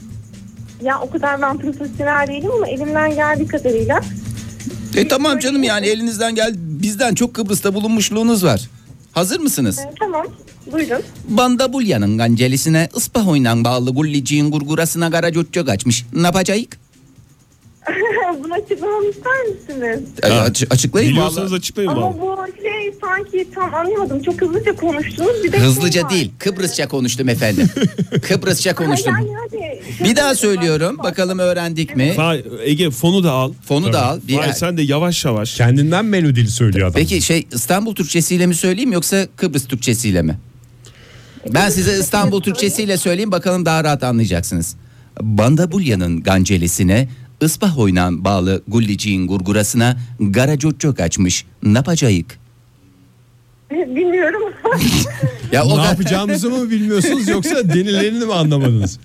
[SPEAKER 10] Ya o kadar ben profesyonel değilim ama elimden geldiği kadarıyla. [laughs]
[SPEAKER 2] E tamam canım yani elinizden gel bizden çok Kıbrıs'ta bulunmuşluğunuz var. Hazır mısınız?
[SPEAKER 10] Ee, tamam buyurun.
[SPEAKER 2] Bandabulyanın gancelisine ıspahoynan bağlı gulliciğin gurgurasına garacocca kaçmış. Ne yapacağık?
[SPEAKER 10] Bunu açıklamamı ister misiniz?
[SPEAKER 2] E, aç- açıklayın
[SPEAKER 4] Biliyorsanız
[SPEAKER 2] vallahi.
[SPEAKER 4] açıklayın bana.
[SPEAKER 10] Ama bu şey sanki tam anlayamadım. Çok hızlıca konuştunuz. Bir de şey
[SPEAKER 2] Hızlıca
[SPEAKER 10] var.
[SPEAKER 2] değil Kıbrısça konuştum
[SPEAKER 10] [laughs]
[SPEAKER 2] efendim. Kıbrısça konuştum.
[SPEAKER 10] Ay, yani, yani-
[SPEAKER 2] Bir daha söylüyorum bakalım öğrendik mi?
[SPEAKER 4] Fa- Ege e, fonu da al.
[SPEAKER 2] Fonu da al. Bir-
[SPEAKER 4] Fahir sen de yavaş yavaş.
[SPEAKER 3] Kendinden melodili söylüyor adam.
[SPEAKER 2] Peki şey İstanbul Türkçesiyle mi söyleyeyim yoksa Kıbrıs Türkçesiyle mi? Ben size İstanbul Türkçesiyle söyleyeyim bakalım daha rahat anlayacaksınız. Bandabulya'nın gancelesine, ıspahoynan bağlı gulliciğin gurgurasına garacocco kaçmış napacayık.
[SPEAKER 10] [laughs] Bilmiyorum.
[SPEAKER 2] Ya o
[SPEAKER 3] Ne
[SPEAKER 2] da-
[SPEAKER 3] yapacağımızı mı bilmiyorsunuz
[SPEAKER 2] [laughs]
[SPEAKER 3] yoksa denilerini mi anlamadınız?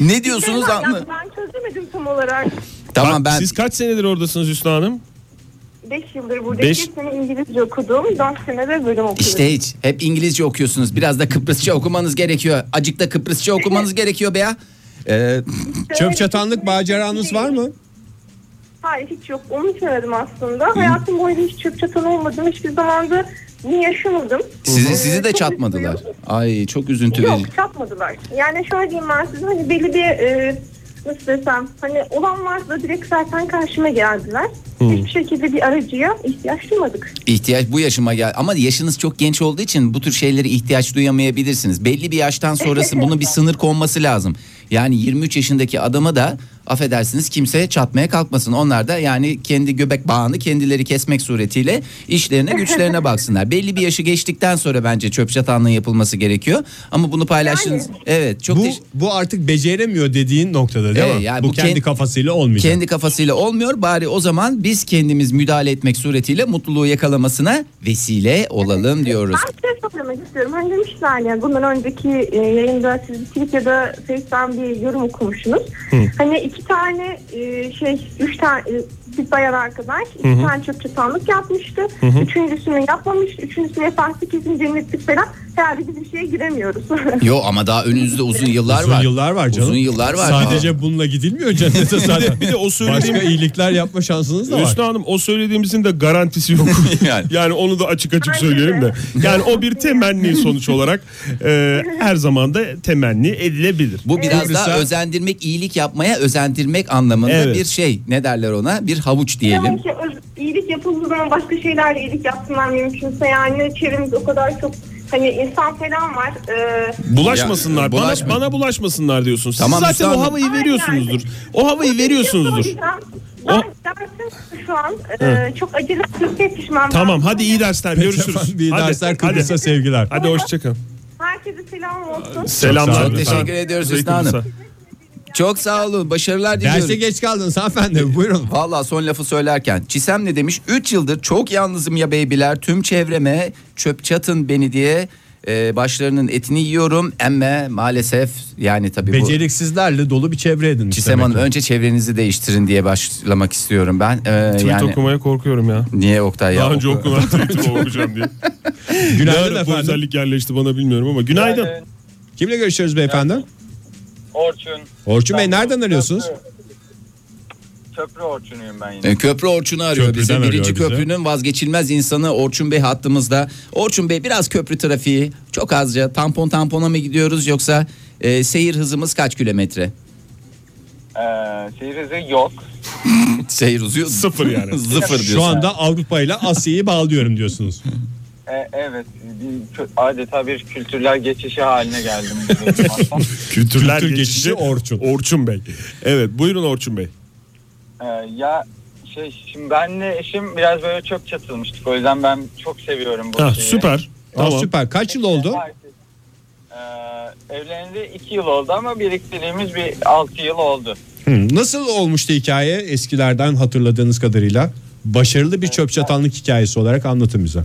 [SPEAKER 2] ne diyorsunuz anla?
[SPEAKER 10] Yani ben çözemedim tam olarak.
[SPEAKER 2] Tamam ben
[SPEAKER 4] Siz kaç senedir oradasınız Hüsnü Hanım?
[SPEAKER 10] 5 yıldır burada.
[SPEAKER 4] Beş-
[SPEAKER 10] 5 sene İngilizce okudum. 4 sene de bölüm okudum.
[SPEAKER 2] işte hiç hep İngilizce okuyorsunuz. Biraz da Kıbrısça okumanız gerekiyor. Acık da Kıbrısça okumanız gerekiyor be ya. Ee,
[SPEAKER 3] Çöp çatanlık maceranız var mı?
[SPEAKER 10] Hayır hiç yok. Onun için aradım aslında. Hayatım boyunca hiç çöp çatan olmadım. Hiçbir zamanda niye yaşamadım.
[SPEAKER 2] sizi
[SPEAKER 10] Ee,
[SPEAKER 2] sizi de
[SPEAKER 10] çok
[SPEAKER 2] çatmadılar.
[SPEAKER 10] üzgünüm.
[SPEAKER 2] Ay çok üzüntü verici.
[SPEAKER 10] Yok çatmadılar. Yani şöyle diyeyim ben size hani belli bir e, nasıl desem hani olan varsa direkt zaten karşıma geldiler. Hiçbir şekilde bir aracıya ihtiyaç duymadık.
[SPEAKER 2] İhtiyaç bu yaşıma gel ama yaşınız çok genç olduğu için bu tür şeylere ihtiyaç duyamayabilirsiniz. Belli bir yaştan sonrası bunun bir sınır konması lazım. Yani 23 yaşındaki adama da affedersiniz kimse çatmaya kalkmasın. Onlar da yani kendi göbek bağını kendileri kesmek suretiyle işlerine güçlerine baksınlar. Belli bir yaşı geçtikten sonra bence çöp çatanlığın yapılması gerekiyor. Ama bunu paylaştığınız evet çok
[SPEAKER 3] Bu
[SPEAKER 2] teş-
[SPEAKER 3] bu artık beceremiyor dediğin noktada değil
[SPEAKER 2] Ee,
[SPEAKER 3] mi?
[SPEAKER 2] yani
[SPEAKER 3] bu
[SPEAKER 2] bu
[SPEAKER 3] kendi
[SPEAKER 2] kend-
[SPEAKER 3] kafasıyla olmayacak.
[SPEAKER 2] kendi kafasıyla olmuyor. Bari o zaman biz kendimiz müdahale etmek suretiyle mutluluğu yakalamasına vesile olalım diyoruz.
[SPEAKER 10] Ben bir şey sormak istiyorum. Hani demişler yani bundan önceki e, yayında siz bir tweet ya da Facebook'tan bir yorum okumuşsunuz. Hani iki tane e, şey, üç tane e, bir bayan arkadaş iki tane çöp çatanlık yapmıştı. Üçüncüsünü yapmamış. Üçüncüsünü yaparsa kesin cennetlik falan. Herhalde biz bir şeye giremiyoruz. [laughs]
[SPEAKER 2] Yo ama daha önünüzde uzun yıllar
[SPEAKER 3] Uzun
[SPEAKER 2] var.
[SPEAKER 3] yıllar var canım.
[SPEAKER 2] Uzun yıllar var.
[SPEAKER 3] Sadece bununla gidilmiyor
[SPEAKER 4] [laughs]
[SPEAKER 3] cennete zaten.
[SPEAKER 4] Bir de o
[SPEAKER 3] Başka
[SPEAKER 4] söylediğim
[SPEAKER 3] iyilikler yapma şansınız da var.
[SPEAKER 4] Hüsnü Hanım o söylediğimizin de garantisi yok. [laughs] yani.
[SPEAKER 2] [laughs] Yani.
[SPEAKER 4] onu da açık açık
[SPEAKER 10] Aynen.
[SPEAKER 4] söyleyelim de. Yani o bir temenni sonuç olarak e, her zaman da temenni edilebilir.
[SPEAKER 2] [laughs] bu biraz
[SPEAKER 3] Kıbrıs'a-
[SPEAKER 2] daha özendirmek, iyilik yapmaya özendirmek anlamında
[SPEAKER 4] Evet.
[SPEAKER 2] bir şey. Ne derler ona? Bir havuç diyelim.
[SPEAKER 10] Ama ki öz- iyilik yapıldığı zaman başka şeylerle iyilik yapsınlar mümkünse. Yani çevremizde o kadar çok hani insan falan var. Ee,
[SPEAKER 4] Bulaşmasınlar.
[SPEAKER 2] Ya, e,
[SPEAKER 4] bana,
[SPEAKER 2] bulaşma-
[SPEAKER 4] bana bulaşmasınlar diyorsunuz.
[SPEAKER 2] Tamam,
[SPEAKER 4] Siz
[SPEAKER 2] Hüsnü
[SPEAKER 4] zaten o
[SPEAKER 2] Hanım.
[SPEAKER 4] havayı veriyorsunuzdur. O havayı veriyorsunuzdur.
[SPEAKER 10] Ben
[SPEAKER 4] O-
[SPEAKER 10] dersim şu an e, çok acele çok pişman.
[SPEAKER 4] Tamam hadi iyi dersler görüşürüz.
[SPEAKER 3] Efendim, iyi
[SPEAKER 4] hadi,
[SPEAKER 3] dersler Kıbrıs'a
[SPEAKER 4] hadi.
[SPEAKER 3] sevgiler.
[SPEAKER 4] Hadi hoşçakalın.
[SPEAKER 10] Herkese selam olsun.
[SPEAKER 4] Selamlar.
[SPEAKER 2] Çok
[SPEAKER 4] efendim.
[SPEAKER 2] teşekkür ediyoruz Hüsnü
[SPEAKER 4] Aleykümselam.
[SPEAKER 2] Hanım. Çok sağ olun. Başarılar diliyorum.
[SPEAKER 3] Derse geç kaldınız hanımefendi buyurun.
[SPEAKER 2] Valla son lafı söylerken Çisem ne demiş? 3 yıldır çok yalnızım ya beybiler. Tüm çevreme çöp çatın beni diye e, başlarının etini yiyorum ama maalesef yani tabii bu
[SPEAKER 11] Beceriksizlerle dolu bir çevre edin.
[SPEAKER 2] Çisem Hanım önce çevrenizi değiştirin diye başlamak istiyorum ben. Ee,
[SPEAKER 4] Tweet
[SPEAKER 2] yani
[SPEAKER 4] okumaya korkuyorum ya.
[SPEAKER 2] niye Oktay ya?
[SPEAKER 4] Daha önce
[SPEAKER 2] Oku- [laughs]
[SPEAKER 4] okumadan tweetimi okuyacağım diye.
[SPEAKER 11] Günaydın
[SPEAKER 4] Nerede bu
[SPEAKER 11] efendim.
[SPEAKER 4] özellik yerleşti bana bilmiyorum ama günaydın.
[SPEAKER 9] Günaydın.
[SPEAKER 11] Kimle görüşüyoruz beyefendi?
[SPEAKER 9] Orçun.
[SPEAKER 11] Orçun Bey
[SPEAKER 9] Ben
[SPEAKER 11] nereden arıyorsunuz?
[SPEAKER 9] Köprü Orçun'uyum ben yine.
[SPEAKER 2] Ee, Köprü Orçun'u arıyor
[SPEAKER 11] Köprüden
[SPEAKER 2] bizi.
[SPEAKER 11] arıyor
[SPEAKER 2] Birinci
[SPEAKER 11] bizi.
[SPEAKER 2] köprünün vazgeçilmez insanı Orçun Bey hattımızda. Orçun Bey biraz köprü trafiği çok azca tampon tampona mı gidiyoruz yoksa e, seyir hızımız kaç kilometre?
[SPEAKER 9] Ee, seyir hızı yok.
[SPEAKER 2] Seyir uzuyor.
[SPEAKER 4] Sıfır yani.
[SPEAKER 2] Sıfır diyorsun.
[SPEAKER 11] Şu anda Avrupa ile Asya'yı bağlıyorum
[SPEAKER 2] [laughs]
[SPEAKER 11] diyorsunuz.
[SPEAKER 9] Ee, evet. bir kö- adeta bir kültürler geçişi haline geldim.
[SPEAKER 4] Kültürler
[SPEAKER 11] Kültür geçişi Orçun.
[SPEAKER 4] Orçun Bey. Evet buyurun Orçun Bey.
[SPEAKER 9] Ee, ya şey şimdi benle eşim biraz böyle çok çatılmıştık. O yüzden ben çok seviyorum bu
[SPEAKER 4] Ha,
[SPEAKER 9] şeyi.
[SPEAKER 4] süper.
[SPEAKER 11] Ee, Aa,
[SPEAKER 4] Tamam.
[SPEAKER 11] süper. Kaç yıl oldu?
[SPEAKER 9] Ee, evlendi iki yıl oldu ama biriktirdiğimiz bir altı yıl oldu.
[SPEAKER 11] Hı, Nasıl olmuştu hikaye eskilerden hatırladığınız kadarıyla? Başarılı bir çöp çatanlık hikayesi olarak anlatın bize.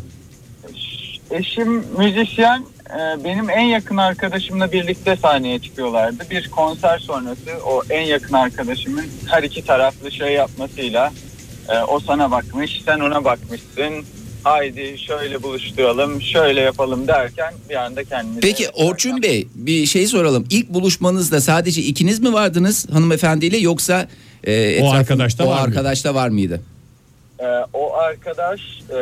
[SPEAKER 9] Eşim müzisyen. Ee, Benim en yakın arkadaşımla birlikte sahneye çıkıyorlardı. Bir konser sonrası o en yakın arkadaşımın her iki taraflı şey yapmasıyla e, o sana bakmış, sen ona bakmışsın. Haydi şöyle buluşturalım, şöyle yapalım derken bir anda kendini...
[SPEAKER 2] Peki Orçun Bey bir şey soralım. İlk buluşmanızda sadece ikiniz mi vardınız hanımefendiyle yoksa e, etrafın-
[SPEAKER 11] arkadaşta
[SPEAKER 2] o
[SPEAKER 11] var mıydı?
[SPEAKER 2] arkadaşta var mıydı?
[SPEAKER 9] Ee, o arkadaş e,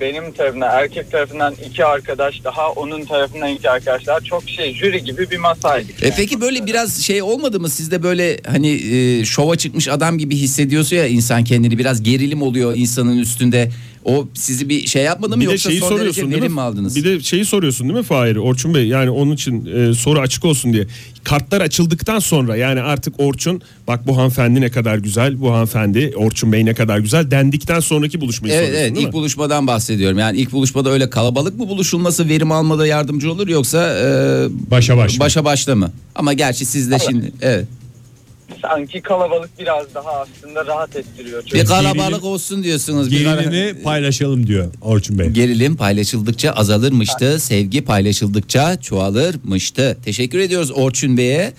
[SPEAKER 9] benim tarafına erkek tarafından iki arkadaş daha onun tarafından iki arkadaşlar çok şey jüri gibi bir masaydık.
[SPEAKER 2] E
[SPEAKER 9] yani.
[SPEAKER 2] peki böyle biraz şey olmadı mı sizde böyle hani e, şova çıkmış adam gibi hissediyorsa ya insan kendini biraz gerilim oluyor insanın üstünde. O sizi bir şey yapmadı mı
[SPEAKER 4] Bir de
[SPEAKER 2] yoksa
[SPEAKER 4] şeyi
[SPEAKER 2] son derece
[SPEAKER 4] soruyorsun değil mi?
[SPEAKER 2] verim mi aldınız?
[SPEAKER 4] Bir de şeyi soruyorsun değil mi Fahir? Orçun Bey yani onun için e, soru açık olsun diye. Kartlar açıldıktan sonra yani artık Orçun bak bu hanımefendi ne kadar güzel, bu hanımefendi Orçun Bey ne kadar güzel dendikten sonraki buluşmayı
[SPEAKER 2] Evet
[SPEAKER 4] soruyorsun
[SPEAKER 2] evet
[SPEAKER 4] değil
[SPEAKER 2] ilk
[SPEAKER 4] mi?
[SPEAKER 2] buluşmadan bahsediyorum. Yani ilk buluşmada öyle kalabalık mı buluşulması verim almada yardımcı olur yoksa e,
[SPEAKER 11] Başa baş. mı?
[SPEAKER 2] başa başla mı? Ama gerçi sizde şimdi evet.
[SPEAKER 9] Sanki kalabalık biraz daha aslında rahat ettiriyor. çocuğu.
[SPEAKER 2] Bir kalabalık olsun diyorsunuz. Bir kara-
[SPEAKER 11] Gerilimi paylaşalım diyor Orçun Bey.
[SPEAKER 2] Gerilim paylaşıldıkça azalırmıştı. Sevgi paylaşıldıkça çoğalırmıştı. Teşekkür ediyoruz Orçun Bey'e.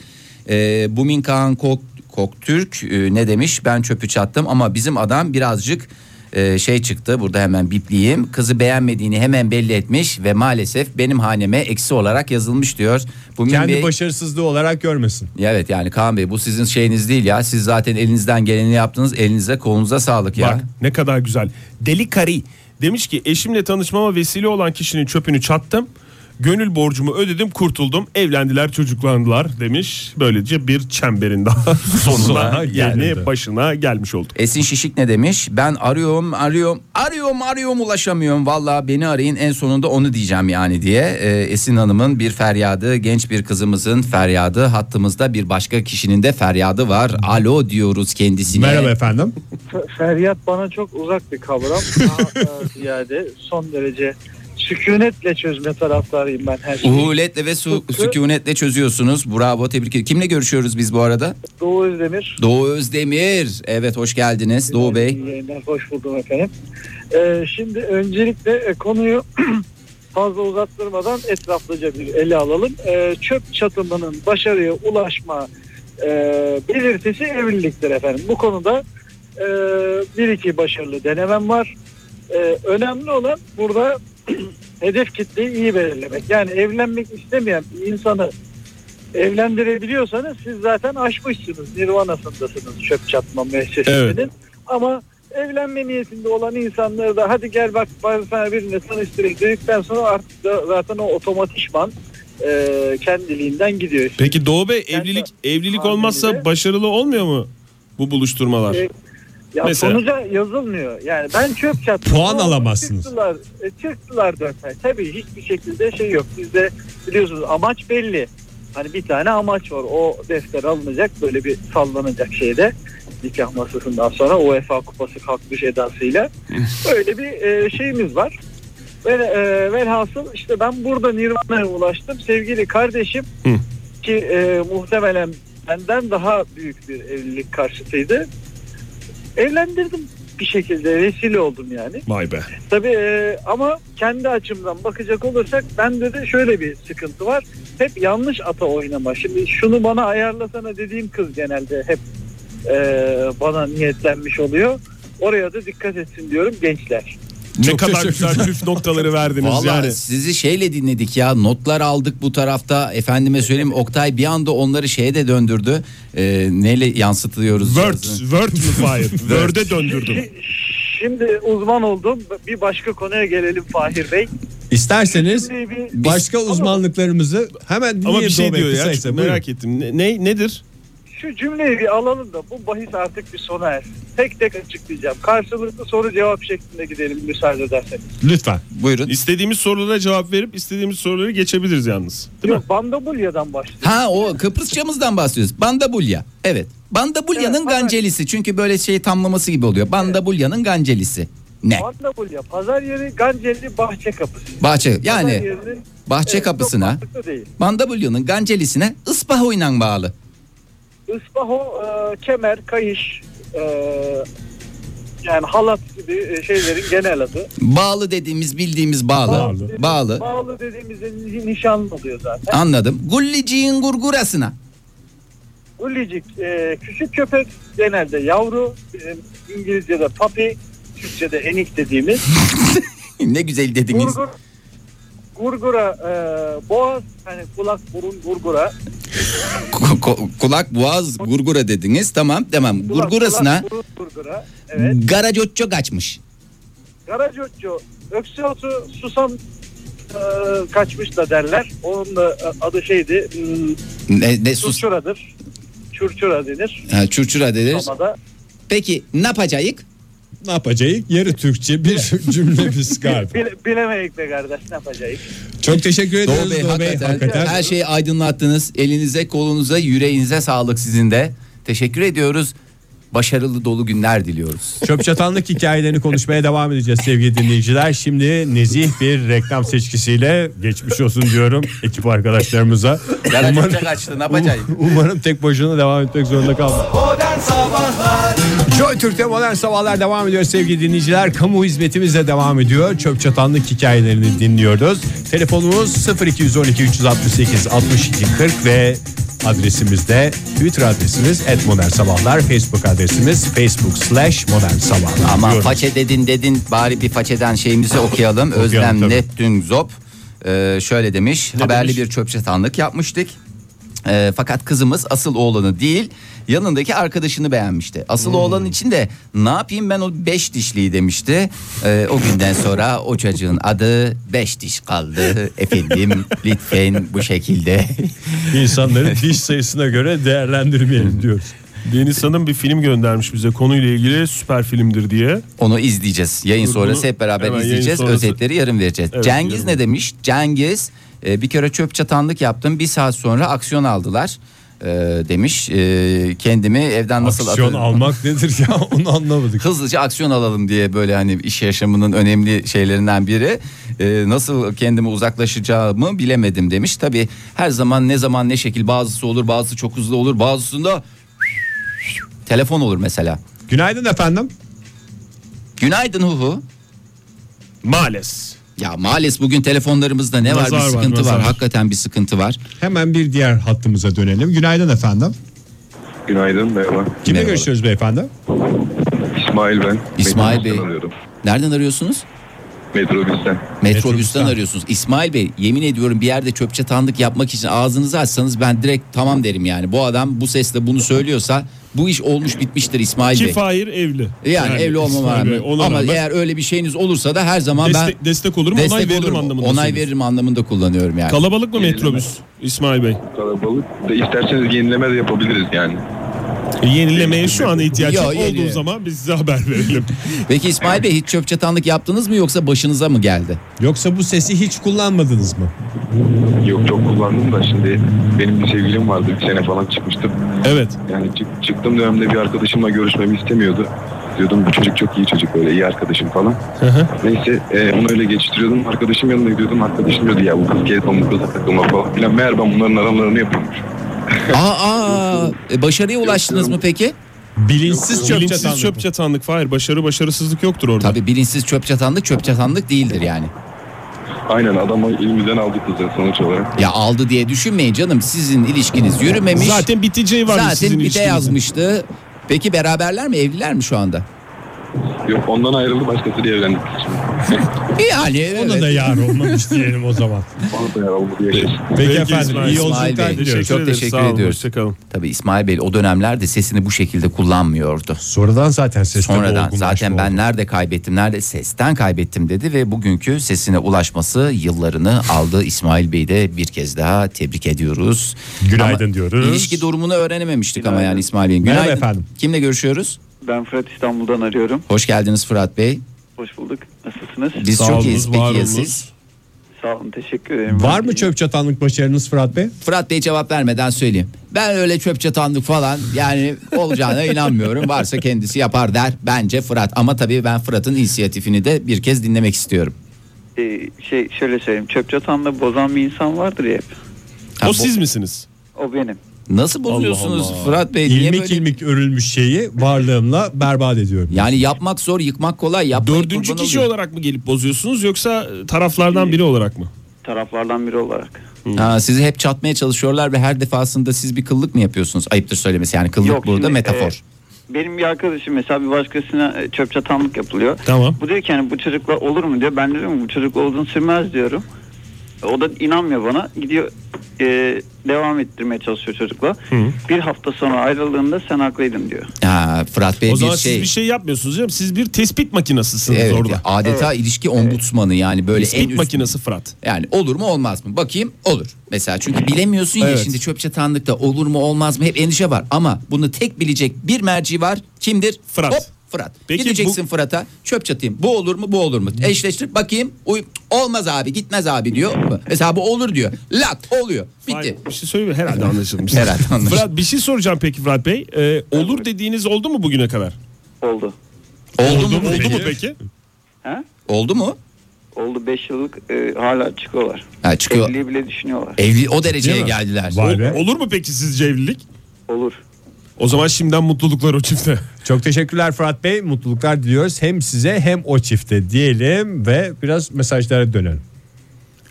[SPEAKER 2] Ee, Bumin Kağan Kok, Koktürk e, ne demiş? Ben çöpü çattım ama bizim adam birazcık e, şey çıktı. Burada hemen bipleyeyim. Kızı beğenmediğini hemen belli etmiş ve maalesef benim haneme eksi olarak yazılmış diyor. Bumin
[SPEAKER 11] Kendi
[SPEAKER 2] Bey-
[SPEAKER 11] başarısızlığı olarak görmesin.
[SPEAKER 2] Evet yani Kaan Bey bu sizin şeyiniz değil ya. Siz zaten elinizden geleni yaptınız. Elinize kolunuza sağlık ya.
[SPEAKER 4] Bak ne kadar güzel. Deli Kari demiş ki eşimle tanışmama vesile olan kişinin çöpünü çattım. Gönül borcumu ödedim kurtuldum. Evlendiler çocuklandılar demiş. Böylece bir çemberin daha [laughs] sonuna yani
[SPEAKER 11] gelindi.
[SPEAKER 4] başına gelmiş olduk.
[SPEAKER 2] Esin Şişik ne demiş? Ben arıyorum, arıyorum, arıyorum, arıyorum ulaşamıyorum. Valla beni arayın en sonunda onu diyeceğim yani diye. Ee, Esin Hanım'ın bir feryadı, genç bir kızımızın feryadı. Hattımızda bir başka kişinin de feryadı var. Alo diyoruz kendisine.
[SPEAKER 11] Merhaba efendim.
[SPEAKER 12] Feryat bana çok uzak bir kavram. Daha e, ziyade son derece sükunetle çözme taraftarıyım ben her şeyi.
[SPEAKER 2] Uhuletle ve su- sükunetle çözüyorsunuz. Bravo, tebrik ederim. Kimle görüşüyoruz biz bu arada?
[SPEAKER 12] Doğu Özdemir.
[SPEAKER 2] Doğu Özdemir. Evet, hoş geldiniz Doğu Bey.
[SPEAKER 12] İyi yayınlar, Hoş buldum efendim. E, şimdi öncelikle e, konuyu [clears throat] fazla uzattırmadan etraflıca bir ele alalım. E, çöp çatımının başarıya ulaşma e, belirtisi evliliktir efendim. Bu konuda e, bir iki başarılı denemem var. E, önemli olan burada [clears throat] hedef kitleyi iyi belirlemek. Yani evlenmek istemeyen bir insanı evlendirebiliyorsanız siz zaten aşmışsınız. Nirvanasındasınız çöp çatma müessesesinin. Ama evlenme niyetinde olan insanları da hadi gel bak ben sana birine tanıştırayım dedikten sonra artık da zaten o otomatikman e, kendiliğinden gidiyor.
[SPEAKER 4] Peki Doğu Bey
[SPEAKER 12] Ben de-
[SPEAKER 4] evlilik evlilik
[SPEAKER 12] Aynen
[SPEAKER 4] olmazsa
[SPEAKER 12] öyle.
[SPEAKER 4] başarılı olmuyor mu bu buluşturmalar?
[SPEAKER 12] E, Ya
[SPEAKER 4] Mesela?
[SPEAKER 12] sonuca yazılmıyor. Yani ben çöp çattım.
[SPEAKER 11] Puan
[SPEAKER 12] Ama
[SPEAKER 11] alamazsınız.
[SPEAKER 12] Çıktılar, e, çıktılar dörtler. Tabii hiçbir şekilde şey yok. Bizde biliyorsunuz amaç belli. Hani bir tane amaç var. O defter alınacak böyle bir sallanacak şeyde. Nikah masasından sonra UEFA kupası
[SPEAKER 11] [laughs]
[SPEAKER 12] kalkmış edasıyla. Öyle bir e, şeyimiz var. Ve, e, velhasıl işte ben burada Nirvana'ya ulaştım. Sevgili kardeşim
[SPEAKER 4] Hı.
[SPEAKER 12] ki e, muhtemelen benden daha büyük bir evlilik karşıtıydı. Evlendirdim. bir şekilde vesile oldum yani.
[SPEAKER 4] Vay be.
[SPEAKER 12] Tabii e, ama kendi açımdan bakacak olursak bende de şöyle bir sıkıntı var. Hep yanlış ata oynama. Şimdi şunu bana ayarlasana dediğim kız genelde hep e, bana niyetlenmiş oluyor. Oraya da dikkat etsin diyorum gençler.
[SPEAKER 4] Ne kadar güzel püf noktaları verdiniz
[SPEAKER 2] Vallahi
[SPEAKER 4] yani.
[SPEAKER 2] sizi şeyle dinledik ya notlar aldık bu tarafta efendime söyleyeyim Oktay bir anda onları şeye de döndürdü Ee, neyle yansıtıyoruz
[SPEAKER 4] Word,
[SPEAKER 2] cihazı?
[SPEAKER 4] Word
[SPEAKER 2] [laughs]
[SPEAKER 4] mü Fahir? Word'e döndürdüm.
[SPEAKER 12] Şimdi uzman oldum. Bir başka konuya gelelim Fahir Bey.
[SPEAKER 3] İsterseniz
[SPEAKER 12] Şimdi bir-
[SPEAKER 3] başka uzmanlıklarımızı hemen
[SPEAKER 4] Ama
[SPEAKER 3] dinleyelim.
[SPEAKER 4] bir şey
[SPEAKER 3] Doğu Bey,
[SPEAKER 4] diyor ya
[SPEAKER 3] kısaysa.
[SPEAKER 4] çok
[SPEAKER 3] Buyurun.
[SPEAKER 4] merak ettim. Ne, ne- nedir?
[SPEAKER 12] Şu cümleyi bir alalım da bu bahis artık bir sona ersin. Tek tek açıklayacağım. Karşılıklı soru cevap şeklinde gidelim müsaade ederseniz.
[SPEAKER 3] Lütfen.
[SPEAKER 2] Buyurun.
[SPEAKER 4] İstediğimiz sorulara cevap verip istediğimiz soruları geçebiliriz yalnız. Değil mi?
[SPEAKER 12] Yok, Bandabulya'dan başlayalım.
[SPEAKER 2] Ha o Kıbrısçamızdan bahsediyoruz. Bandabulya. Evet. Bandabulya'nın
[SPEAKER 12] Evet,
[SPEAKER 2] gancelisi. Çünkü böyle şey tamlaması gibi oluyor. Bandabulya'nın gancelisi. Ne?
[SPEAKER 12] Bandabulya, pazar yeri Gancelli Bahçe Kapısı.
[SPEAKER 2] Bahçe
[SPEAKER 12] Pazar
[SPEAKER 2] yani
[SPEAKER 12] yerinin-
[SPEAKER 2] bahçe
[SPEAKER 12] Evet, çok
[SPEAKER 2] kapısına
[SPEAKER 12] mantıklı değil.
[SPEAKER 2] Bandabulya'nın gancelisine ıspah oynan bağlı.
[SPEAKER 12] Ispaho, e, kemer, kayış, e, yani halat gibi e, şeylerin genel adı.
[SPEAKER 2] Bağlı dediğimiz bildiğimiz bağlı. Bağlı.
[SPEAKER 12] dediğimiz- Bağlı dediğimizde ni- nişanlı oluyor zaten.
[SPEAKER 2] Anladım. Gulliciğin gurgurasına. [laughs]
[SPEAKER 12] Ulicik e, küçük köpek genelde yavru bizim İngilizce'de puppy Türkçe'de
[SPEAKER 2] [laughs]
[SPEAKER 12] enik dediğimiz
[SPEAKER 2] ne güzel dediniz.
[SPEAKER 12] gurgur gurgura e, boğaz hani kulak burun gurgura
[SPEAKER 2] [laughs] Ku- ku- Kulak, boğaz, gurgura dediniz. Tamam, tamam.
[SPEAKER 12] kulak,
[SPEAKER 2] Gurgurasına
[SPEAKER 12] kulak, burun, gurgura evet
[SPEAKER 2] garacocco kaçmış.
[SPEAKER 12] garacocco öksü otu susam e, kaçmış da derler onun da e, adı şeydi hmm,
[SPEAKER 2] Ne, ne sus.
[SPEAKER 12] çurçuradır çurçura denir
[SPEAKER 2] Ha, çurçura dediniz.
[SPEAKER 12] Roma'da.
[SPEAKER 2] Peki ne yapacağız?
[SPEAKER 3] Ne yapacağız? Yarı Türkçe
[SPEAKER 2] [laughs]
[SPEAKER 3] bir cümle biz galiba.
[SPEAKER 12] Bile, bilemeyik be kardeş ne yapacağız
[SPEAKER 3] Çok teşekkür ederiz
[SPEAKER 2] Doğu Bey, hakikaten, her şeyi aydınlattınız. Elinize, kolunuza, yüreğinize sağlık sizin de. Teşekkür ediyoruz. Başarılı dolu günler diliyoruz.
[SPEAKER 11] Çöp çatanlık hikayelerini konuşmaya devam edeceğiz sevgili dinleyiciler. Şimdi nezih bir reklam seçkisiyle geçmiş olsun diyorum ekip arkadaşlarımıza. Um-
[SPEAKER 2] Garacocco kaçtı ne yapacağız?
[SPEAKER 11] Umarım tek başına devam etmek zorunda kalmaz. Joy Türk'te modern sabahlar devam ediyor sevgili dinleyiciler. Kamu hizmetimiz de devam ediyor. Çöp çatanlık hikayelerini dinliyoruz. Telefonumuz 0212 368 62 40 ve adresimizde Twitter adresimiz et modern sabahlar. Facebook adresimiz facebook slash modern sabahlar.
[SPEAKER 2] Ama
[SPEAKER 11] diyoruz.
[SPEAKER 2] façe dedin dedin bari bir
[SPEAKER 11] [laughs]
[SPEAKER 2] façeden şeyimizi okuyalım. Özlem
[SPEAKER 11] tabii.
[SPEAKER 2] Neptün Zop e, şöyle demiş. haberli bir çöp çatanlık yapmıştık. E, fakat kızımız asıl oğlanı değil yanındaki arkadaşını beğenmişti. Asıl
[SPEAKER 11] Hmm.
[SPEAKER 2] oğlan için de ne yapayım ben o beş dişliyi demişti. E, o günden sonra o çocuğun adı beş diş
[SPEAKER 11] [laughs]
[SPEAKER 2] kaldı. Efendim lütfen bu şekilde.
[SPEAKER 11] İnsanların
[SPEAKER 4] [laughs]
[SPEAKER 11] diş sayısına göre değerlendirmeyelim diyoruz.
[SPEAKER 4] Deniz Hanım bir film göndermiş bize konuyla ilgili süper filmdir diye.
[SPEAKER 2] Onu izleyeceğiz. Yayın
[SPEAKER 4] Bunu
[SPEAKER 2] sonrası hep beraber
[SPEAKER 4] hemen yayın
[SPEAKER 2] izleyeceğiz.
[SPEAKER 4] sonrası-
[SPEAKER 2] Özetleri yarın vereceğiz.
[SPEAKER 4] Evet,
[SPEAKER 2] Cengiz
[SPEAKER 4] yarın.
[SPEAKER 2] ne demiş? Cengiz e, bir kere çöp çatanlık yaptım. Bir saat sonra aksiyon aldılar e, demiş. E, kendimi evden nasıl
[SPEAKER 11] Aksiyon
[SPEAKER 2] atarım?
[SPEAKER 11] almak nedir
[SPEAKER 3] [laughs]
[SPEAKER 11] ya onu anlamadık.
[SPEAKER 2] Hızlıca aksiyon alalım diye böyle hani iş yaşamının önemli şeylerinden biri. E, nasıl kendimi uzaklaşacağımı bilemedim demiş. Tabii her zaman ne zaman ne şekil bazısı olur bazısı çok hızlı olur bazısında telefon olur mesela.
[SPEAKER 11] Günaydın efendim.
[SPEAKER 2] Günaydın Huhu.
[SPEAKER 4] Maalesef.
[SPEAKER 2] Ya maalesef bugün telefonlarımızda ne var
[SPEAKER 11] Nazar
[SPEAKER 2] bir
[SPEAKER 11] var,
[SPEAKER 2] sıkıntı var,
[SPEAKER 11] nazar.
[SPEAKER 2] Hakikaten bir sıkıntı var.
[SPEAKER 11] Hemen bir diğer hattımıza dönelim. Günaydın efendim.
[SPEAKER 13] Günaydın merhaba.
[SPEAKER 11] Kimle
[SPEAKER 2] Merhaba.
[SPEAKER 11] görüşüyoruz beyefendi?
[SPEAKER 13] İsmail ben.
[SPEAKER 2] İsmail
[SPEAKER 13] Metrobüsten
[SPEAKER 2] Bey.
[SPEAKER 13] arıyorum.
[SPEAKER 2] Nereden arıyorsunuz?
[SPEAKER 13] Metrobüsten.
[SPEAKER 2] Metrobüsten,
[SPEAKER 11] Metrobüsten.
[SPEAKER 2] arıyorsunuz. İsmail Bey yemin ediyorum bir yerde çöp çatanlık yapmak için ağzınızı açsanız ben direkt tamam derim yani. Bu adam bu sesle bunu söylüyorsa bu iş olmuş bitmiştir İsmail
[SPEAKER 4] Ki
[SPEAKER 2] Bey.
[SPEAKER 4] Fahir evli.
[SPEAKER 2] Yani, evli olmama
[SPEAKER 4] İsmail Bey,
[SPEAKER 2] rağmen
[SPEAKER 4] ona
[SPEAKER 2] ama
[SPEAKER 4] rağmen
[SPEAKER 2] eğer öyle bir şeyiniz olursa da her zaman
[SPEAKER 4] destek, destek olurum
[SPEAKER 2] ben destek
[SPEAKER 4] onay veririm
[SPEAKER 2] olurum.
[SPEAKER 4] anlamında.
[SPEAKER 2] Onay
[SPEAKER 4] söylüyorum.
[SPEAKER 2] veririm anlamında kullanıyorum yani.
[SPEAKER 4] Kalabalık mı metrobüs İsmail Bey?
[SPEAKER 13] Kalabalık. De isterseniz yenileme de yapabiliriz yani.
[SPEAKER 4] E, Yenilemeye şu an ihtiyaç
[SPEAKER 2] Yo,
[SPEAKER 4] yok.
[SPEAKER 2] yeni-
[SPEAKER 4] olduğu zaman biz size haber verelim.
[SPEAKER 2] Peki İsmail Bey hiç çöp çatanlık yaptınız mı yoksa başınıza mı geldi?
[SPEAKER 11] Yoksa bu sesi hiç kullanmadınız mı?
[SPEAKER 13] Yok çok kullandım da şimdi benim bir sevgilim vardı bir sene falan çıkmıştım.
[SPEAKER 4] evet.
[SPEAKER 13] Yani çık- çıktığım dönemde bir arkadaşımla görüşmemi istemiyordu. Diyordum bu çocuk çok iyi çocuk böyle iyi arkadaşım falan. Neyse e, onu öyle geçiştiriyordum. Arkadaşım yanına gidiyordum. Arkadaşım diyordu ya bu kız gezme bu kızla takılma falan filan. Meğer ben bunların aralarını yapıyormuş.
[SPEAKER 2] Aa, aa e, başarıya ulaştınız mı peki?
[SPEAKER 4] Bilinçsiz
[SPEAKER 2] Yok,
[SPEAKER 4] çöp
[SPEAKER 2] bilinçsiz
[SPEAKER 4] çatanlık.
[SPEAKER 2] çöp
[SPEAKER 4] Hayır başarı başarısızlık yoktur orada.
[SPEAKER 2] Tabii bilinçsiz çöp çatanlık çöp çatanlık değildir yani.
[SPEAKER 13] Aynen adam elimizden aldı kızı sonuç olarak.
[SPEAKER 2] Ya aldı diye düşünmeyin canım. Sizin ilişkiniz yürümemiş.
[SPEAKER 13] Zaten biteceği varmış
[SPEAKER 2] Zaten
[SPEAKER 13] sizin
[SPEAKER 2] bite
[SPEAKER 13] ilişkinizin.
[SPEAKER 2] yazmıştı. Peki beraberler mi? Evliler mi şu anda?
[SPEAKER 13] Yok ondan ayrıldı başkasıyla evlendik.
[SPEAKER 2] Yani
[SPEAKER 3] Ona da yar olmamış diyelim o
[SPEAKER 2] [laughs]
[SPEAKER 3] zaman.
[SPEAKER 13] Bana da olmadı yaşasın.
[SPEAKER 3] Peki efendim, iyi
[SPEAKER 2] İsmail
[SPEAKER 3] yolculuklar
[SPEAKER 2] Bey,
[SPEAKER 3] diliyoruz.
[SPEAKER 2] Çok teşekkür ediyoruz. Tabii İsmail Bey o dönemlerde sesini bu şekilde kullanmıyordu.
[SPEAKER 14] Sonradan zaten sesle
[SPEAKER 2] Sonradan
[SPEAKER 14] olgunlaşma
[SPEAKER 2] zaten ben nerede kaybettim nerede sesten kaybettim dedi ve bugünkü sesine ulaşması yıllarını aldı İsmail Bey'i de bir kez daha tebrik ediyoruz.
[SPEAKER 3] Günaydın
[SPEAKER 2] Ama
[SPEAKER 3] diyoruz.
[SPEAKER 2] İlişki durumunu öğrenememiştik ama yani İsmail Bey.
[SPEAKER 3] Merhaba
[SPEAKER 2] Günaydın.
[SPEAKER 3] efendim.
[SPEAKER 2] Kimle görüşüyoruz?
[SPEAKER 15] Ben Fırat İstanbul'dan arıyorum.
[SPEAKER 2] Hoş geldiniz Fırat Bey.
[SPEAKER 15] Hoş bulduk. Nasılsınız?
[SPEAKER 2] Biz Sağ çok olunuz, iyiyiz. Peki var ya olunuz. siz?
[SPEAKER 15] Sağ olun. Teşekkür ederim.
[SPEAKER 3] Var mı çöp çatanlık başarınız Fırat Bey?
[SPEAKER 2] Fırat Bey cevap vermeden söyleyeyim. Ben öyle çöp çatanlık falan yani olacağına
[SPEAKER 4] [laughs]
[SPEAKER 2] inanmıyorum. Varsa kendisi yapar der bence Fırat. Ama tabii ben Fırat'ın inisiyatifini de bir kez dinlemek istiyorum.
[SPEAKER 15] Ee, şey şöyle söyleyeyim. Çöp çatanlığı bozan bir insan vardır ya hep.
[SPEAKER 2] O siz
[SPEAKER 4] misiniz?
[SPEAKER 15] O benim.
[SPEAKER 2] Nasıl bozuyorsunuz Fırat Bey?
[SPEAKER 3] İlmik
[SPEAKER 2] Niye böyle?
[SPEAKER 3] ilmik örülmüş şeyi varlığımla berbat ediyorum.
[SPEAKER 2] Yani yapmak zor, yıkmak kolay. Yapmayı
[SPEAKER 4] Dördüncü kişi olarak mı gelip bozuyorsunuz yoksa taraflardan biri olarak mı?
[SPEAKER 15] Taraflardan biri olarak.
[SPEAKER 2] Ha, sizi hep çatmaya çalışıyorlar ve her defasında siz bir kıllık mı yapıyorsunuz? Ayıptır söylemesi yani kıllık
[SPEAKER 15] Yok, şimdi,
[SPEAKER 2] burada
[SPEAKER 15] e,
[SPEAKER 2] metafor.
[SPEAKER 15] Benim bir arkadaşım mesela bir başkasına e, çöp çatanlık yapılıyor.
[SPEAKER 2] Tamam.
[SPEAKER 15] Bu diyor ki hani bu çocukla olur mu diyor. Ben dedim bu çocukla olduğunu sürmez diyorum. E, O da inanmıyor bana. Gidiyor e, devam ettirmeye çalışıyor çocukla. Bir hafta sonra ayrıldığında sen haklıydın diyor.
[SPEAKER 2] Ha, Fırat Bey
[SPEAKER 4] o
[SPEAKER 2] bir
[SPEAKER 4] zaman
[SPEAKER 2] şey...
[SPEAKER 4] siz bir şey yapmıyorsunuz canım. Siz bir tespit makinasısınız
[SPEAKER 2] Evet,
[SPEAKER 4] orada.
[SPEAKER 2] adeta ilişki ombudsmanı yani böyle
[SPEAKER 4] Tespit
[SPEAKER 2] en üst
[SPEAKER 4] makinesi Fırat.
[SPEAKER 2] Yani olur mu olmaz mı? Bakayım olur. Mesela çünkü bilemiyorsun ya
[SPEAKER 4] Evet.
[SPEAKER 2] şimdi çöp çatanlıkta olur mu olmaz mı hep endişe var. Ama bunu tek bilecek bir merci var. Kimdir? Fırat. Hop Fırat.
[SPEAKER 4] Peki
[SPEAKER 2] Gideceksin Fırat'a çöp çatayım. Bu olur mu bu olur mu? Eşleştir bakayım. Uy, olmaz abi gitmez abi diyor. Mesela bu olur diyor. Lak oluyor. Bitti.
[SPEAKER 4] Bir şey söyleyeyim mi? herhalde
[SPEAKER 2] [laughs]
[SPEAKER 4] anlaşılmış.
[SPEAKER 2] Herhalde anlaşılmış.
[SPEAKER 4] Fırat bir şey soracağım peki Fırat Bey. Ee, olur dediğiniz oldu mu bugüne kadar?
[SPEAKER 15] Oldu.
[SPEAKER 2] Oldu mu?
[SPEAKER 4] Oldu mu peki?
[SPEAKER 2] Oldu mu?
[SPEAKER 15] Oldu 5 yıllık e, hala çıkıyorlar.
[SPEAKER 2] Ha, çıkıyor.
[SPEAKER 15] Evliliği bile düşünüyorlar.
[SPEAKER 2] Evli o dereceye
[SPEAKER 4] Değil mi?
[SPEAKER 2] geldiler.
[SPEAKER 4] Ol- olur mu peki sizce evlilik?
[SPEAKER 15] Olur.
[SPEAKER 4] O zaman şimdiden mutluluklar o çifte.
[SPEAKER 3] Çok teşekkürler Fırat Bey. Mutluluklar diliyoruz hem size hem o çifte diyelim ve biraz mesajlara dönelim.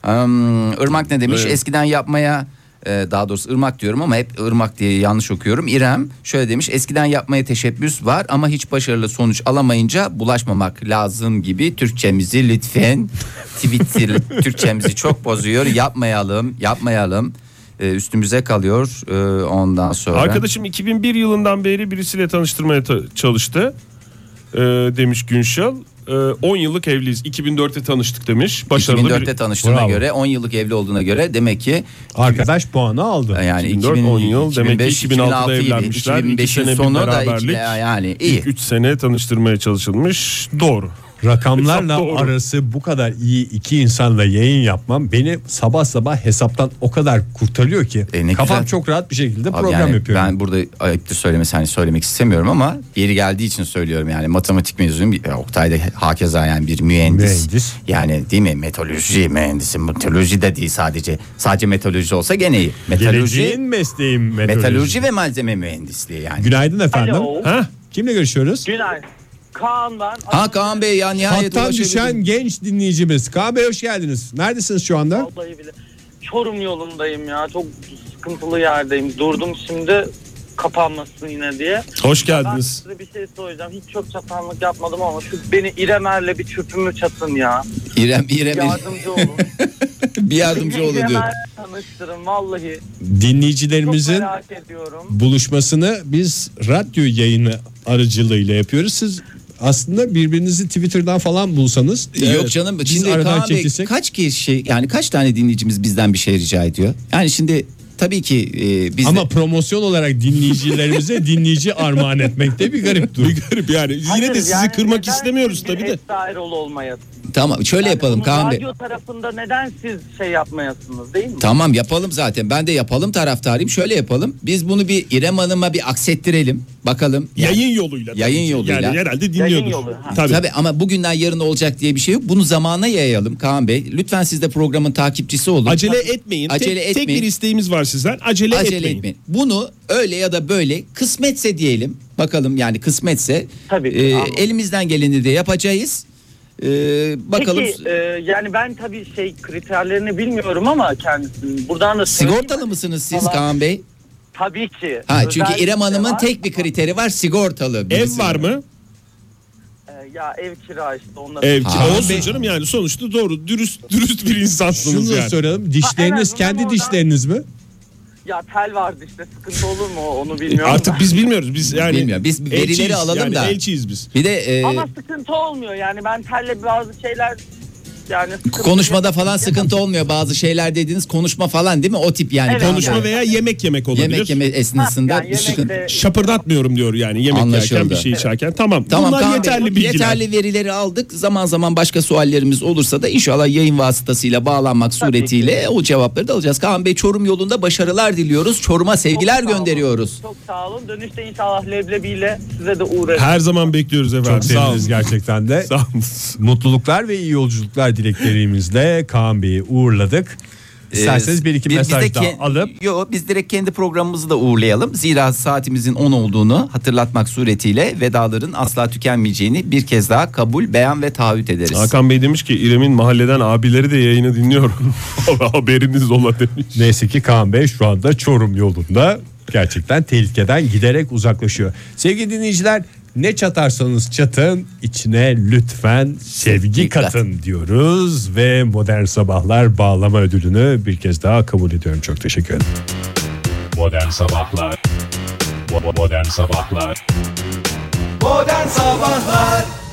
[SPEAKER 2] Hmm, Irmak ne demiş?
[SPEAKER 3] Evet.
[SPEAKER 2] Eskiden yapmaya e, daha doğrusu ırmak diyorum ama hep ırmak diye yanlış okuyorum. İrem şöyle demiş. Eskiden yapmaya teşebbüs var ama hiç başarılı sonuç alamayınca bulaşmamak lazım gibi
[SPEAKER 3] [laughs]
[SPEAKER 2] Türkçemizi lütfen Twitter Türkçemizi çok bozuyor. Yapmayalım, yapmayalım. E, üstümüze kalıyor E, ondan sonra.
[SPEAKER 4] Arkadaşım 2001 yılından beri birisiyle tanıştırmaya ta- çalıştı. Ee, demiş Günşal. Ee, 10 yıllık evliyiz. 2004'te tanıştık demiş. Başarılı
[SPEAKER 2] 2004'te
[SPEAKER 4] bir-
[SPEAKER 2] tanıştığına göre 10 yıllık evli olduğuna göre demek ki
[SPEAKER 3] arkadaş puanı aldı.
[SPEAKER 2] Yani
[SPEAKER 4] 2004,
[SPEAKER 2] 2000,
[SPEAKER 4] 10 yıl demek ki
[SPEAKER 2] 2005,
[SPEAKER 4] 2006'da
[SPEAKER 2] 2006
[SPEAKER 4] evlenmişler.
[SPEAKER 2] 2005'in
[SPEAKER 4] 2005 sene
[SPEAKER 2] sonu
[SPEAKER 4] sonu
[SPEAKER 2] da
[SPEAKER 4] beraberlik.
[SPEAKER 2] işte yani iyi.
[SPEAKER 4] İlk 3 sene tanıştırmaya çalışılmış. Doğru.
[SPEAKER 3] Rakamlarla
[SPEAKER 4] Hesap doğru.
[SPEAKER 3] arası bu kadar iyi iki insanla yayın yapmam beni sabah sabah hesaptan o kadar kurtarıyor ki kafam
[SPEAKER 2] E, güzel.
[SPEAKER 3] çok rahat bir şey- şekilde
[SPEAKER 2] Abi
[SPEAKER 3] program
[SPEAKER 2] yani
[SPEAKER 3] yapıyorum.
[SPEAKER 2] Ben burada ayıptır söylemesi hani söylemek istemiyorum ama yeri geldiği için söylüyorum yani matematik mezunuyum. Ya Oktay da hakeza yani bir mühendis. Yani değil mi meteoroloji mühendisi meteoroloji de değil sadece. Sadece meteoroloji olsa gene iyi.
[SPEAKER 3] Geleceğin
[SPEAKER 2] Meteoroloji,
[SPEAKER 3] mesleğim meteoroloji.
[SPEAKER 2] meteoroloji ve malzeme mühendisliği yani.
[SPEAKER 3] Günaydın efendim.
[SPEAKER 2] Alo.
[SPEAKER 3] Ha? Kimle görüşüyoruz?
[SPEAKER 15] Günaydın. Kaan ben.
[SPEAKER 2] Ha Kaan Bey ya nihayet
[SPEAKER 3] Hattan
[SPEAKER 2] ulaşabildim.
[SPEAKER 3] düşen genç dinleyicimiz. Kaan Bey hoş geldiniz. Neredesiniz şu anda?
[SPEAKER 15] Vallahi bile. Çorum yolundayım ya. Çok sıkıntılı yerdeyim. Durdum şimdi kapanmasın yine diye.
[SPEAKER 4] Hoş
[SPEAKER 15] Ben
[SPEAKER 4] geldiniz.
[SPEAKER 15] size bir şey soracağım. Hiç çok çatanlık yapmadım ama şu beni İrem Er'le bir çöpümü çatın ya.
[SPEAKER 2] İrem İrem
[SPEAKER 15] Yardımcı olun.
[SPEAKER 2] [laughs] bir [laughs] yardımcı olun
[SPEAKER 15] İrem
[SPEAKER 2] diyor.
[SPEAKER 15] Er'le tanıştırın vallahi.
[SPEAKER 3] Dinleyicilerimizin
[SPEAKER 15] Merak ediyorum.
[SPEAKER 3] buluşmasını biz radyo yayını aracılığıyla yapıyoruz. Siz aslında birbirinizi Twitter'dan falan bulsanız.
[SPEAKER 2] Yok canım
[SPEAKER 3] biz
[SPEAKER 2] şimdi
[SPEAKER 3] aradan
[SPEAKER 2] Kaan Bey,
[SPEAKER 3] çekilsek-
[SPEAKER 2] kaç kişi yani kaç tane dinleyicimiz bizden bir şey rica ediyor? Yani şimdi tabii ki e, biz de-
[SPEAKER 3] Ama promosyon olarak
[SPEAKER 2] [laughs]
[SPEAKER 3] dinleyicilerimize dinleyici armağan etmekte bir garip durum. Bir garip yani.
[SPEAKER 15] Hayır, yani
[SPEAKER 4] kırmak
[SPEAKER 15] neden
[SPEAKER 4] istemiyoruz
[SPEAKER 15] siz
[SPEAKER 4] tabii
[SPEAKER 15] bir
[SPEAKER 4] de.
[SPEAKER 15] Esra Erol olmayasınız?
[SPEAKER 2] Tamam şöyle
[SPEAKER 15] Yani
[SPEAKER 2] yapalım
[SPEAKER 15] bunu
[SPEAKER 2] Kaan Bey.
[SPEAKER 15] Radyo tarafında neden siz şey yapmayasınız değil mi?
[SPEAKER 2] Tamam yapalım zaten. Ben de yapalım taraftarıyım. Şöyle yapalım. Biz bunu bir İrem Hanım'a bir aksettirelim. Bakalım.
[SPEAKER 4] Yayın yoluyla.
[SPEAKER 2] Yayın yoluyla.
[SPEAKER 4] Yani herhalde dinliyordur. Yayın yolu, ha. Tabii.
[SPEAKER 2] Tabii ama bugünden yarın olacak diye bir şey yok. Bunu zamana yayalım Kaan Bey. Lütfen siz de programın takipçisi olun.
[SPEAKER 4] Acele etmeyin.
[SPEAKER 2] Acele
[SPEAKER 4] tek,
[SPEAKER 2] etmeyin.
[SPEAKER 4] Tek bir isteğimiz var sizden. Acele, etmeyin.
[SPEAKER 2] Bunu öyle ya da böyle kısmetse diyelim. Bakalım yani kısmetse. Ee, elimizden geleni de yapacağız. Ee, bakalım.
[SPEAKER 16] Peki, e, yani ben tabii şey kriterlerini bilmiyorum ama kendisinin buradan da
[SPEAKER 2] Sigortalı mısınız siz
[SPEAKER 16] Falan.
[SPEAKER 2] Kaan Bey?
[SPEAKER 16] Tabii ki.
[SPEAKER 2] Ha çünkü
[SPEAKER 16] Özellikle
[SPEAKER 2] İrem Hanım'ın
[SPEAKER 16] var.
[SPEAKER 2] tek bir kriteri var sigortalı. birisi.
[SPEAKER 16] E, ya ev kira işte onlar.
[SPEAKER 4] Ev
[SPEAKER 2] Ha.
[SPEAKER 4] olsun canım yani sonuçta doğru dürüst dürüst bir insansınız
[SPEAKER 3] Şunu
[SPEAKER 4] yani.
[SPEAKER 3] soralım. Dişleriniz kendi dişleriniz mi?
[SPEAKER 16] Ya tel vardı işte sıkıntı olur mu onu bilmiyorum.
[SPEAKER 4] Artık
[SPEAKER 16] da.
[SPEAKER 4] biz bilmiyoruz biz yani.
[SPEAKER 2] Bilmiyorum. Biz verileri
[SPEAKER 4] elçiyiz.
[SPEAKER 2] alalım
[SPEAKER 4] yani
[SPEAKER 2] da.
[SPEAKER 4] Elçiyiz biz.
[SPEAKER 2] Bir de e,
[SPEAKER 16] Ama sıkıntı olmuyor yani ben telle bazı şeyler yani sıkıntı
[SPEAKER 2] konuşmada falan sıkıntı olmuyor. Bazı şeyler dediğiniz konuşma falan değil mi? O tip yani.
[SPEAKER 16] Evet.
[SPEAKER 4] Konuşma veya yemek yemek olabilir.
[SPEAKER 2] Yemek yeme esnasında bir sıkıntı.
[SPEAKER 4] Şapırdatmıyorum diyor yani yemek yerken
[SPEAKER 2] Anlaşıldı.
[SPEAKER 4] bir şey içerken. Tamam.
[SPEAKER 2] Tamam
[SPEAKER 4] Bunlar
[SPEAKER 2] Kaan Bey,
[SPEAKER 4] yeterli bilgiler.
[SPEAKER 2] Yeterli verileri aldık. Zaman zaman başka suallerimiz olursa da inşallah yayın vasıtasıyla bağlanmak suretiyle o cevapları da alacağız. Kaan Bey Çorum yolunda başarılar diliyoruz. Çorum'a sevgiler gönderiyoruz.
[SPEAKER 16] Çok sağ olun. Dönüşte inşallah leblebiyle size de uğrarım.
[SPEAKER 4] Her zaman bekliyoruz efendim.
[SPEAKER 3] Çok
[SPEAKER 4] Sağ olun.
[SPEAKER 3] seviniz gerçekten de. [laughs] Mutluluklar ve iyi yolculuklar dileklerimizle Kaan Bey'i uğurladık. İsterseniz bir iki
[SPEAKER 2] Ee, Biz- biz de
[SPEAKER 3] mesaj daha
[SPEAKER 2] ke-
[SPEAKER 3] alıp
[SPEAKER 2] Yo, biz direkt kendi programımızı da uğurlayalım. Zira saatimizin 10 olduğunu hatırlatmak suretiyle vedaların asla tükenmeyeceğini bir kez daha kabul, beyan ve taahhüt ederiz.
[SPEAKER 4] Hakan Bey demiş ki İrem'in mahalleden abileri de yayını dinliyor. [laughs] Haberiniz ola demiş.
[SPEAKER 3] Neyse ki Kaan Bey şu anda Çorum yolunda gerçekten tehlikeden giderek uzaklaşıyor. Sevgili dinleyiciler ne çatarsanız çatın içine lütfen sevgi katın diyoruz ve Modern Sabahlar bağlama ödülünü bir kez daha kabul ediyorum. Çok teşekkür ederim.
[SPEAKER 17] Modern Sabahlar Bo- bo- Modern Sabahlar
[SPEAKER 7] Modern Sabahlar